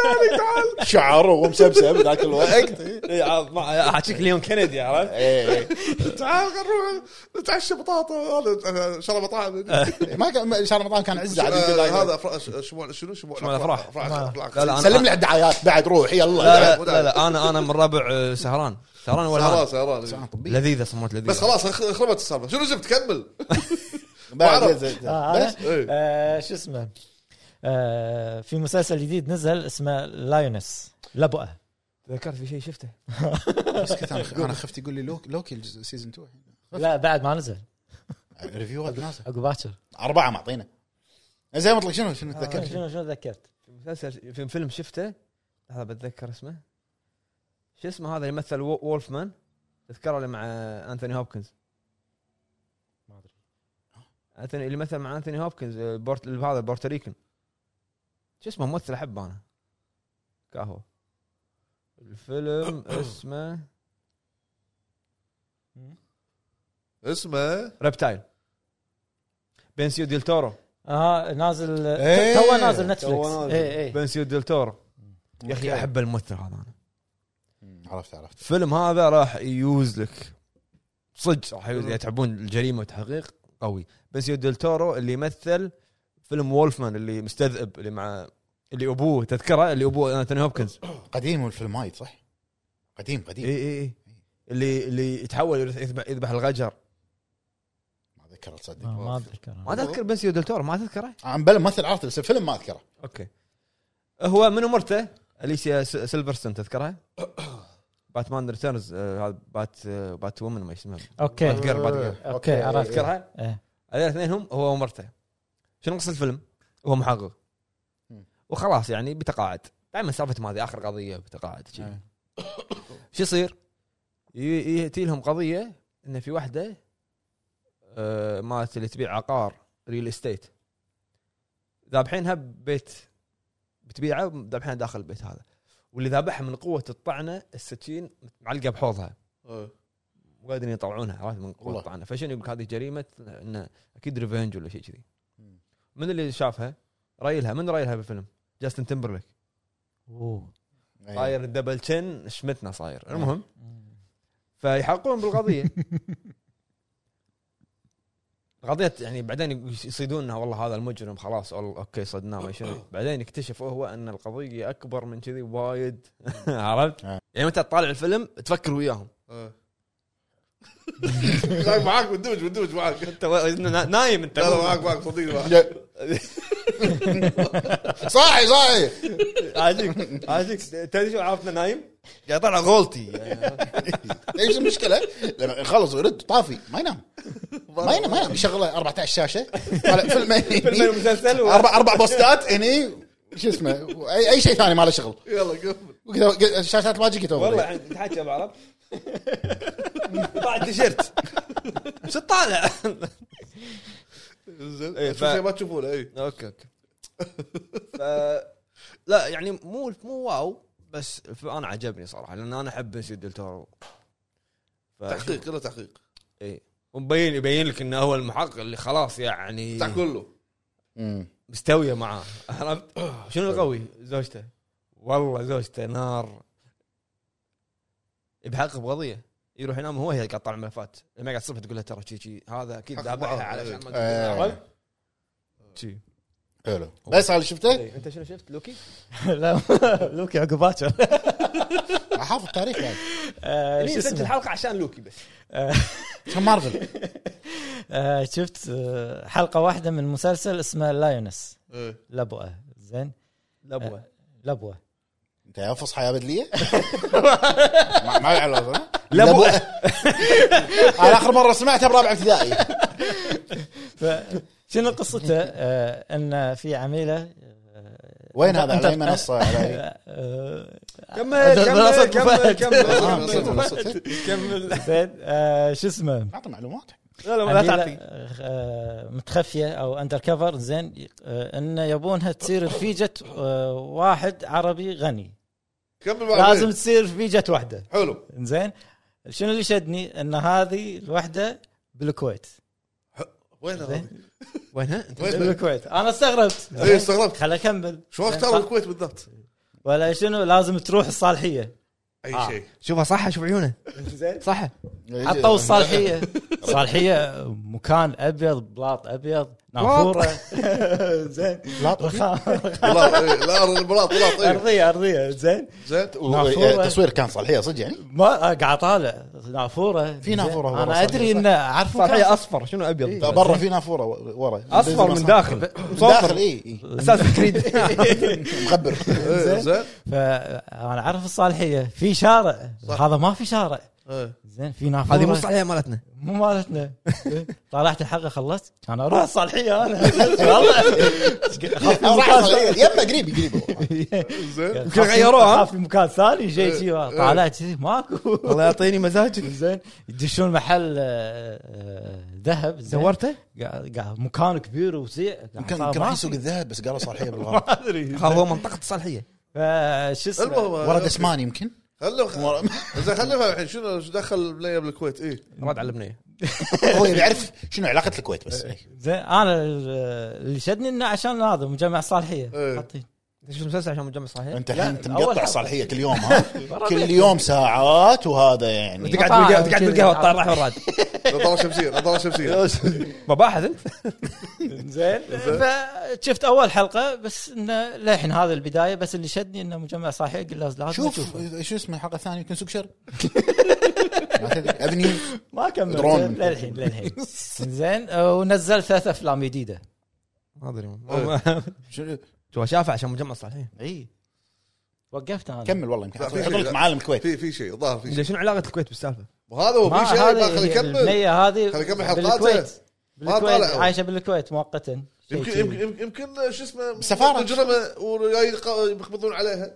S3: شعره ومسبسب ذاك الوقت
S1: إي، عاد إيه، ما- احكيك ليون كندي عرفت
S3: إيه.
S2: تعال خلينا نروح نتعشى بطاطا هذا شرى مطاعم
S3: ما كان شهر رمضان كان عز عاد يقول لك-
S2: آه، هذا أفراح- شموع شنو شموع
S1: شموع الأفراح. لا، لا، أنا-
S3: سلم لي الدعايات بعد روح يلا
S1: لا لا, لا, لا انا انا من ربع آه، سهران سهران ولا
S2: سهران
S1: هان؟
S2: سهران
S3: طبيعي.
S1: لذيذه صمت لذيذه
S2: بس خلاص خ- خربت السالفه شنو جبت كمل
S3: بعد-
S2: بعرف.
S3: بس-
S4: آه، أنا؟
S3: بس
S2: إيه.
S4: آه، شو اسمه آه، في مسلسل جديد نزل اسمه لايونس لبؤه
S1: ذكرت في شيء شفته
S3: مسكت انا أنا خفت يقول لي لوك- لوكي سيزون 2
S4: لا بعد ما نزل
S3: ريفيوهات نازل
S4: عقب باكر آه،
S3: اربعه معطينا زين مطلق شنو شنو تذكرت
S4: شنو شنو ذكرت؟
S1: في مسلسل في فيلم شفته هذا بتذكر اسمه شو اسمه هذا اللي مثل و- وولفمان تذكره اللي مع انثوني هوبكنز
S4: ما ادري
S1: انثوني اللي مثل مع انثوني هوبكنز آه، بورت هذا البورتريكن شو اسمه ممثل احبه انا كاهو الفيلم اسمه
S2: اسمه
S1: ريبتايل بنسيو ديل تورو
S4: اه نازل
S3: إيه.
S4: تو نازل إيه،
S3: تو
S4: نتفلكس
S3: نازل.
S4: اي اي
S1: بنسيو ديل تورو يا اخي
S3: أوكي.
S1: احب الممثل هذا انا
S3: عرفت عرفت
S1: الفيلم هذا راح يوز لك صدق راح يوز إذا تحبون الجريمه والتحقيق قوي بس ديل تورو اللي يمثل فيلم وولفمان اللي مستذئب اللي مع اللي ابوه تذكره اللي ابوه انثوني هوبكنز
S3: قديم والفيلم وايد صح قديم
S1: اي
S3: قديم
S1: اي اي إيه. اللي اللي يتحول يذبح, يذبح الغجر
S3: ما اتذكره
S4: آه،
S3: تصدق
S4: ما اتذكر أنا.
S1: ما تذكر بنسيو ديل تورو ما تذكره
S3: انا بلا ممثل عرفته بس الفيلم ما اذكره
S1: اوكي هو منو مرته اليسيا س- سيلفرستون تذكرها باتمان ريتيرنز آه، هذا بات آه، بات وومن ما اسمها
S4: اوكي
S1: باتجر باتجر
S4: اوكي آه، عرفت
S1: تذكرها
S4: إيه.
S1: الاثنين هم هو ومرته شنو قصه الفيلم؟ هو محقق
S3: مم.
S1: وخلاص يعني بتقاعد دائما سالفه هذه اخر قضيه بتقاعد شي.
S3: أي.
S1: شو يصير؟ ي- ياتي لهم قضيه ان في واحده آه، مالت اللي تبيع عقار ريل استيت ذابحينها ببيت بتبيعه ذابحينها داخل البيت هذا واللي ذابحها من قوه الطعنه السكين معلقه بحوضها
S2: إيه.
S1: مو قادرين يطلعونها عرفت من قوه
S3: والله.
S1: الطعنه فشنو يقول لك هذه جريمه انه اكيد ريفنج ولا شيء كذي
S3: مم.
S1: من اللي شافها رايلها من رايلها بالفيلم جاستن تمبرليك
S4: أوه.
S3: أي.
S1: صاير الدبل تشن شمتنا
S3: أيوه.
S1: صاير المهم فيحققون بالقضيه القضية يعني بعدين يصيدونها والله هذا المجرم خلاص أول- اوكي صدناه ما شنو بعدين يكتشف هو ان القضيه اكبر من كذي وايد عرفت؟
S3: آه.
S1: يعني متى تطالع الفيلم تفكر وياهم
S2: إيه. جاي معاك مندمج مندمج معاك
S1: انت نايم انت
S2: لا لا معاك معاك صدقني معاك
S3: لا. صاحي صاحي
S1: عاجيك عاجيك تدري شو عرفنا نايم؟ قاعد طلع غولتي
S3: ايش المشكله؟ لما يخلص ويرد طافي ما ينام ما ينام ما ينام شغله 14 شاشه طالع فيلمين
S1: فيلم المسلسل و-
S3: اربع اربع بوستات هني شو اسمه اي اي شيء ثاني ما له شغل
S2: يلا كمل
S1: يعني
S3: وكذا- الشاشات الواجهه كتب
S1: والله تحكي بعرب
S5: طلع التيشيرت شو طالع
S2: زين
S5: إيه،
S2: شو
S5: ف-
S2: شيء ما تشوفونه اي
S5: اوكي اوكي ف... لا يعني مو مو واو بس ف- انا عجبني صراحه لان انا احب بنسي دلتورو ف-
S2: تحقيق كله تحقيق
S5: اي ومبين يبين لك انه هو المحقق اللي خلاص يعني
S2: تاع كله
S3: مم.
S5: مستويه معاه عرفت شنو القوي زوجته والله زوجته نار يبحقق بقضيه يروح ينام هو هي يقطع الملفات لما قاعد الصبح تقول له ترى شي شي هذا اكيد
S2: حق
S5: ذابحها
S2: معاه.
S5: علشان ما
S3: إيه.
S5: تقول له. شي.
S3: حلو بس على اللي شفته
S5: إيه. انت شنو شفت لوكي؟
S4: لا لوكي عقب باكر
S3: حافظ تاريخ بعد
S4: آه،
S5: هني
S4: شو
S5: سجلت
S4: اسمه
S5: الحلقه عشان لوكي بس
S3: كان مارفل
S4: آه، شفت آه، حلقه واحده من مسلسل اسمه لايونس
S2: إيه.
S4: لبوه زين
S5: لبوه
S4: لبوه
S3: انت يا فصحى يا بدليه ما ما يعرف
S5: لبوه
S3: انا اخر مره سمعتها برابع ابتدائي
S4: ف- شنو قصته؟ آه، ان في عميله آه،
S3: وين هذا
S4: أنت-
S3: على اي منصه على أي-
S4: آه،
S5: كمل كمل
S4: بلاصة
S5: كمل
S4: مفاهيم.
S2: آه،
S5: كمل
S2: منصة، منصة.
S5: كمل
S4: زين آه، شو اسمه؟
S3: اعطي معلومات
S5: لا لا لا
S4: عميلة،
S5: تعطي
S4: آه، متخفيه او اندر كفر زين آه، انه يبونها تصير رفيجه آه، واحد عربي غني
S2: كمل بعد.
S4: لازم تصير رفيجه وحده
S2: حلو
S4: زين شنو اللي شدني ان هذه الوحده بالكويت
S2: وين هذا؟
S4: زين
S5: وينها؟ انت
S2: وين
S4: بالكويت انا استغربت
S2: إيه، استغربت.
S4: خل اكمل
S2: شو اختاروا الكويت بالذات؟
S4: ولا شنو لازم تروح الصالحيه
S2: اي شيء
S1: شوفها صح شوف عيونه صح
S4: حطوا الصالحيه صالحيه مكان ابيض بلاط ابيض نافوره زين
S3: بلاط. طيب.
S4: رخام
S2: بلاط إيه، لا البلاط بلاط إيه.
S4: ارضيه ارضيه زين
S2: زين
S4: نافورة.
S3: التصوير كان صالحيه صدق يعني
S4: ما قاعد اطالع نافوره
S3: في نافورة
S4: زين.
S3: ورا
S4: انا
S3: صالحية،
S4: ادري
S3: صح.
S4: انه اعرف
S1: صحيح اصفر شنو ابيض
S3: لا، برا في نافوره و- ورا
S1: اصفر من داخل
S3: من
S1: صفر
S3: إيه. داخل اي إي.
S1: اساس كريد
S3: مخبر
S2: إيه، زين
S4: فانا اعرف الصالحيه في شارع هذا ما في شارع
S2: إيه.
S4: زين في نافوره
S1: هذه مو صحيح مالتنا
S4: مو مالتنا طلعت الحلقه خلصت كان اروح الصالحيه انا والله
S3: راح صالحية. يمه قريب قريب والله.
S2: زين
S4: يمكن
S1: غيروها.
S4: في مكان ثاني شيء شيء طالعت شي، ماكو
S1: الله يعطيني مزاجك
S4: زين يدشون محل آه، آه، ذهب زين.
S1: دورته؟
S4: قاعد- قاعد مكان كبير وسيع
S3: يمكن
S4: ما
S3: يمكن راح
S4: في.
S3: يسوق الذهب بس قالوا صالحيه بالغلط
S4: ادري
S1: هو منطقه الصالحيه
S4: فشو اسمه
S2: المهم
S3: ورا دسمان يمكن
S2: خلوا
S3: ورا-
S2: زين خلنا نفهم الحين شنو شو دخل المنيه بالكويت اي
S1: رد على البنيه
S3: هو يبي يعرف شنو علاقه الكويت بس
S4: زين انا اللي شدني انه عشان هذا مجمع الصالحيه
S2: إيه.
S4: حاطين
S1: انت شفت المسلسل عشان مجمع صحيح؟
S3: انت الحين انت
S4: أول
S3: مقطع
S4: حلقة.
S3: الصالحيه كل يوم ها كل يوم ساعات وهذا يعني
S1: تقعد بالقهوه تقعد بالقهوه تطالع راح وراد
S2: نظاره شمسيه نظاره شمسيه
S1: مباحث انت
S4: زين فشفت اول حلقه بس انه للحين هذا البدايه بس اللي شدني انه مجمع صالحيه قلت لازم لازم
S3: شوف
S4: اشوفه
S3: شو اسمه الحلقه الثانيه يمكن سوق شر ما تدري. افنيو
S4: ما كملت
S3: درون.
S4: للحين للحين زين ونزلت ثلاث افلام جديده
S1: ما ادري
S3: شنو-
S1: هو شافه عشان مجمع الصالحيه
S4: اي وقفت انا
S3: كمل والله يمكن
S2: لا، في
S3: يحط
S2: شيء.
S3: لك معالم الكويت
S2: في في شيء ظاهر في
S1: زين
S2: شيء
S1: شنو علاقه الكويت بالسالفه؟
S2: وهذا هو في شيء ما خليه يكمل
S4: النية هذه
S2: خلي يكمل حلقاته.
S4: بالكويت
S2: ما
S4: بالكويت
S2: طالع.
S4: عايشه بالكويت مؤقتا شيء
S2: يمكن
S4: كذي.
S2: يمكن يمكن- يمكن شو اسمه
S3: سفارة.
S2: مجرمه وجاي يقبضون عليها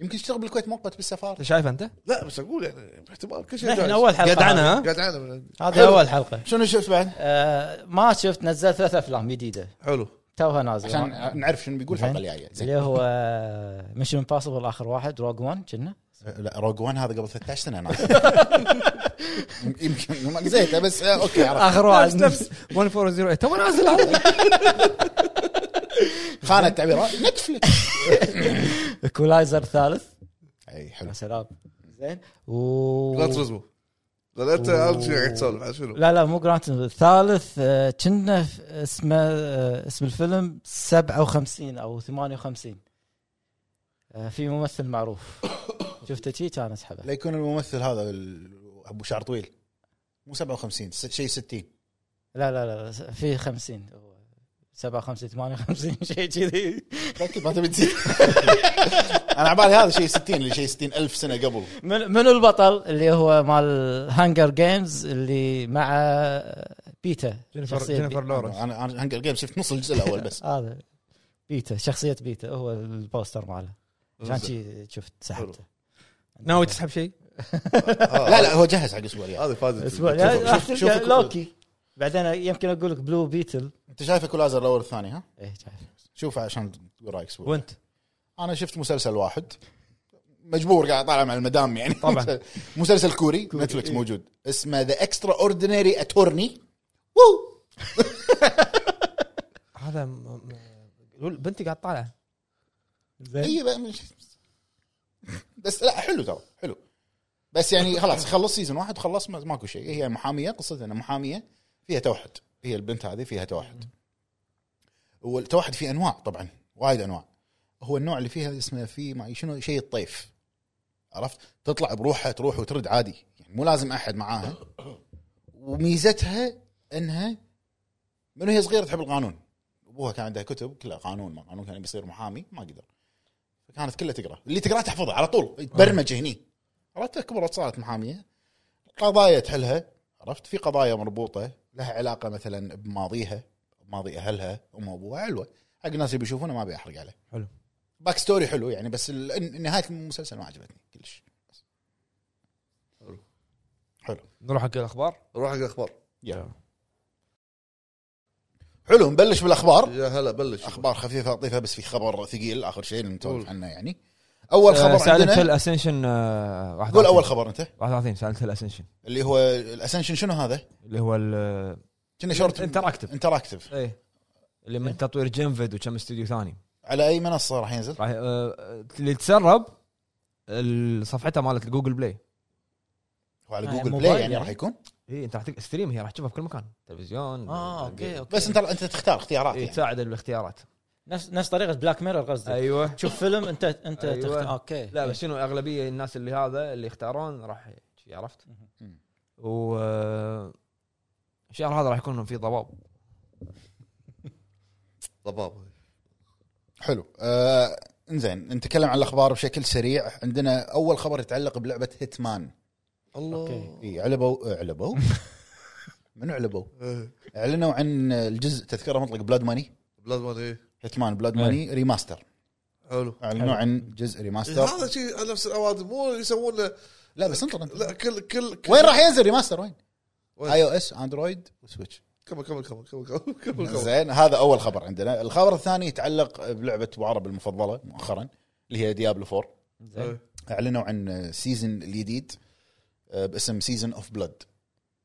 S3: يمكن يشتغل بالكويت مؤقت بالسفاره
S1: انت شايف انت؟
S2: لا بس اقول يعني احتمال كل شيء
S4: نحن
S2: جايز.
S4: اول حلقه
S1: قاعد
S4: هذه.
S1: عنها ها؟
S2: قاعد عنا من
S4: هذه اول حلقه
S3: شنو شفت بعد؟
S4: آه، ما شفت نزلت ثلاث افلام جديده
S2: حلو
S4: توها نازله
S3: عشان نعرف شنو بيقول الحلقه الجايه زين
S4: اللي هو آه، ميشن امبوسيبل اخر واحد روج وان كنا
S3: لا روج وان هذا قبل 13 سنه انا يمكن ما نسيته بس آه، اوكي عرفت
S4: اخر
S1: نفس
S4: واحد
S1: نفس 1408 تو نازل هذا
S3: خانه التعبير نتفلكس
S4: ايكولايزر ثالث
S3: اي حلو
S4: يا سلام زين و
S2: لا ترزموا لا انت اول شيء قاعد تسولف عن شنو
S4: لا لا مو جرانت الثالث آه، كنا ف- اسمه آه، اسم الفيلم 57 او 58 آه، في ممثل معروف شفته شي كان اسحبه
S3: لا يكون الممثل هذا ال- ابو شعر طويل مو 57 ست- شيء 60
S4: لا لا لا لا، في 50 هو 57 58 شيء كذي
S3: تاكد ما تبي تزيد انا عبالي هذا شيء 60 اللي شيء 60 الف سنه قبل
S4: من منو البطل اللي هو مال هانجر جيمز اللي مع آه، بيتا
S1: جينيفر
S4: شخصية
S1: جينيفر لورنس
S3: انا انا هانجر جيم شفت نص الجزء الاول بس
S4: هذا بيتا شخصية بيتا هو البوستر ماله عشان شي شفت سحبته
S1: ناوي تسحب شيء؟ آه.
S3: لا لا هو جهز حق الاسبوع الجاي
S2: هذه فازت
S4: الاسبوع
S2: شوف-
S4: الجاي
S2: شوف-
S4: راح
S3: شوف
S4: تلقى
S3: الكود.
S4: لوكي بعدين يمكن اقول لك بلو بيتل
S3: انت شايف ايكولايزر الاول والثاني ها
S4: ايه تعرف.
S3: شوف عشان تقول رايك اسبوع
S1: وانت
S3: انا شفت مسلسل واحد مجبور قاعد طالع مع المدام يعني
S1: طبعاً. إيه.
S3: مسلسل كوري نتفلكس موجود اسمه ذا اكسترا اوردينري اتورني وو
S1: هذا م- م- قول بنتي قاعد إيه. طالعه
S4: زين
S3: اي إيه، بقى مش- بس لا حلو ترى حلو بس يعني خلاص خلص سيزون واحد خلص ما- ماكو شيء هي محاميه قصتها انها محاميه فيها توحد هي البنت هذه فيها توحد والتوحد فيه انواع طبعا وايد انواع هو النوع اللي فيها اسمه في ما شنو شيء الطيف عرفت تطلع بروحها تروح وترد عادي يعني مو لازم احد معاها وميزتها انها من هي صغيره تحب القانون ابوها كان عندها كتب كلها قانون ما قانون كان بيصير محامي ما قدر فكانت كلها تقرا اللي تقراه تحفظه على طول تبرمج هني عرفت كبرت صارت محاميه قضايا تحلها عرفت في قضايا مربوطه لها علاقه مثلا بماضيها ماضي اهلها ام وابوها حلوه حق الناس اللي بيشوفونه ما بيحرق عليه
S1: حلو.
S3: باك ستوري حلو يعني بس ال- نهايه المسلسل ما عجبتني كلش حلو
S1: نروح حق الاخبار
S2: روح حق الاخبار
S3: يلا حلو نبلش بالاخبار
S2: يا هلا بلش
S3: اخبار خفيفه لطيفه بس في خبر ثقيل اخر شيء نسولف عنه يعني اول
S1: آه،
S3: خبر
S1: سالنت
S3: عندنا
S1: الاسنشن آه، واحد
S3: قول
S1: وثلاثين.
S3: اول خبر انت
S1: 31 سالنت الاسنشن
S3: اللي هو الاسنشن شنو هذا؟
S1: اللي هو
S3: كنا شورت
S1: الانتراكتيف
S3: انتراكتيف
S1: ايه اللي من تطوير جنفد وكم استوديو ثاني
S3: على اي منصه راح ينزل؟
S1: راح آه، اللي تسرب ال- صفحتها مالت جوجل بلاي
S3: هو على
S4: آه،
S3: جوجل
S4: موبايل
S3: بلاي يعني,
S4: يعني؟
S3: راح يكون
S1: اي انت إيه، راح تق- ستريم هي راح تشوفها بكل مكان تلفزيون
S4: اه اوكي اوكي
S3: بس انت انت تختار اختيارات
S1: إيه،
S3: يعني.
S1: تساعد بالاختيارات
S4: نفس نفس طريقه بلاك ميرور
S3: أيوة.
S4: قصدي
S1: ايوه
S4: تشوف فيلم انت انت
S1: أيوة.
S4: تخت... اوكي
S1: لا بس شنو اغلبيه الناس اللي هذا اللي يختارون راح شي عرفت
S3: مم.
S1: و آه، الشهر هذا راح يكون في ضباب
S2: ضباب
S3: حلو آه انزين نتكلم عن الاخبار بشكل سريع عندنا اول خبر يتعلق بلعبه هيتمان
S2: الله
S4: أوكي.
S3: اي علبوا آه، علبوا من علبوا؟
S2: إيه.
S3: اعلنوا عن الجزء تذكره مطلق بلاد ماني
S2: بلاد مان ايه
S3: هيتمان بلاد
S4: إيه.
S3: ماني ريماستر
S2: حلو
S3: اعلنوا عن جزء
S2: إيه،
S3: ريماستر
S2: هذا شيء نفس الاوادم مو يسوونه
S3: لا بس انطر انت
S2: لا كل كل كل-
S3: وين راح ينزل ريماستر وين؟
S2: وين؟
S3: اي او اس اندرويد وسويتش
S2: كمل كمل كمل كمل كمل كمل كمل
S3: زين هذا اول خبر عندنا الخبر الثاني يتعلق بلعبه ابو عرب المفضله مؤخرا اللي هي ديابلو 4
S4: إيه، زين.
S2: إيه.
S3: اعلنوا عن سيزون الجديد آه، باسم سيزون اوف بلاد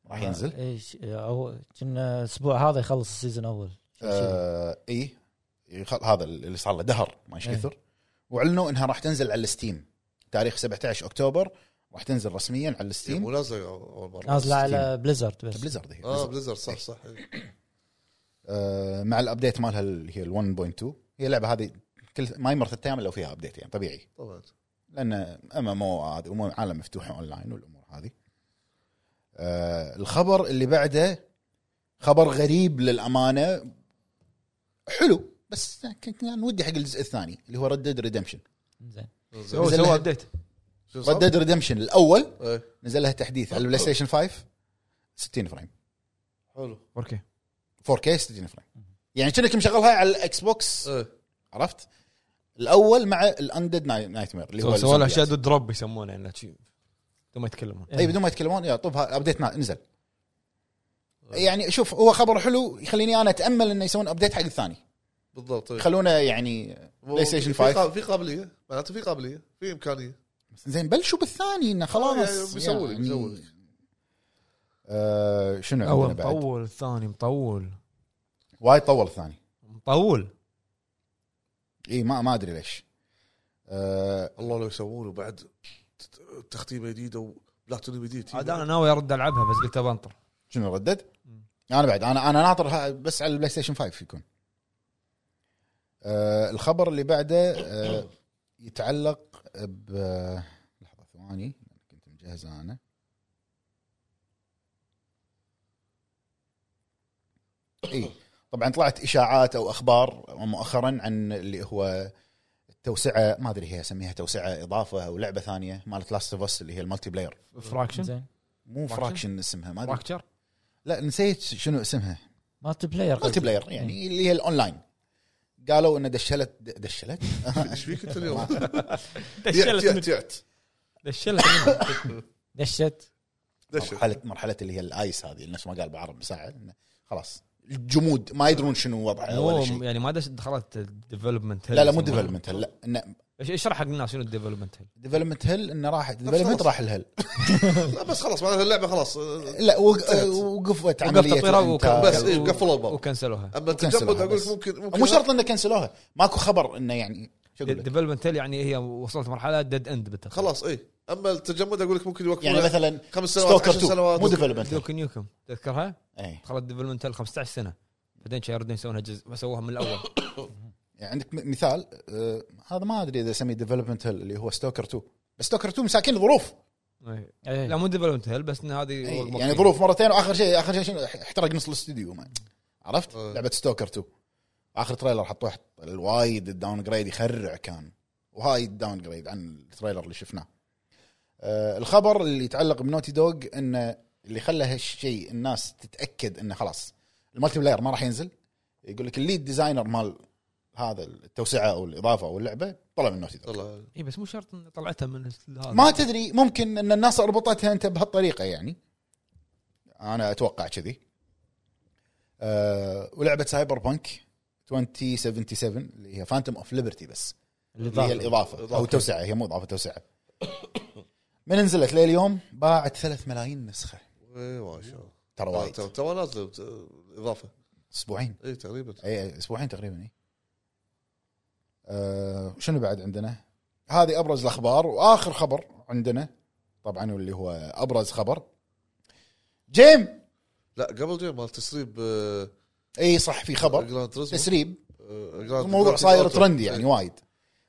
S3: راح
S4: آه،
S3: ينزل
S4: ايش او كنا الاسبوع هذا يخلص السيزون اول
S3: آه اي يخ- هذا اللي صار له دهر ما ايش كثر واعلنوا انها راح تنزل على الستيم تاريخ 17 اكتوبر راح تنزل رسميا على
S2: إيه، مو
S3: الستيم
S2: نازله اول مره
S4: نازله على بليزرد بس
S3: بليزرد هي
S2: اه
S3: بليزرد.
S2: بليزر صح صح إيه.
S3: آه، مع الابديت مالها اللي هي ال 1.2 هي اللعبه هذه كل ما يمر ثلاث ايام الا فيها ابديت يعني طبيعي
S2: طبعا
S3: لان ام ام او هذه أم- أمم- عالم مفتوح اونلاين والامور هذه آه الخبر اللي بعده خبر غريب للامانه حلو بس كنت يعني ودي حق الجزء الثاني اللي هو ردد ريدمشن
S4: زين
S1: سووا
S3: نزل
S1: سووا
S3: لها-
S1: ابديت
S2: شو صار؟
S3: ردد ريدمشن الاول
S2: إيه،
S3: نزل لها تحديث على البلاي ستيشن 5 60 فريم
S2: حلو
S1: اوكي
S3: 4K 60 فريم يعني كأنك مشغلها على الاكس بوكس
S2: ايه
S3: عرفت الاول مع الاندد نايت مير اللي هو
S1: سووا لها
S3: الزومبيات.
S1: شادو دروب يسمونه يعني شي- ما يتكلمون
S2: إيه.
S3: اي طيب،
S4: إيه،
S3: بدون ما يتكلمون يا طب ها- ابديت نا- نزل يعني شوف هو خبر حلو يخليني انا اتامل انه يسوون ابديت حق الثاني
S2: بالضبط إيه.
S3: يخلونا يعني بلاي ستيشن
S2: في
S3: 5.
S2: قا- في قابليه معناته في قابليه في امكانيه
S3: زين بلشوا بالثاني انه
S2: آه، يعني
S3: خلاص
S2: بيسووا لك، بيسووا لك.
S3: آه شنو
S1: اول
S3: عندنا بعد؟
S1: مطول الثاني مطول
S3: وايد طول الثاني
S1: مطول
S3: اي ما ما ادري ليش آه
S2: الله لو يسوونه بعد ت- تختيمه جديده وبلاتينيوم جديد
S1: عاد انا ناوي ارد العبها بس قلت بنطر
S3: شنو ردد؟ انا بعد انا انا ناطر ها- بس على البلاي ستيشن 5 يكون. آه الخبر اللي بعده آه يتعلق ب لحظه ثواني كنت مجهزه انا. اي طبعا طلعت اشاعات او اخبار مؤخرا عن اللي هو توسعه ما ادري هي اسميها توسعه اضافه او لعبه ثانيه مالت لاست اوف اس اللي هي المالتي بلاير
S1: فراكشن
S4: زين
S3: مو
S1: فراكشن؟
S3: فراكشن اسمها ما ادري
S1: فراكشر
S3: لا نسيت شنو اسمها
S4: مالتي بلاير إيه.
S3: مالتي بلاير يعني اللي هي الاونلاين قالوا ان دشلت دشلت
S2: ايش فيك انت اليوم؟
S4: دشلت
S2: تعت تعت
S1: دشلها
S4: دشت
S2: دشت.
S3: مرحله مرحله اللي هي الايس هذه نفس ما قال بعرب ساعه إنه خلاص الجمود ما يدرون شنو وضعه ولا
S1: مو
S3: شيء
S1: يعني ما دش دخلت الديفلوبمنت
S3: لا لا مو ديفلوبمنت هل لا إنه
S1: اشرح حق الناس شنو الديفلوبمنت هيل
S3: ديفلوبمنت هل انه راح ديفلوبمنت راح الهل
S2: لا بس خلاص معناها اللعبه خلاص آه،
S3: لا وق- وقفت عملية
S1: تطويرها
S3: الإنتاج.
S2: بس إيه، قفلوا الباب.
S1: وكنسلوها
S2: اما
S3: وكنسلها
S2: التجمد اقول
S3: بس.
S2: لك ممكن ممكن
S3: مو شرط انه كنسلوها ماكو خبر انه يعني شو اقول لك؟
S1: الديفلوبمنت هيل يعني هي وصلت مرحله ديد اند بالتقريب
S2: خلاص اي اما التجمد اقول لك ممكن يوقفون
S3: يعني مثلا
S2: خمس سنوات
S3: ستوكر
S2: 10
S3: 2 مو إيه.
S2: سنوات
S3: ديفلوبمنت
S1: دوك نيوكم تذكرها؟
S3: اي
S1: دخلت ديفلوبمنت هيل 15 سنه بعدين شي يردون يسوونها جزء وسووها من الاول
S3: يعني عندك م- مثال آه هذا ما ادري اذا اسميه ديفلوبمنت هيل اللي هو ستوكر 2 بس ستوكر 2 مساكين ظروف
S1: إيه.
S4: إيه.
S1: لا مو ديفلوبمنت هيل بس ان هذه
S3: أي،
S1: والمقصود.
S3: يعني ظروف مرتين واخر شيء اخر شيء شنو احترق نص الاستوديو ما- عرفت
S2: أي.
S3: لعبه ستوكر 2 اخر تريلر حطوه حط- الوايد الداون جريد يخرع كان وهاي الداون جريد عن التريلر اللي شفناه آه الخبر اللي يتعلق بنوتي دوغ انه اللي خلى هالشيء الناس تتاكد انه خلاص المالتي بلاير ما راح ينزل يقول لك الليد ديزاينر مال هذا التوسعه او الاضافه او اللعبه طلع من نوتي دوغ
S2: يلا.
S1: اي إيه، بس مو شرط إن طلعتها من هذا
S3: ما تدري ممكن ان الناس اربطتها انت بهالطريقه يعني انا اتوقع كذي أه ولعبه سايبر بانك 2077 اللي هي فانتوم اوف ليبرتي بس اللي هي الاضافه او توسعه هي مو اضافه توسعه من نزلت لليوم باعت 3 ملايين نسخه
S2: إيه، ما شاء الله.
S3: ترى وايد
S2: تو- تو إيه، نازله بت- اضافه
S3: اسبوعين
S2: اي تقريبا
S3: اي اسبوعين تقريبا اي أه شنو بعد عندنا؟ هذه ابرز الاخبار واخر خبر عندنا طبعا واللي هو ابرز خبر جيم
S2: لا قبل جيم مال تسريب آه،
S3: اي صح في خبر
S2: جراند تريزمو.
S3: تسريب
S2: آه، جراند-
S3: الموضوع
S2: جراند
S3: صاير
S2: أوتو.
S3: ترندي
S2: إيه.
S3: يعني وايد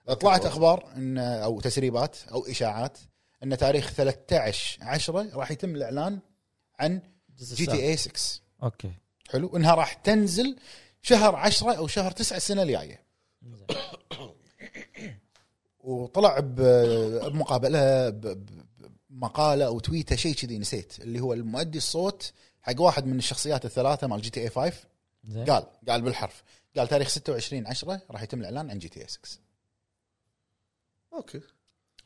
S3: طلعت
S2: أوتو.
S3: اخبار ان او تسريبات او اشاعات ان تاريخ 13 10 راح يتم الاعلان عن جي تي إيه. اي 6
S4: اوكي
S3: حلو انها راح تنزل شهر 10 او شهر 9 السنه الجايه
S4: زين.
S3: وطلع ب- بمقابله ب- ب- بمقاله او تويته شيء كذي نسيت اللي هو المؤدي الصوت حق واحد من الشخصيات الثلاثه مال جي تي اي 5
S4: زين
S3: قال قال بالحرف قال تاريخ 26 10 راح يتم الاعلان عن جي تي إيه اي 6
S2: اوكي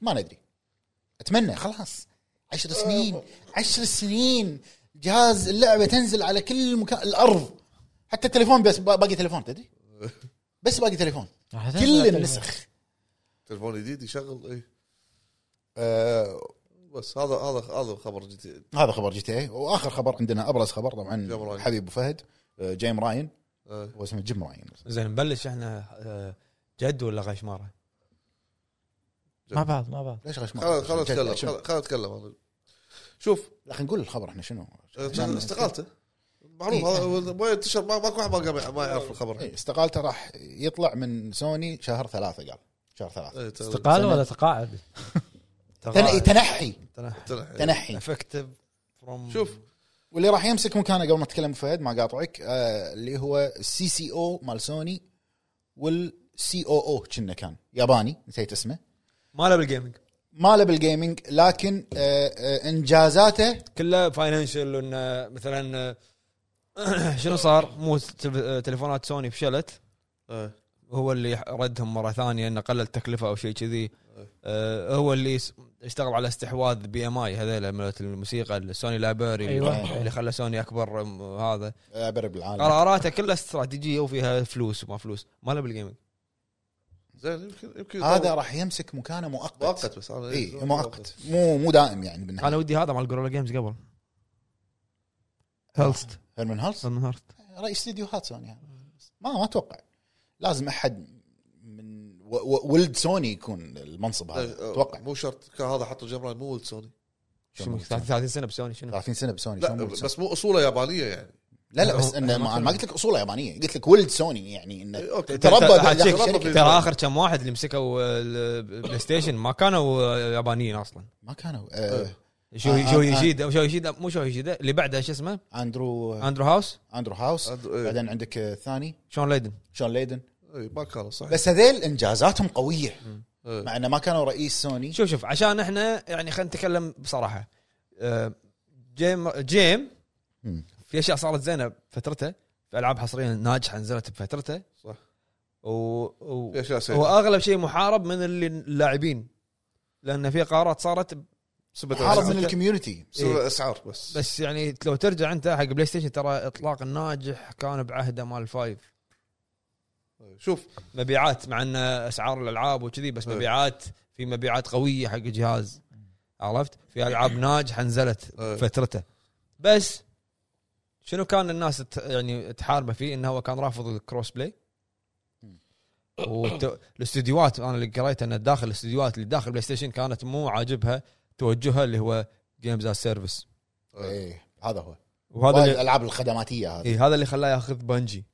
S3: ما ندري اتمنى خلاص 10 سنين 10 سنين جهاز اللعبه تنزل على كل مكان الارض حتى التليفون بس با- باقي تليفون تدري بس باقي تليفون
S4: راح تنزل
S3: كل
S4: على
S3: النسخ
S2: تلفون جديد يشغل اي
S3: آه
S2: بس هذا هذا هذا خبر جديد
S3: هذا خبر جي تي اي واخر خبر عندنا ابرز خبر
S2: جيم
S3: طبعا
S2: راين.
S3: حبيب أبو فهد آه، جيم راين
S2: آه.
S3: هو اسمه جيم راين
S1: زين نبلش احنا آه، جد ولا غشماره؟
S4: مع بعض مع بعض
S3: ليش غشمر؟
S2: خلنا خلنا نتكلم
S3: شنو؟
S2: خلنا- خلنا نتكلم هذا. شوف
S3: لا خلينا نقول الخبر احنا شنو؟ عشان-
S2: آه، استقالته معروف
S3: إيه.
S2: هذا ما ينتشر ما- ماكو واحد ما قام- ما يعرف الخبر
S3: إيه، استقالته راح يطلع من سوني شهر ثلاثه قال شهر ثلاثه
S2: إيه، تقريباً.
S4: استقاله ولا تقاعد؟
S3: تن- تنحي
S2: تنح-
S3: آه، تنحي
S1: افكتيف فروم
S2: شوف
S3: واللي راح يمسك مكانه قبل ما تتكلم أبو فهد ما قاطعك آه اللي هو السي سي او مال سوني والسي او او كنا كان ياباني نسيت اسمه
S1: ما له بالجيمنج
S3: ماله بالجيمنج لكن آه آه انجازاته
S1: كله فاينانشال وانه مثلا آه، شنو صار؟ مو تلف- آه، تليفونات سوني فشلت
S2: آه.
S1: هو اللي ردهم مره ثانيه انه قلل التكلفه او شيء كذي آه، هو اللي س- اشتغل على استحواذ بي ام اي هذول مالت الموسيقى السوني لايبرري
S4: أيوة.
S1: اللي خلى سوني اكبر آم، هذا
S3: آه برب العالم
S1: قراراته كلها استراتيجيه وفيها فلوس وما فلوس ما له بالجيمنج
S2: زين يمكن يمكن
S3: هذا راح يمسك مكانه مؤقت
S2: مؤقت بس إيه، انا
S3: اي مؤقت مو مو دائم يعني
S1: انا
S3: بالنهايه
S1: ودي هذا مال جوريلا جيمز قبل هيلست
S3: هيرمان هالس
S1: سون هارت
S3: رئيس استديوهات سوني هذا. ما ما اتوقع لازم احد من و- و- ولد سوني يكون المنصب هذا
S2: آه،
S3: اتوقع
S2: مو شرط كان هذا حطوا جيم راين مو ولد سوني
S3: شلون مو-
S1: 30 سنه بسوني شنو
S3: 30 سنه بسوني
S2: لا
S3: شلون إيه، مو-
S2: بس مو اصوله يابانيه يعني
S3: لا لا بس انه ما, أنا ما قلت لك اصوله يابانيه قلت لك ولد سوني يعني انه
S2: إيه، اوكي
S3: تربى
S1: ترى-
S3: داخل
S1: ترى-
S3: شركة.
S1: ترى اخر كم واحد اللي مسكوا آه، البلاي ستيشن ما كانوا آه، يابانيين اصلا
S3: ما كانوا آه
S2: إيه.
S1: شو
S3: آه،
S1: شو
S3: آه.
S1: يشيدا شو يشيدا مو شو يشيدا اللي بعده شو اسمه
S3: اندرو
S1: اندرو هاوس
S3: اندرو هاوس
S2: أندرو- إيه.
S3: بعدين عندك آه، الثاني
S1: شون ليدن
S3: شون ليدن
S2: إيه، ما كانوا صحيح
S3: بس هذيل انجازاتهم قويه
S2: إيه.
S3: مع انه ما كانوا رئيس سوني
S1: شوف شوف عشان احنا يعني خلينا نتكلم بصراحه آه، جيم جيم
S3: مم.
S1: في اشياء صارت زينه بفترته في العاب حصريه ناجحه نزلت بفترته
S2: صح.
S1: و... و...
S3: إيه،
S2: في اشياء سيئه
S1: هو اغلب شيء محارب من اللي اللاعبين لان في قرارات صارت
S2: سبت
S3: حارب
S2: الأسعار.
S3: من الكوميونتي
S2: سبت الاسعار بس
S1: إيه. بس يعني لو ترجع انت حق بلاي ستيشن ترى اطلاق الناجح كان بعهده مال الفايف
S2: طيب، شوف
S1: مبيعات مع ان اسعار الالعاب وكذي بس
S2: إيه.
S1: مبيعات في مبيعات قويه حق الجهاز عرفت في العاب ناجحه نزلت
S2: إيه.
S1: فترته بس شنو كان الناس ت- يعني تحاربه فيه انه هو كان رافض الكروس بلاي والت- الاستديوهات انا اللي قريت ان داخل الاستديوهات اللي داخل بلاي ستيشن كانت مو عاجبها توجهها اللي هو جيمز از سيرفيس
S2: إيه.
S3: ايه هذا هو
S1: وهذا
S3: وايد
S1: اللي
S3: الالعاب الخدماتيه هذه
S1: إيه هذا اللي خلاه ياخذ بنجي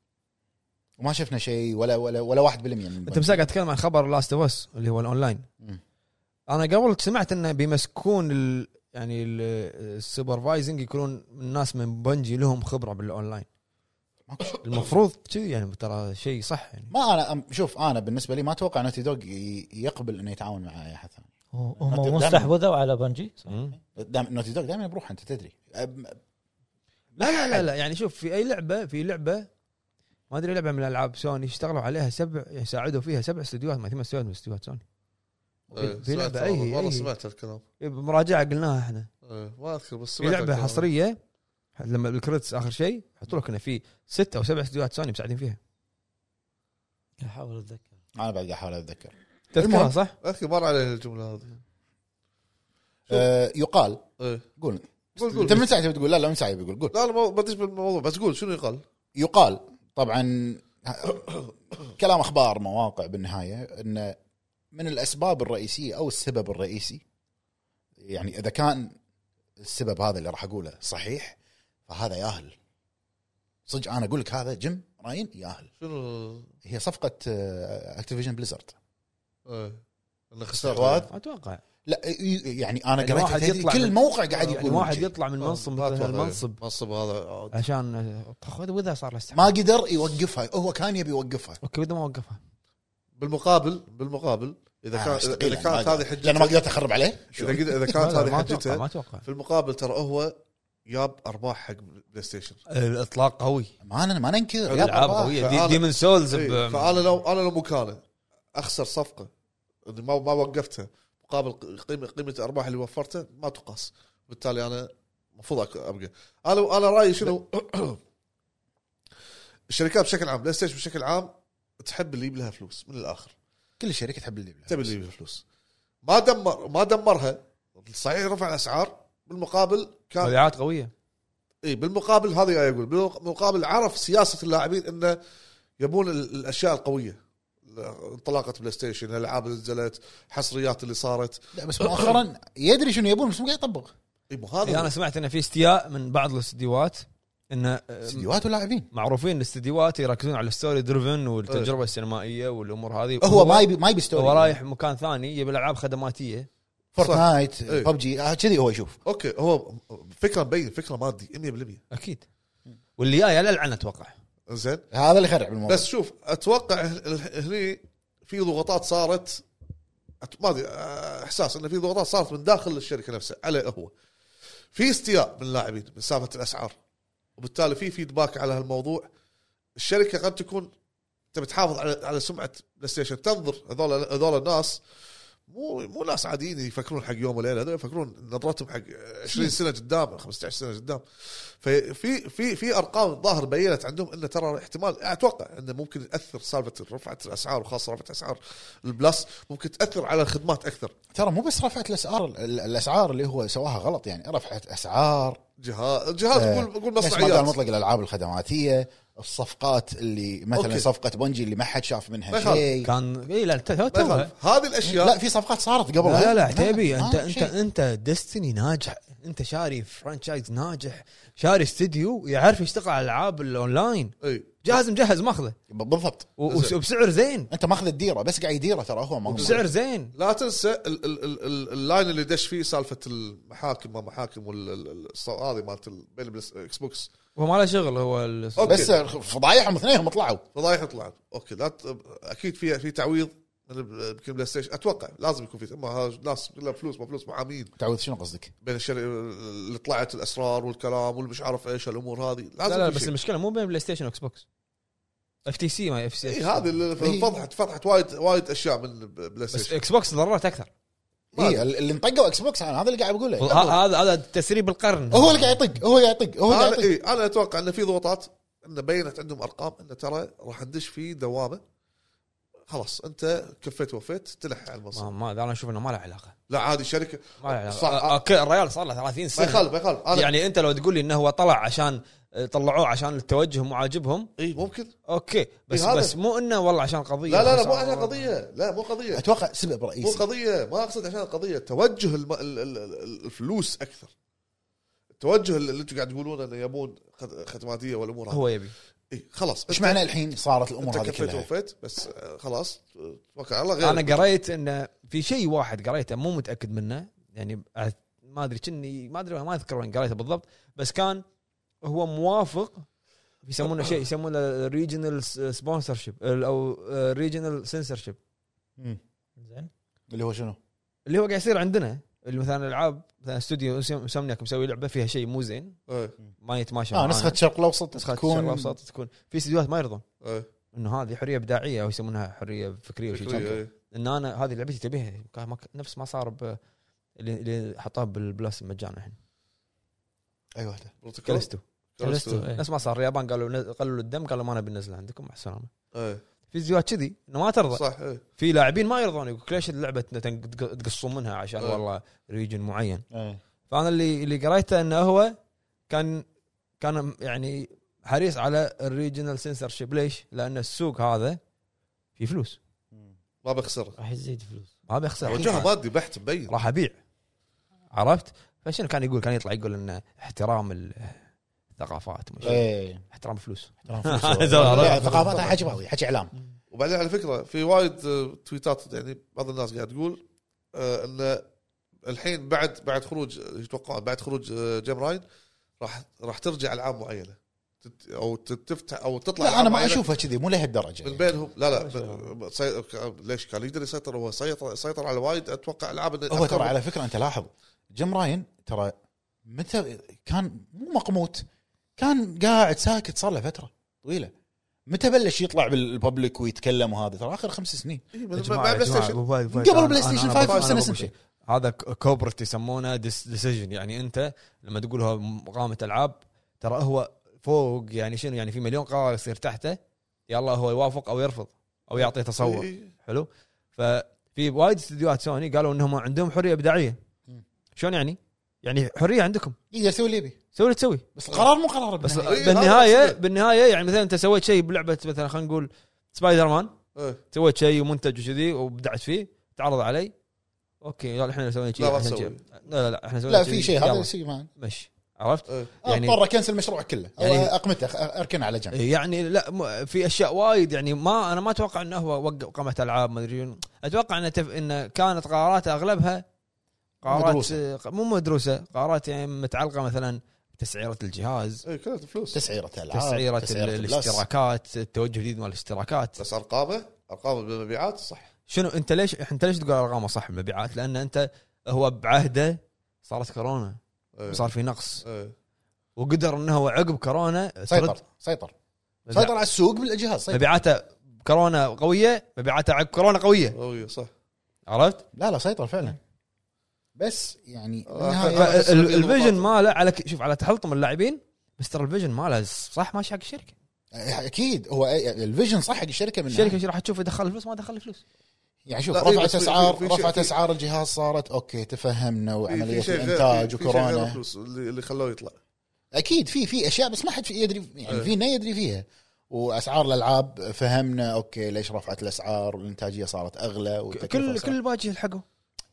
S3: وما شفنا شيء ولا ولا ولا 1% من
S1: انت مساك قاعد تتكلم عن خبر لاست اوف اس اللي هو الاونلاين
S3: مم.
S1: انا قبل سمعت انه بيمسكون ال يعني ال- السوبرفايزنج يكونون الناس من بنجي لهم خبره بالاونلاين
S3: ماكو شيء.
S1: المفروض كذي يعني ترى شيء صح يعني
S3: ما انا أم- شوف انا بالنسبه لي ما اتوقع نوتي دوغ يقبل انه يتعاون مع اي احد ثاني
S4: هم
S3: دم-
S4: مو استحوذوا على بنجي
S1: مم.
S3: دام نوتي دوغ دائما بروح انت تدري أم-
S1: لا لا لا, لا يعني شوف في اي لعبه في لعبه ما ادري لعبه من العاب سوني اشتغلوا عليها سبع ساعدوا فيها سبع استديوهات ما ثمان استديوهات من استديوهات سوني
S2: إيه،
S1: في لعبه
S2: سمعت
S1: اي
S2: والله، والله
S1: أي-
S2: سمعت الكلام
S1: مراجعه قلناها احنا
S2: إيه، ما اذكر بس
S1: في
S2: سمعت
S1: لعبه
S2: الكلام.
S1: حصريه لما الكريدتس اخر شيء حطوا لك انه في ست او سبع استديوهات سوني مساعدين فيها
S4: احاول اتذكر
S3: انا بعد قاعد احاول اتذكر
S1: تذكرها
S3: المهم.
S1: صح؟
S2: اذكر مر عليه الجمله هذه
S3: أه يقال
S2: إيه.
S3: قول
S2: قول
S3: انت
S2: قول
S3: من ساعه تبي تقول لا لا من ساعه بتقول قول
S2: لا انا ما بديش بالموضوع بس قول شنو يقال؟
S3: يقال طبعا كلام اخبار مواقع بالنهايه ان من الاسباب الرئيسيه او السبب الرئيسي يعني اذا كان السبب هذا اللي راح اقوله صحيح فهذا ياهل صدق انا اقول لك هذا جيم راين ياهل
S2: شنو
S3: هي آه، صفقه اكتيفيجن بليزرد
S2: ايه انه خسر
S3: استحواذ
S1: اتوقع
S3: لا ي- يعني انا
S1: يعني واحد
S3: قريت
S1: يطلع
S3: كل
S1: من-
S3: موقع قاعد
S1: يعني
S3: يقول
S1: واحد
S3: شيء.
S1: يطلع من منصب
S2: آه، لا
S1: مثل
S2: تفضل.
S1: المنصب
S2: منصب هذا عاد.
S1: عشان خذ وذا صار له استحواذ
S3: ما قدر يوقفها هو كان يبي يوقفها
S1: اوكي وذا ما وقفها
S2: بالمقابل بالمقابل اذا
S3: آه،
S2: كان
S3: مستحيل
S2: اذا
S3: يعني ما
S2: كانت
S3: أقدر.
S2: هذه حجته
S3: لان ما قدرت اخرب عليه
S2: اذا قد- اذا كانت
S1: لا، لا،
S2: هذه
S1: ما اتوقع ما
S2: حجته
S1: اتوقع
S2: في المقابل ترى هو جاب ارباح حق بلاي ستيشن
S1: الاطلاق قوي
S3: ما أنا- ما ننكر يا
S1: العاب
S3: بابا.
S1: قويه
S2: فعلا.
S1: دي ديمن سولز
S2: إيه، فانا لو انا لو مكانه اخسر صفقه إني ما ما وقفتها مقابل قيمه قيمه الارباح اللي وفرتها ما تقاس بالتالي انا المفروض أك- ابقى انا انا رايي شنو الشركات بشكل عام بلاي ستيشن بشكل عام تحب اللي يجيب لها فلوس من الاخر
S3: كل الشركه تحب اللي
S2: تبي اللي يبي فلوس ما دمر ما دمرها صحيح رفع الاسعار بالمقابل كان
S1: مبيعات قويه
S2: اي إيه، بالمقابل هذا اللي اقول بالمقابل عرف سياسه اللاعبين انه يبون ال- الاشياء القويه انطلاقه بلاي ستيشن الالعاب اللي نزلت حصريات اللي صارت
S3: لا بس مؤخرا يدري شنو يبون بس مو قاعد يطبق
S2: اي مو
S1: إيه، انا
S2: هذا
S1: سمعت انه في استياء من بعض الاستديوهات انه
S3: استديوهات ولاعبين
S1: معروفين الاستديوهات يركزون على الستوري دريفن والتجربه
S2: إيه.
S1: السينمائيه والامور هذه
S3: هو ما يبي ما يبي
S1: هو
S3: ستوري
S1: رايح مكان ثاني يبي العاب خدماتيه
S3: فورتنايت
S2: إيه.
S3: ببجي آه، كذي هو يشوف
S2: اوكي هو فكره مبين فكره مادي
S1: اكيد واللي جاي على العن اتوقع
S2: 100% زين
S3: هذا اللي خرع بالموضوع
S2: بس شوف اتوقع هل- هني في ضغوطات صارت أت- ما ادري أه، احساس انه في ضغوطات صارت من داخل الشركه نفسها عليه هو في استياء من اللاعبين من سالفه الاسعار وبالتالي في فيدباك على هالموضوع الشركه قد تكون تبي تحافظ على على سمعه بلاي ستيشن تنظر هذول هذول الناس مو مو ناس عاديين يفكرون حق يوم وليله هذول يفكرون نظرتهم حق 20 سنه قدام 15 سنه قدام ففي في في ارقام ظاهر بينت عندهم انه ترى احتمال اتوقع انه ممكن تاثر سالفه رفعه الاسعار وخاصه رفعه اسعار البلس ممكن تاثر على الخدمات اكثر
S3: ترى مو بس رفعت الاسعار ال- الاسعار اللي هو سواها غلط يعني رفعت اسعار
S2: جهاز جهاز
S3: آه،
S2: قول قول
S3: نفس ما قال
S2: مصنعيات
S3: مطلق الالعاب الخدماتيه الصفقات اللي مثلا
S2: أوكي.
S3: صفقه بنجي اللي ما حد شاف منها
S2: ما يخالف.
S3: شيء
S1: كان اي لا تو-
S2: ما
S1: توها.
S2: يخالف. طيب، هذه الاشياء
S3: لا في صفقات صارت قبل
S1: لا لا
S3: هذا.
S1: عتيبي
S3: ما-
S1: انت
S3: ما
S1: انت
S3: آه، شيء.
S1: انت ديستني ناجح انت شاري فرانشايز ناجح شاري استديو يعرف يشتغل على العاب الاونلاين
S2: اي
S1: جاهز مجهز ماخذه
S3: بالضبط
S1: و- وس- وبسعر زين
S3: انت ماخذ الديره بس قاعد يديره ترى هو ما
S1: بسعر زين
S2: لا تنسى ال- ال- ال- ال- اللاين اللي دش فيه سالفه المحاكم ما محاكم وال- ال- ال- الص- هذه مالت ال- بين الاكس بوكس
S1: هو ما له شغل هو ال-
S2: أوكي.
S3: بس فضايحهم اثنينهم طلعوا
S2: فضايح طلعت اوكي لا ت... اكيد في في تعويض من ال- يمكن بلاي ستيشن اتوقع لازم يكون في اما هاج- ناس كلها فلوس ما فلوس محامين
S3: تعود شنو قصدك؟
S2: بين الشر... اللي طلعت الاسرار والكلام والمش عارف ايش الامور هذه
S1: لا
S2: لازم
S1: لا
S2: في
S1: بس
S2: شيء.
S1: المشكله مو بين بلاي ستيشن واكس بوكس اف تي سي ما اف
S2: اي
S1: سي
S2: هذه اللي
S3: إيه.
S2: فضحت فضحت وايد وايد اشياء من بلاي
S1: بس
S2: ستيشن
S1: اكس بوكس ضررت اكثر
S2: ما
S3: اي إيه، اللي انطقوا اكس بوكس أنا هذا اللي قاعد بقوله
S1: ه- هذا هذا تسريب القرن
S3: هو اللي قاعد يطق هو اللي قاعد يطق هو اللي
S2: انا
S3: قاعد يطق
S2: إيه انا اتوقع ان في ضغوطات ان بينت عندهم ارقام ان ترى راح ندش في دوامه خلاص انت كفيت وفيت تلح على
S1: ما,
S2: المنصب
S1: ما انا اشوف انه ما له علاقه
S2: لا عادي شركه
S1: ما له علاقه
S2: صح.
S1: أ- أوكي، الريال صار له 30
S2: ما
S1: سنه
S2: يخالف ما يخالف انا
S1: يعني انت لو تقول لي انه هو طلع عشان آه، طلعوه عشان التوجه مو عاجبهم
S2: اي إيه، ممكن
S1: اوكي بس
S2: إيه هذا.
S1: بس مو انه والله عشان قضيه
S2: لا لا لا
S1: خلاص.
S2: مو عشان قضيه لا مو قضيه
S3: اتوقع سبب
S2: مو
S3: رئيسي
S2: قضيه ما اقصد عشان القضيه توجه الم... ال... ال... ال- الفلوس اكثر التوجه اللي انتم قاعد تقولون انه يبون خد- ختماتيه والامور هذه
S1: هو يبي
S2: إيه خلاص
S3: ايش
S2: أنت-
S3: معنى الحين صارت الامور
S2: انت
S3: هذه
S2: كفيت
S3: كلها
S2: وفيت بس آه، خلاص آه، توكل على الله غير
S1: انا قريت انه في شيء واحد قريته مو متاكد منه يعني أع- ما ادري كني ما ادري ما اذكر وين قريته بالضبط بس كان هو موافق يسمونه شيء يسمونه ريجنال سبونسر شيب او ريجنال سنسور شيب
S3: مم.
S4: زين
S3: اللي هو شنو؟
S1: اللي هو قاعد يصير عندنا اللي مثلا العاب مثلا استوديو مسم- مسمنك مسوي لعبه فيها شيء مو زين
S2: إيه،
S1: ما يتماشى
S3: اه
S1: معانا.
S3: نسخه الشرق الاوسط
S1: نسخه
S3: تكون-
S1: الشرق الاوسط تكون في استديوهات ما يرضون
S2: إيه،
S1: انه هذه حريه ابداعيه او يسمونها حريه فكريه وشي
S2: فكرية،
S1: كذا.
S2: إيه.
S1: ان انا هذه لعبتي تبيها كان ما- نفس ما صار ب اللي, اللي حطوها بالبلس مجانا الحين
S3: اي واحده
S2: بروتوكول.
S1: كلستو
S2: كلستو.
S4: كلستو، إيه.
S1: نفس ما صار اليابان قالوا قالوا الدم قالوا ما نبي ننزله عندكم مع السلامه
S2: إيه،
S1: في استديوهات كذي انه ما ترضى
S2: صح إيه.
S1: في لاعبين ما يرضون يقول ليش اللعبه تن- تق- تقصون منها عشان
S2: أه.
S1: والله ريجن معين
S3: إيه.
S1: فانا اللي اللي قريته انه هو كان كان يعني حريص على الريجنال سنسور شيب ليش؟ لان السوق هذا في فلوس
S2: ما بخسرها
S4: راح يزيد فلوس
S1: ما بيخسر
S2: وجهها مادي بحت مبين
S1: راح ابيع عرفت؟ فشنو كان يقول؟ كان يطلع يقول انه احترام الثقافات مش
S3: ايه
S1: احترام فلوس
S3: لا، ثقافات هاي حكي فاضي حكي اعلام
S2: وبعدين على فكره في وايد آه، تويتات يعني بعض الناس قاعد تقول آه، ان الحين بعد بعد خروج يتوقعون بعد خروج آه، جيم راين راح راح ترجع العاب معينه تت- او تت- تفتح او تطلع
S3: لا
S2: ألعاب
S3: انا ما
S2: معينة
S3: اشوفها كذي مو لهالدرجه
S2: من
S3: يعني.
S2: بينهم لا لا ب- سي- ك- ليش كان يقدر يسيطر هو سيطر سيطر على وايد اتوقع العاب إنه
S3: هو
S2: أكثر
S3: ترى
S2: من-
S3: على فكره انت لاحظ جيم راين ترى متى كان مو مقموت كان قاعد ساكت صار له فتره طويله متى بلش يطلع بالببليك ويتكلم وهذا ترى اخر خمس سنين
S2: إيه،
S1: يا
S2: من-
S1: جماعة-
S2: مع بلاي
S1: يا جماعة،
S2: ستيشن
S1: بلاي-
S3: من قبل
S1: أنا-
S3: بلاي
S1: أنا-
S3: ستيشن
S1: أنا
S3: 5
S1: بقول-
S3: سنة
S1: أنا
S3: سنة
S1: بقول
S3: شيء.
S1: هذا ك- كوبرت يسمونه ديسيجن يعني انت لما تقول هو قامه العاب ترى هو فوق يعني شنو يعني في مليون قرار يصير تحته يلا هو يوافق او يرفض او يعطي تصور
S2: إيه،
S1: حلو ففي وايد استديوهات سوني قالوا انهم عندهم حريه ابداعيه
S3: مم.
S1: شلون يعني؟ يعني حريه عندكم
S3: يقدر يسوي اللي يبي
S1: سوي اللي تسوي
S3: بس القرار مو قرار
S1: بس
S3: بالنهاية.
S2: إيه، هذا
S1: بالنهايه
S2: أقصده.
S1: بالنهايه يعني مثلا انت سويت شيء بلعبه مثلا خلينا نقول سبايدر مان
S2: إيه.
S1: سويت شيء ومنتج وكذي وابدعت فيه تعرض علي اوكي يلا احنا سوينا شيء
S2: لا، ما
S1: إحنا
S2: تسوي.
S1: شيء. لا لا لا احنا سوينا
S3: لا في شيء
S1: يلا،
S3: هذا شيء ما
S1: مش عرفت
S2: إيه.
S1: يعني-
S3: يعني اضطر اكنسل مشروع كله او
S1: يعني-
S3: اقمته أخ- اركنه على جنب
S1: يعني لا م- في اشياء وايد يعني ما انا ما اتوقع انه هو وقف قامه العاب ما ادري شنو. اتوقع انه تف... انه كانت قراراته اغلبها قرارات
S3: مدروسة.
S1: مدروسة. مو مدروسه قرارات يعني متعلقه مثلا بتسعيره الجهاز
S2: إيه، كلها فلوس
S3: تسعيره العاب
S1: تسعيره,
S3: تسعيرة
S1: ال-
S3: البلس.
S1: الاشتراكات التوجه الجديد مال الاشتراكات
S2: بس ارقامه ارقامه بالمبيعات صح
S1: شنو انت ليش انت ليش تقول ارقامه صح المبيعات لان انت هو بعهده صارت كورونا
S2: إيه.
S1: صار في نقص
S2: إيه.
S1: وقدر انه هو عقب كورونا
S3: سيطر
S1: ترد
S3: سيطر سيطر على السوق بالجهاز سيطر
S1: مبيعاته كورونا قويه مبيعاته عقب كورونا قويه
S2: أوه، إيه، صح
S1: عرفت؟
S3: لا لا سيطر فعلا بس يعني
S2: آه،
S3: بالنهاية-
S2: أنا بس أبي
S1: الفيجن
S2: الضغوطات.
S1: ماله على ك- شوف على تحلطم اللاعبين بس ترى الفيجن ماله صح ماشي حق الشركه،
S3: نعم. اكيد هو الفيجن صح حق الشركه من
S1: الشركه ايش راح تشوف يدخل الفلوس ما دخل الفلوس
S3: يعني شوف
S2: لا، إيه،
S3: رفعت
S2: بس في-
S3: اسعار
S2: في شيء-
S3: رفعت
S2: في-
S3: اسعار الجهاز صارت اوكي تفهمنا
S2: في- في
S3: وعمليه
S2: شيء غير-
S3: الانتاج
S2: في- في شيء غير
S3: وكورونا
S2: الفلوس اللي اللي خلوه يطلع
S3: اكيد في في اشياء بس ما حد في- يدري
S2: إيه.
S3: يعني فينا يدري فيها واسعار الالعاب فهمنا اوكي ليش رفعت الاسعار والانتاجيه صارت اغلى
S1: كل كل الباجي لحقوا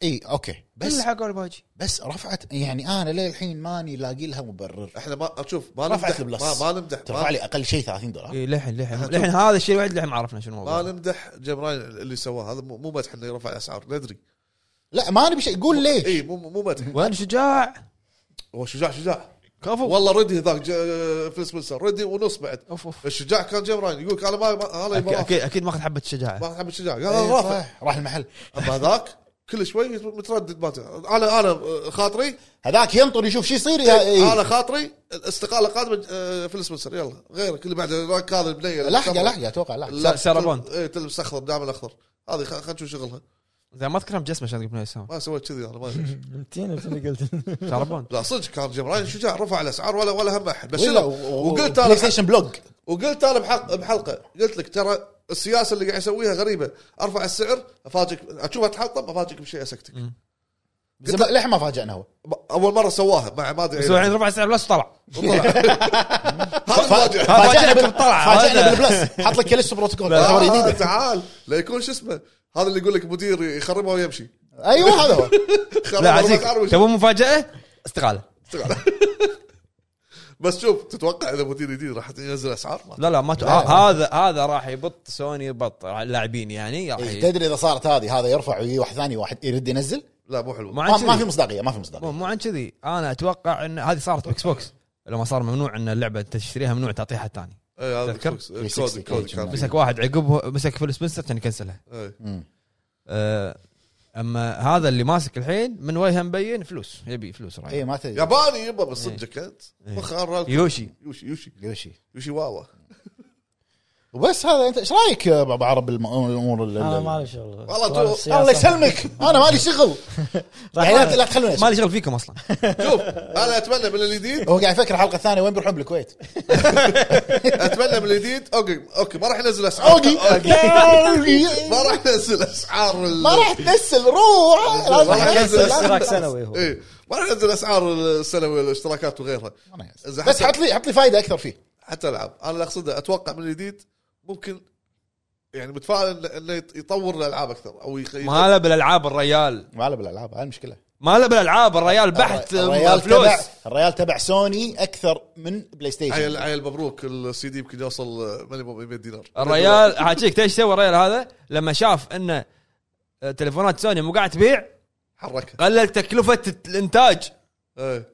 S3: اي اوكي
S1: كل
S3: بس
S1: لحقوا الباجي
S3: بس رفعت يعني انا للحين ماني لاقي لها مبرر
S2: احنا ما شوف ما نمدح
S3: رفعت البلس.
S2: ما, ما نمدح
S3: ترفع
S2: ما,
S3: لي اقل شيء 30 دولار
S1: اي إيه، للحين للحين للحين هذا الشيء الوحيد اللي إحنا ما عرفنا شنو
S2: ما
S1: الموضوع
S2: نمدح جيم راين اللي سواه هذا مو مو مدح انه يرفع الاسعار ندري
S3: لا ما نبي شيء قول ليش
S2: اي مو مو مدح
S1: وين شجاع
S2: هو شجاع شجاع
S1: كفو
S2: والله ردي ذاك ج- فليس ويلسون ردي ونص بعد
S1: اوف اوف
S2: الشجاع كان جيم راين يقول لك انا ما ما-
S3: طيب،
S2: انا
S1: اكيد
S2: يبغى
S1: اكيد, أكيد ماخذ حبه شجاعه
S2: ما احب الشجاع قال
S3: إيه،
S2: انا رافع
S3: صح. راح المحل
S2: اما ذاك كل شوي متردد ما تدري. انا انا خاطري
S3: هذاك ينطر يشوف شو يصير يا إيه.
S2: انا خاطري الاستقاله قادمه آه، فليس ويلسون يلا غيرك اللي بعد ذاك هذا البنيه
S3: لحقه لحقه اتوقع لحقه
S2: إيه،
S1: سارة بوند.
S2: اي تلبس اخضر دائما اخضر هذه خلينا نشوف شغلها
S1: زين ما اذكرهم جسمه عشان تقول اسامه
S2: ما سويت كذي انا ما ادري ليش.
S4: متين بس اللي قلت
S1: تعرفون
S2: لا صدق كان جيم راين شجاع رفع الاسعار ولا ولا هم احد بس
S3: ولا-
S2: شنو؟
S3: و-
S2: وقلت
S3: بلاي
S2: انا
S3: ستيشن بلوج
S2: وقلت انا بحلقه بحلقه قلت لك ترى السياسه اللي قاعد يسويها غريبه ارفع السعر افاجئك اشوفها تحطم افاجئك بشيء اسكتك
S3: قلت له- للحين ما فاجئنا هو
S2: ب- اول مره سواها مع ما ادري
S1: بس هو الحين رفع السعر بلس طلع
S2: وطلع. هذا المفاجأة.
S3: فاجئنا بال-
S1: بالطلعة.
S3: فاجئنا
S1: هذا.
S3: بالبلس حط لك كاليستو بروتوكول
S2: آه،
S3: خبر جديد
S2: تعال لا يكون شو اسمه هذا اللي يقول لك مدير يخربها ويمشي
S3: ايوه هذا هو
S2: خرب
S1: لا
S2: الأربع
S1: عزيز
S2: أسعار ويمشي.
S1: تبون مفاجاه استقاله
S2: بس شوف تتوقع اذا مدير جديد راح ينزل اسعار ما
S1: لا لا ما ت... آه،
S3: لا.
S1: هذا هذا راح يبط سوني بط اللاعبين يعني راح
S3: إيه،
S1: ي-
S3: تدري اذا صارت هذه هذا يرفع ويجي واحد ثاني واحد يرد ينزل
S2: لا مو حلو
S1: مو عن
S3: ما, ما في
S1: كذي.
S3: مصداقيه ما في
S1: مو-
S3: مصداقيه
S1: مو عن كذي انا اتوقع ان هذه صارت باكس بوكس لما صار ممنوع ان اللعبه انت تشتريها ممنوع تعطيها حد ثاني
S2: إيه، هذا
S1: تذكر؟
S2: الكود- الكود الكود كان
S1: مسك واحد عقبه مسك فيل سبنسر كان يكنسلها
S2: إيه.
S3: مم.
S1: أه، اما هذا اللي ماسك الحين من وجهه مبين فلوس يبي فلوس رايح
S3: اي إيه، ما تدري
S2: ياباني يبا بس
S1: إيه.
S2: صدقك انت مخ-
S1: يوشي
S2: يوشي يوشي
S3: يوشي
S2: يوشي واوا
S3: وبس هذا انت ايش رايك يا ابو عرب بالم- الامور ال-
S4: انا
S3: ال-
S4: ما اعرف شغل
S2: والله
S4: سؤال
S2: تو-
S4: السياسة.
S3: الله يسلمك انا مالي شغل يعني لا- لا تخلوني
S1: ما لي شغل فيكم اصلا
S2: شوف انا اتمنى من الجديد
S3: هو قاعد يفكر الحلقه الثانيه وين بيروحون بالكويت
S2: اتمنى من الجديد اوكي اوكي ما راح ينزل اسعار
S3: اوقي
S2: ما راح ينزل اسعار ال-
S3: ما راح تنسل روح لازم
S2: راح ينزل
S3: تنسل، لازم
S4: اشتراك
S3: تنسل.
S4: سنوي هو
S2: ايه ما راح ينزل اسعار السنوي الاشتراكات وغيرها
S3: أنا آسف.
S2: إذا
S3: بس
S2: حتى-
S3: حط لي حط لي فائده اكثر فيه
S2: حتى العاب انا اللي اقصده اتوقع من الجديد ممكن يعني متفائل إن- انه يط- يطور الالعاب اكثر او يخ...
S1: ما له بالالعاب الريال
S3: ما له بالالعاب هاي المشكله
S1: ما له بالالعاب الريال بحت
S3: الريال
S1: فلوس
S3: تبع الريال تبع سوني اكثر من بلاي
S2: عيل
S3: ستيشن
S2: عيل مبروك السي دي يمكن يوصل آه، مينيموم 100 دينار
S1: الريال حاجيك ايش سوى الريال هذا لما شاف ان تليفونات سوني مو قاعد تبيع
S2: حركها
S1: قلل تكلفه الانتاج
S2: ايه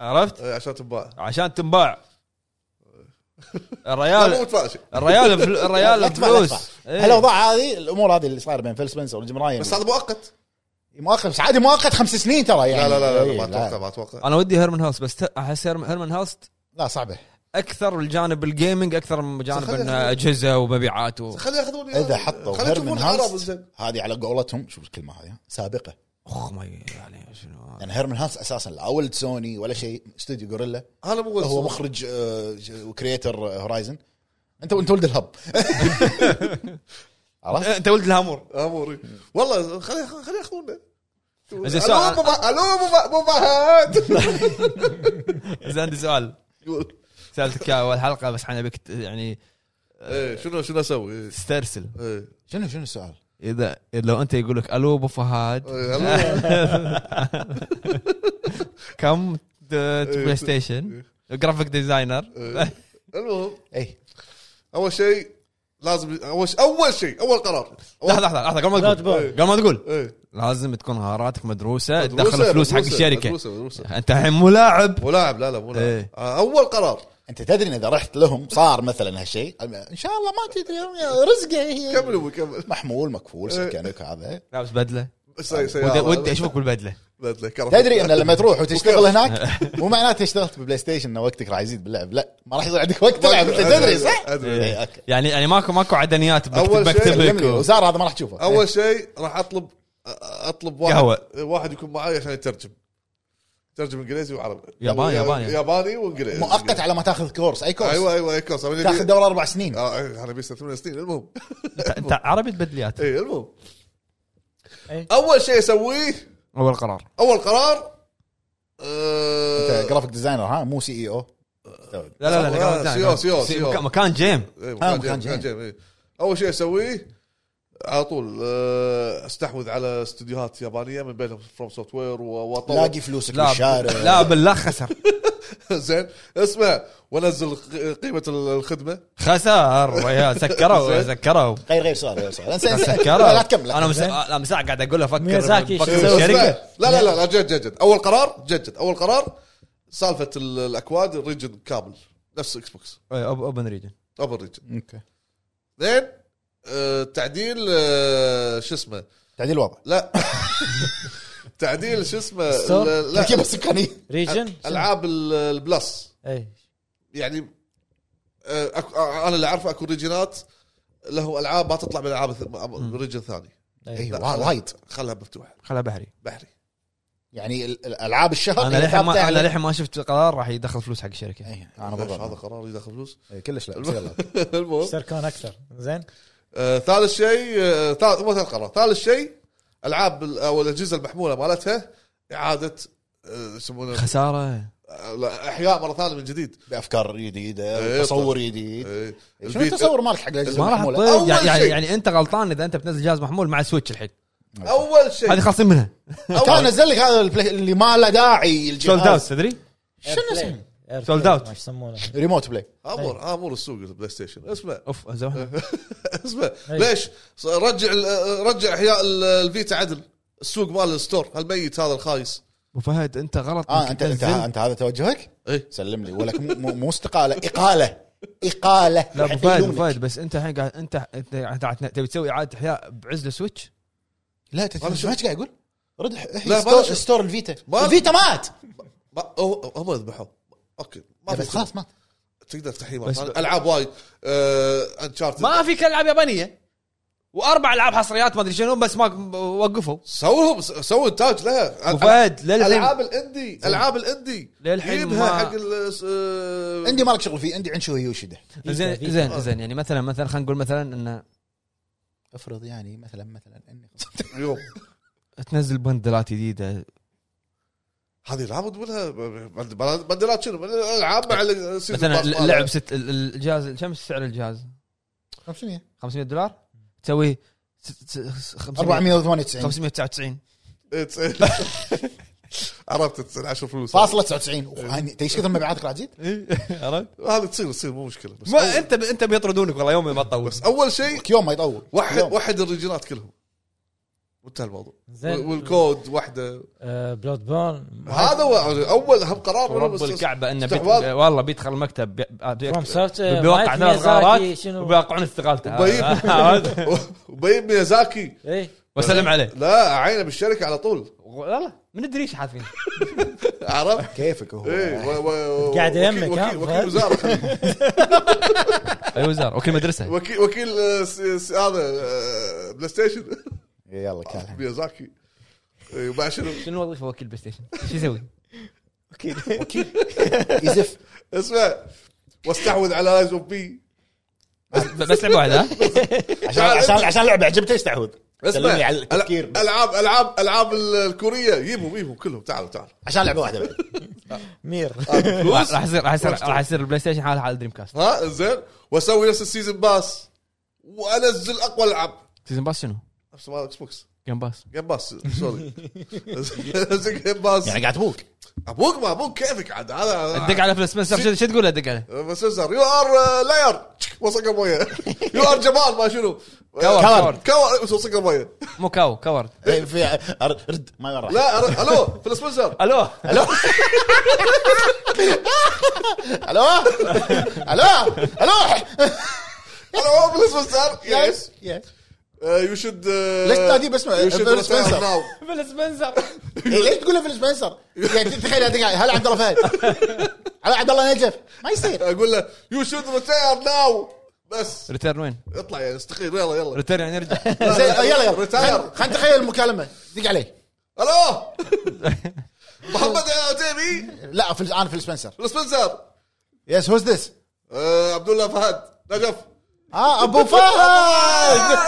S1: عرفت
S2: ايه عشان تنباع
S1: عشان تنباع
S2: لا مو
S1: الريال
S2: متفائل شيء.
S1: الريال فل-
S3: لا
S1: الريال
S3: تدفع- لا
S1: فلوس
S3: تدفع.
S1: إيه.
S3: هالاوضاع هذه الامور هذه اللي صايره بين فيل سبنسر وجيم راين
S2: بس هذا مؤقت
S3: مؤقت بس عادي مؤقت خمس سنين ترى يعني
S2: لا لا لا, لا,
S3: إيه،
S2: ما اتوقع ما اتوقع
S1: انا ودي هيرمان هاوس بس ت- احس هيرم- هيرمان هاوس
S3: لا صعبه
S1: اكثر الجانب الجيمنج اكثر من جانب
S2: خلي-
S1: إن
S2: خلي-
S1: اجهزه ومبيعات و...
S2: خليه ياخذون
S3: اذا حطوا
S2: خليه
S3: هيرمن
S2: يشوفون العرب
S3: هالس
S2: زين
S3: هذه على قولتهم شوف الكلمه هذه ها؟ سابقه
S1: اخ ما ي- يعني شنو هذا؟
S3: يعني هيرمن هالس اساسا لا اول سوني ولا شيء استوديو غوريلا
S2: انا مو
S3: هو مخرج آه، ج- وكريتر آه، هورايزن انت انت ولد الهب عرفت؟
S1: انت ولد الهامور
S2: اموري والله خليه خليه ياخذون
S1: زين سؤال-
S2: الو مو الو مو فهد
S1: زين عندي سؤال سالتك إياه اول حلقه بس حنا بك ت- يعني
S2: ايه شنو شنو اسوي إيه.
S1: تسترسل
S2: ايه
S3: شنو شنو السؤال؟
S1: اذا إذا لو انت يقول لك الو ابو فهد
S2: إيه، ألو.
S1: كم د- بلاي ستيشن
S2: إيه.
S1: جرافيك ديزاينر
S2: إيه. المهم
S3: اي
S2: اول شيء لازم اول شيء اول شيء اول قرار
S1: لحظه لحظه لحظه قبل ما
S4: لا
S1: تقول
S4: تقول.
S1: قبل ما تقول
S2: ايه
S1: لازم تكون مهاراتك مدروسه
S2: مدروسة-
S1: تدخل فلوس حق
S2: مدروسة-
S1: الشركه
S2: مدروسة مدروسة
S1: انت الحين مو لاعب
S2: مو لاعب لا لا مو لاعب
S1: إيه.
S2: آه، اول قرار
S3: انت تدري إن اذا رحت لهم صار مثلا هالشيء ان شاء الله ما تدري رزقه هي
S2: كمل إيه. ابوي كمل
S3: محمول مكفول سكنك هذا
S1: لابس بدله
S2: سي-
S1: آه، ودي-
S2: سيارة.
S1: ودي اشوفك بالبدله
S2: بدلة، كرفة.
S3: تدري ان لما تروح وتشتغل هناك مو معناته اشتغلت ببلاي ستيشن ان وقتك راح يزيد باللعب لا ما راح يصير عندك وقت تلعب انت تدري صح؟ إيه،
S2: أدري.
S3: إي، اوكي
S1: يعني يعني ماكو ماكو عدنيات
S2: أول
S1: بكتب بكتب
S2: شيء
S3: كلمني.
S1: لك
S3: وزار هذا ما راح تشوفه
S2: اول شيء راح اطلب اطلب واحد
S1: إيه. قهوة.
S2: واحد يكون معي عشان يترجم ترجم انجليزي وعربي
S1: ياباني- ياباني.
S2: ياباني وانجليزي
S3: مؤقت على ما تاخذ كورس اي
S1: أيوة.
S3: كورس
S2: ايوه ايوه اي كورس أنا
S3: تاخذ
S2: أبي-
S3: دورة اربع سنين
S2: آه، إيه، انا بيست ثمان سنين المهم
S1: انت عربي بدليات
S2: اي المهم
S4: إيه.
S2: اول شيء اسويه
S1: اول قرار
S2: اول قرار آه،
S3: انت جرافيك ديزاينر ها مو E سي اي او
S1: لا لا لا
S2: آه،
S1: لا،
S2: سيو-
S1: لا
S2: سيو-
S1: سي-
S2: سيو.
S1: مكان- مكان جيم
S2: إيه،
S3: آه،
S2: مكان جيم
S3: مكان
S2: مكان
S3: جيم.
S2: جيم إيه. اول شيء اسويه على طول آه، استحوذ على استديوهات يابانيه من بينهم فروم سوفت وير واطور
S3: لاقي فلوسك
S1: لا
S3: بالشارع
S1: لا بالله خسر
S2: زين اسمع وانزل ق- قيمه الخدمه
S1: خسر يا سكروا سكروا
S3: غير غير سؤال غير سؤال انسى انسى
S1: سكروا
S3: لا لا تكمل
S1: انا
S3: لا
S1: مس...
S3: تكمل.
S1: انا مساع قاعد اقول له فكر
S4: ميازاكي
S1: فكر
S4: شو
S2: اسمع،
S1: بالشركه
S2: لا لا لا لا جد جد جد اول قرار جد جد اول قرار سالفه ال- الاكواد الريجن كامل نفس اكس بوكس
S1: اوبن إيه، ريجن
S2: اوبن ريجن
S3: اوكي
S2: زين آه، تعديل آه، شو اسمه
S3: تعديل الوضع
S2: لا تعديل شو اسمه
S4: السور؟
S2: ال- لا
S3: تركيبه السكانيه
S4: ريجن
S2: العاب ال- البلس
S4: اي
S2: يعني آه، أك- آه، انا اللي اعرفه اكو ريجنات له العاب ما تطلع من العاب ث- من ريجن ثاني
S3: اي
S4: إيه.
S2: لا،
S3: وا-
S2: خلاص.
S3: وايد
S2: خلها مفتوحه
S1: خلها بحري
S2: بحري
S3: يعني ال- الالعاب الشهر
S1: انا
S3: اللي
S1: للحين ما
S3: فتحتها-
S1: انا للحين ما شفت قرار راح يدخل فلوس حق الشركه
S3: إي، انا
S2: ليش هذا
S3: إيه، بالضبط
S2: قرار يدخل فلوس
S3: إي، كلش لا بس يلا.
S2: المهم
S4: سيركون اكثر زين
S2: آه، ثالث شيء آه، ثالث مو ثالث قرار ثالث شيء العاب ال- او الاجهزه المحموله مالتها اعاده آه، يسمونه
S1: خساره
S2: آه، لا، احياء مره ثانيه من جديد
S3: بافكار جديده
S2: إي،
S1: إيه،
S3: تصور جديد
S2: آه،
S3: شنو
S2: الفيتا-
S3: التصور مالك حق الاجهزه
S1: ما راح
S3: المحموله؟
S1: تطير يعني,
S2: أول
S1: يعني,
S2: شيء.
S1: يعني انت غلطان اذا انت بتنزل جهاز محمول مع سويتش الحين
S2: اول شيء
S1: هذه خالصين منها
S3: ترى نزل لك هذا البلاي- اللي ما له داعي
S1: سولد اوت
S3: الجهاز
S1: تدري؟
S3: شنو اسمه؟
S1: Sold out.
S4: ما يسمونه
S3: ريموت بلاي
S1: طيب.
S2: امر امر السوق آه، البلاي ستيشن اسمع
S1: اوف زمان
S3: أه.
S2: اسمع
S1: طيب.
S4: أي.
S2: ليش ص- رجع ال- آه، رجع احياء ال- الفيتا عدل السوق مال الستور هالميت هذا الخايس
S1: ابو فهد انت غلط
S3: اه انت انت انت هذا توجهك؟
S2: إيه.
S3: سلم لي ولك مو- مو مو استقاله اقاله اقاله
S1: لا ابو
S3: حتى
S1: فهد ابو
S3: يلومك.
S1: فهد بس انت الحين قاعد انت انت أنت قاعد تبي تسوي اعاده احياء بعزله سويتش
S3: لا انت
S2: أنا
S3: ايش
S2: شو-
S3: قاعد يقول؟ رد
S2: لا،
S3: لا
S2: ما
S3: ستور,
S2: شو-
S3: ستور الفيتا
S2: ما-
S3: الفيتا مات
S2: ما- هو- هم ذبحوا اوكي ما
S3: بس
S2: في-
S3: خلاص مات
S2: تقدر تحريمها
S1: يعني بس-
S2: العاب وايد آه، انشارتد
S1: ما في العاب يابانيه واربع العاب حصريات ما ادري شنو بس ما وقفوا
S2: سوهم س- سووا انتاج لها
S1: ابو فهد للحين
S2: العاب الاندي العاب الاندي
S1: للحين
S2: جيبها
S1: ما-
S2: حق ال- س- آه،
S3: عندي مالك شغل فيه عندي عنشو هيوشيدا
S1: زين زين زين يعني مثلا مثلا خلينا نقول مثلا انه
S3: افرض يعني مثلا مثلا اني
S2: يوم
S1: تنزل بندلات جديده
S2: هذه العاب تقولها بند- بندلات شنو العاب مع ال- السيزون
S1: مثلا
S2: باس مالها.
S1: اللعب ست ال- ال- الجهاز كم سعر الجهاز؟
S3: 500
S1: 500 دولار تسوي ست- س- 500
S3: 498
S1: 599
S2: عرفت تصير 10 فلوس
S3: فاصلة 99 أوه، هاني- انت ايش كثر مبيعاتك راح تزيد؟
S1: إيه. عرفت؟
S2: هذا تصير تصير مو مشكله بس
S1: ما انت ب... انت بيطردونك والله يوم ما تطول
S2: بس اول شيء
S3: يوم ما يطول
S2: وحد
S3: يوم.
S2: وحد الريجنات كلهم وانتهى الموضوع
S4: زين. آه،
S2: والكود وحده
S4: بلود بورن
S2: هذا هو اول اهم قرار من
S1: رب
S2: المؤسسة.
S1: الكعبه انه بيت...
S2: استحواذ.
S1: والله بيدخل المكتب بي...
S4: فروم سوفت
S1: بيوقع ثلاث غارات وبيوقعون استقالته آه،
S2: وبيب.
S1: هذا.
S2: وبين ميازاكي
S4: اي
S1: وسلم عليه
S2: لا عينه بالشركه على طول
S1: والله من الدريش حاذفين
S2: عرفت؟
S3: كيفك هو
S2: ايه و- و- و-
S4: قاعد
S2: وكيل-
S4: يمك، ها،
S2: وكيل
S4: أبو
S2: وكيل
S4: فهد؟
S2: وزاره خليه.
S1: اي وزاره وكيل مدرسه
S2: وكيل وكيل آه، س- س- هذا آه، بلاي ستيشن
S3: يلا كان
S2: ميازاكي إيه، وبعد شنو
S1: شنو وظيفه وكيل بلاي ستيشن؟ شو يسوي؟
S3: يزف
S2: اسمع واستحوذ على ايز اوف بي
S1: بس, بس لعبه واحده ها؟
S3: عشان عشان عشان لعبه عجبته يستحوذ سلمني على التفكير
S2: ألع- العاب العاب العاب ال- الكوريه جيبهم جيبهم كلهم تعالوا تعالوا
S3: عشان لعبه واحده بعد.
S4: مير
S3: آه،
S2: فلوس
S1: راح يصير راح يصير راح يصير البلاي ستيشن حاله حال دريم كاست
S2: ها زين واسوي نفس السيزون باس وانزل اقوى العاب
S1: سيزون باس شنو؟
S2: نفس مال اكس بوكس
S1: جيم باس
S2: جيم باس سوري أنزل جيم باس
S3: يعني قاعد ابوك
S2: ابوك ما ابوك كيفك عاد
S1: دق
S2: هذا
S1: على فيل سبنسر شو- شو تقول له دق عليه؟
S2: بس يو ار لاير وصق المويه يو ار جمال ما شنو Uh,
S1: كور.
S2: كور وصق المويه
S1: مو كاو كورد
S3: إيه، في أر- رد ما راح
S2: لا أر- الو فيل سبنسر
S1: الو
S3: الو الو الو
S2: الو فيل سبنسر يس
S3: يس
S2: يو شود
S3: ليش تناديه باسمه؟ فيل سبنسر.
S1: فيل سبنسر
S3: إيه، ليش تقول له فيل سبنسر؟ يعني تخيل هذا قاعد، هلا عبد الله فهد هلا عبد الله نجف ما يصير
S2: اقول Uh, له يو شود ريتاير ناو بس
S1: ريتيرن وين؟
S2: اطلع يعني استقيل يلا يلا
S1: ريتيرن يعني ارجع
S3: زين يلا يلا
S2: ريتاير
S3: خلينا نتخيل المكالمه دق عليه
S2: الو محمد عتيبي
S3: لا فيل- انا فيل سبنسر
S2: السبنسر
S3: يس هوز ذس
S2: آه، عبد الله فهد نجف
S3: اه ابو فهد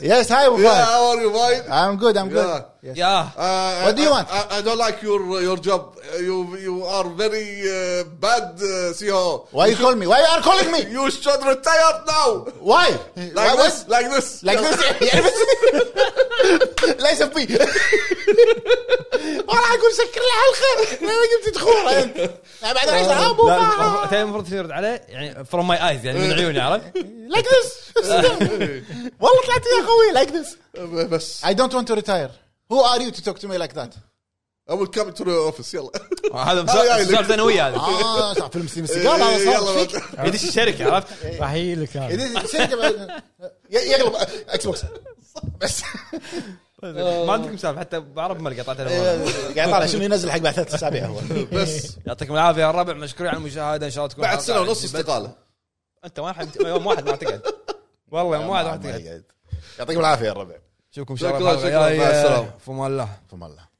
S3: يس هاي ابو
S2: يا
S3: فهد
S2: هاو ار يو فاين
S3: I'm good I'm good
S2: Yeah.
S3: Yes.
S1: ياه
S2: What
S3: What do you want?
S2: Uh, I, I don't like your your job. Uh, You you are very uh, bad uh, CEO.
S3: Why you call me? Why you are calling me?
S2: You should retire now.
S3: Why?
S2: Like
S3: Why-
S2: this,
S3: what?
S2: like this,
S3: Like this يعني بس ليس في والله اقول سكر الحلقه انا جبت تخوره انت لا، بعد راح يصير، آه، ابو فهد.
S1: تاني المفروض يرد عليه يعني فروم ماي ايز يعني من عيوني عرفت؟
S3: Like this. والله طلعت يا اخوي like this
S2: بس
S3: I don't want to retire Who are you to talk to me like that
S2: I will come to the office يلا
S1: هذا
S2: هاي هاي
S1: مسا- سالفه انا وياه هذا
S3: اه صح فيلم ستيم السيجار هذا صار
S2: يلا
S3: فيك
S1: يدش الشركه عرفت؟
S3: إيه.
S4: راح يجي لك هذا.
S3: إذا شركة بعد- ي- يقلب اكس بوكس بس
S1: ما عندكم سالفه حتى بعرب ما قطعت أنا.
S3: قاعد طالع شنو ينزل حق بعد ثلاث اسابيع هو
S2: بس
S1: يعطيكم العافيه يا الربع مشكورين على المشاهده ان شاء الله تكون
S2: بعد
S1: حلقة
S2: سنه ونص
S1: عجبتكم.
S2: استقاله
S1: انت واحد يوم واحد ما تقعد والله يوم واحد ما تقعد
S3: يعطيكم العافيه يا الربع
S1: نشوفكم ان شاء الله
S2: شكراً،
S1: الحلقة
S2: شكراً، مع
S1: الجاية.
S2: السلامة.
S1: فما الله
S3: فما الله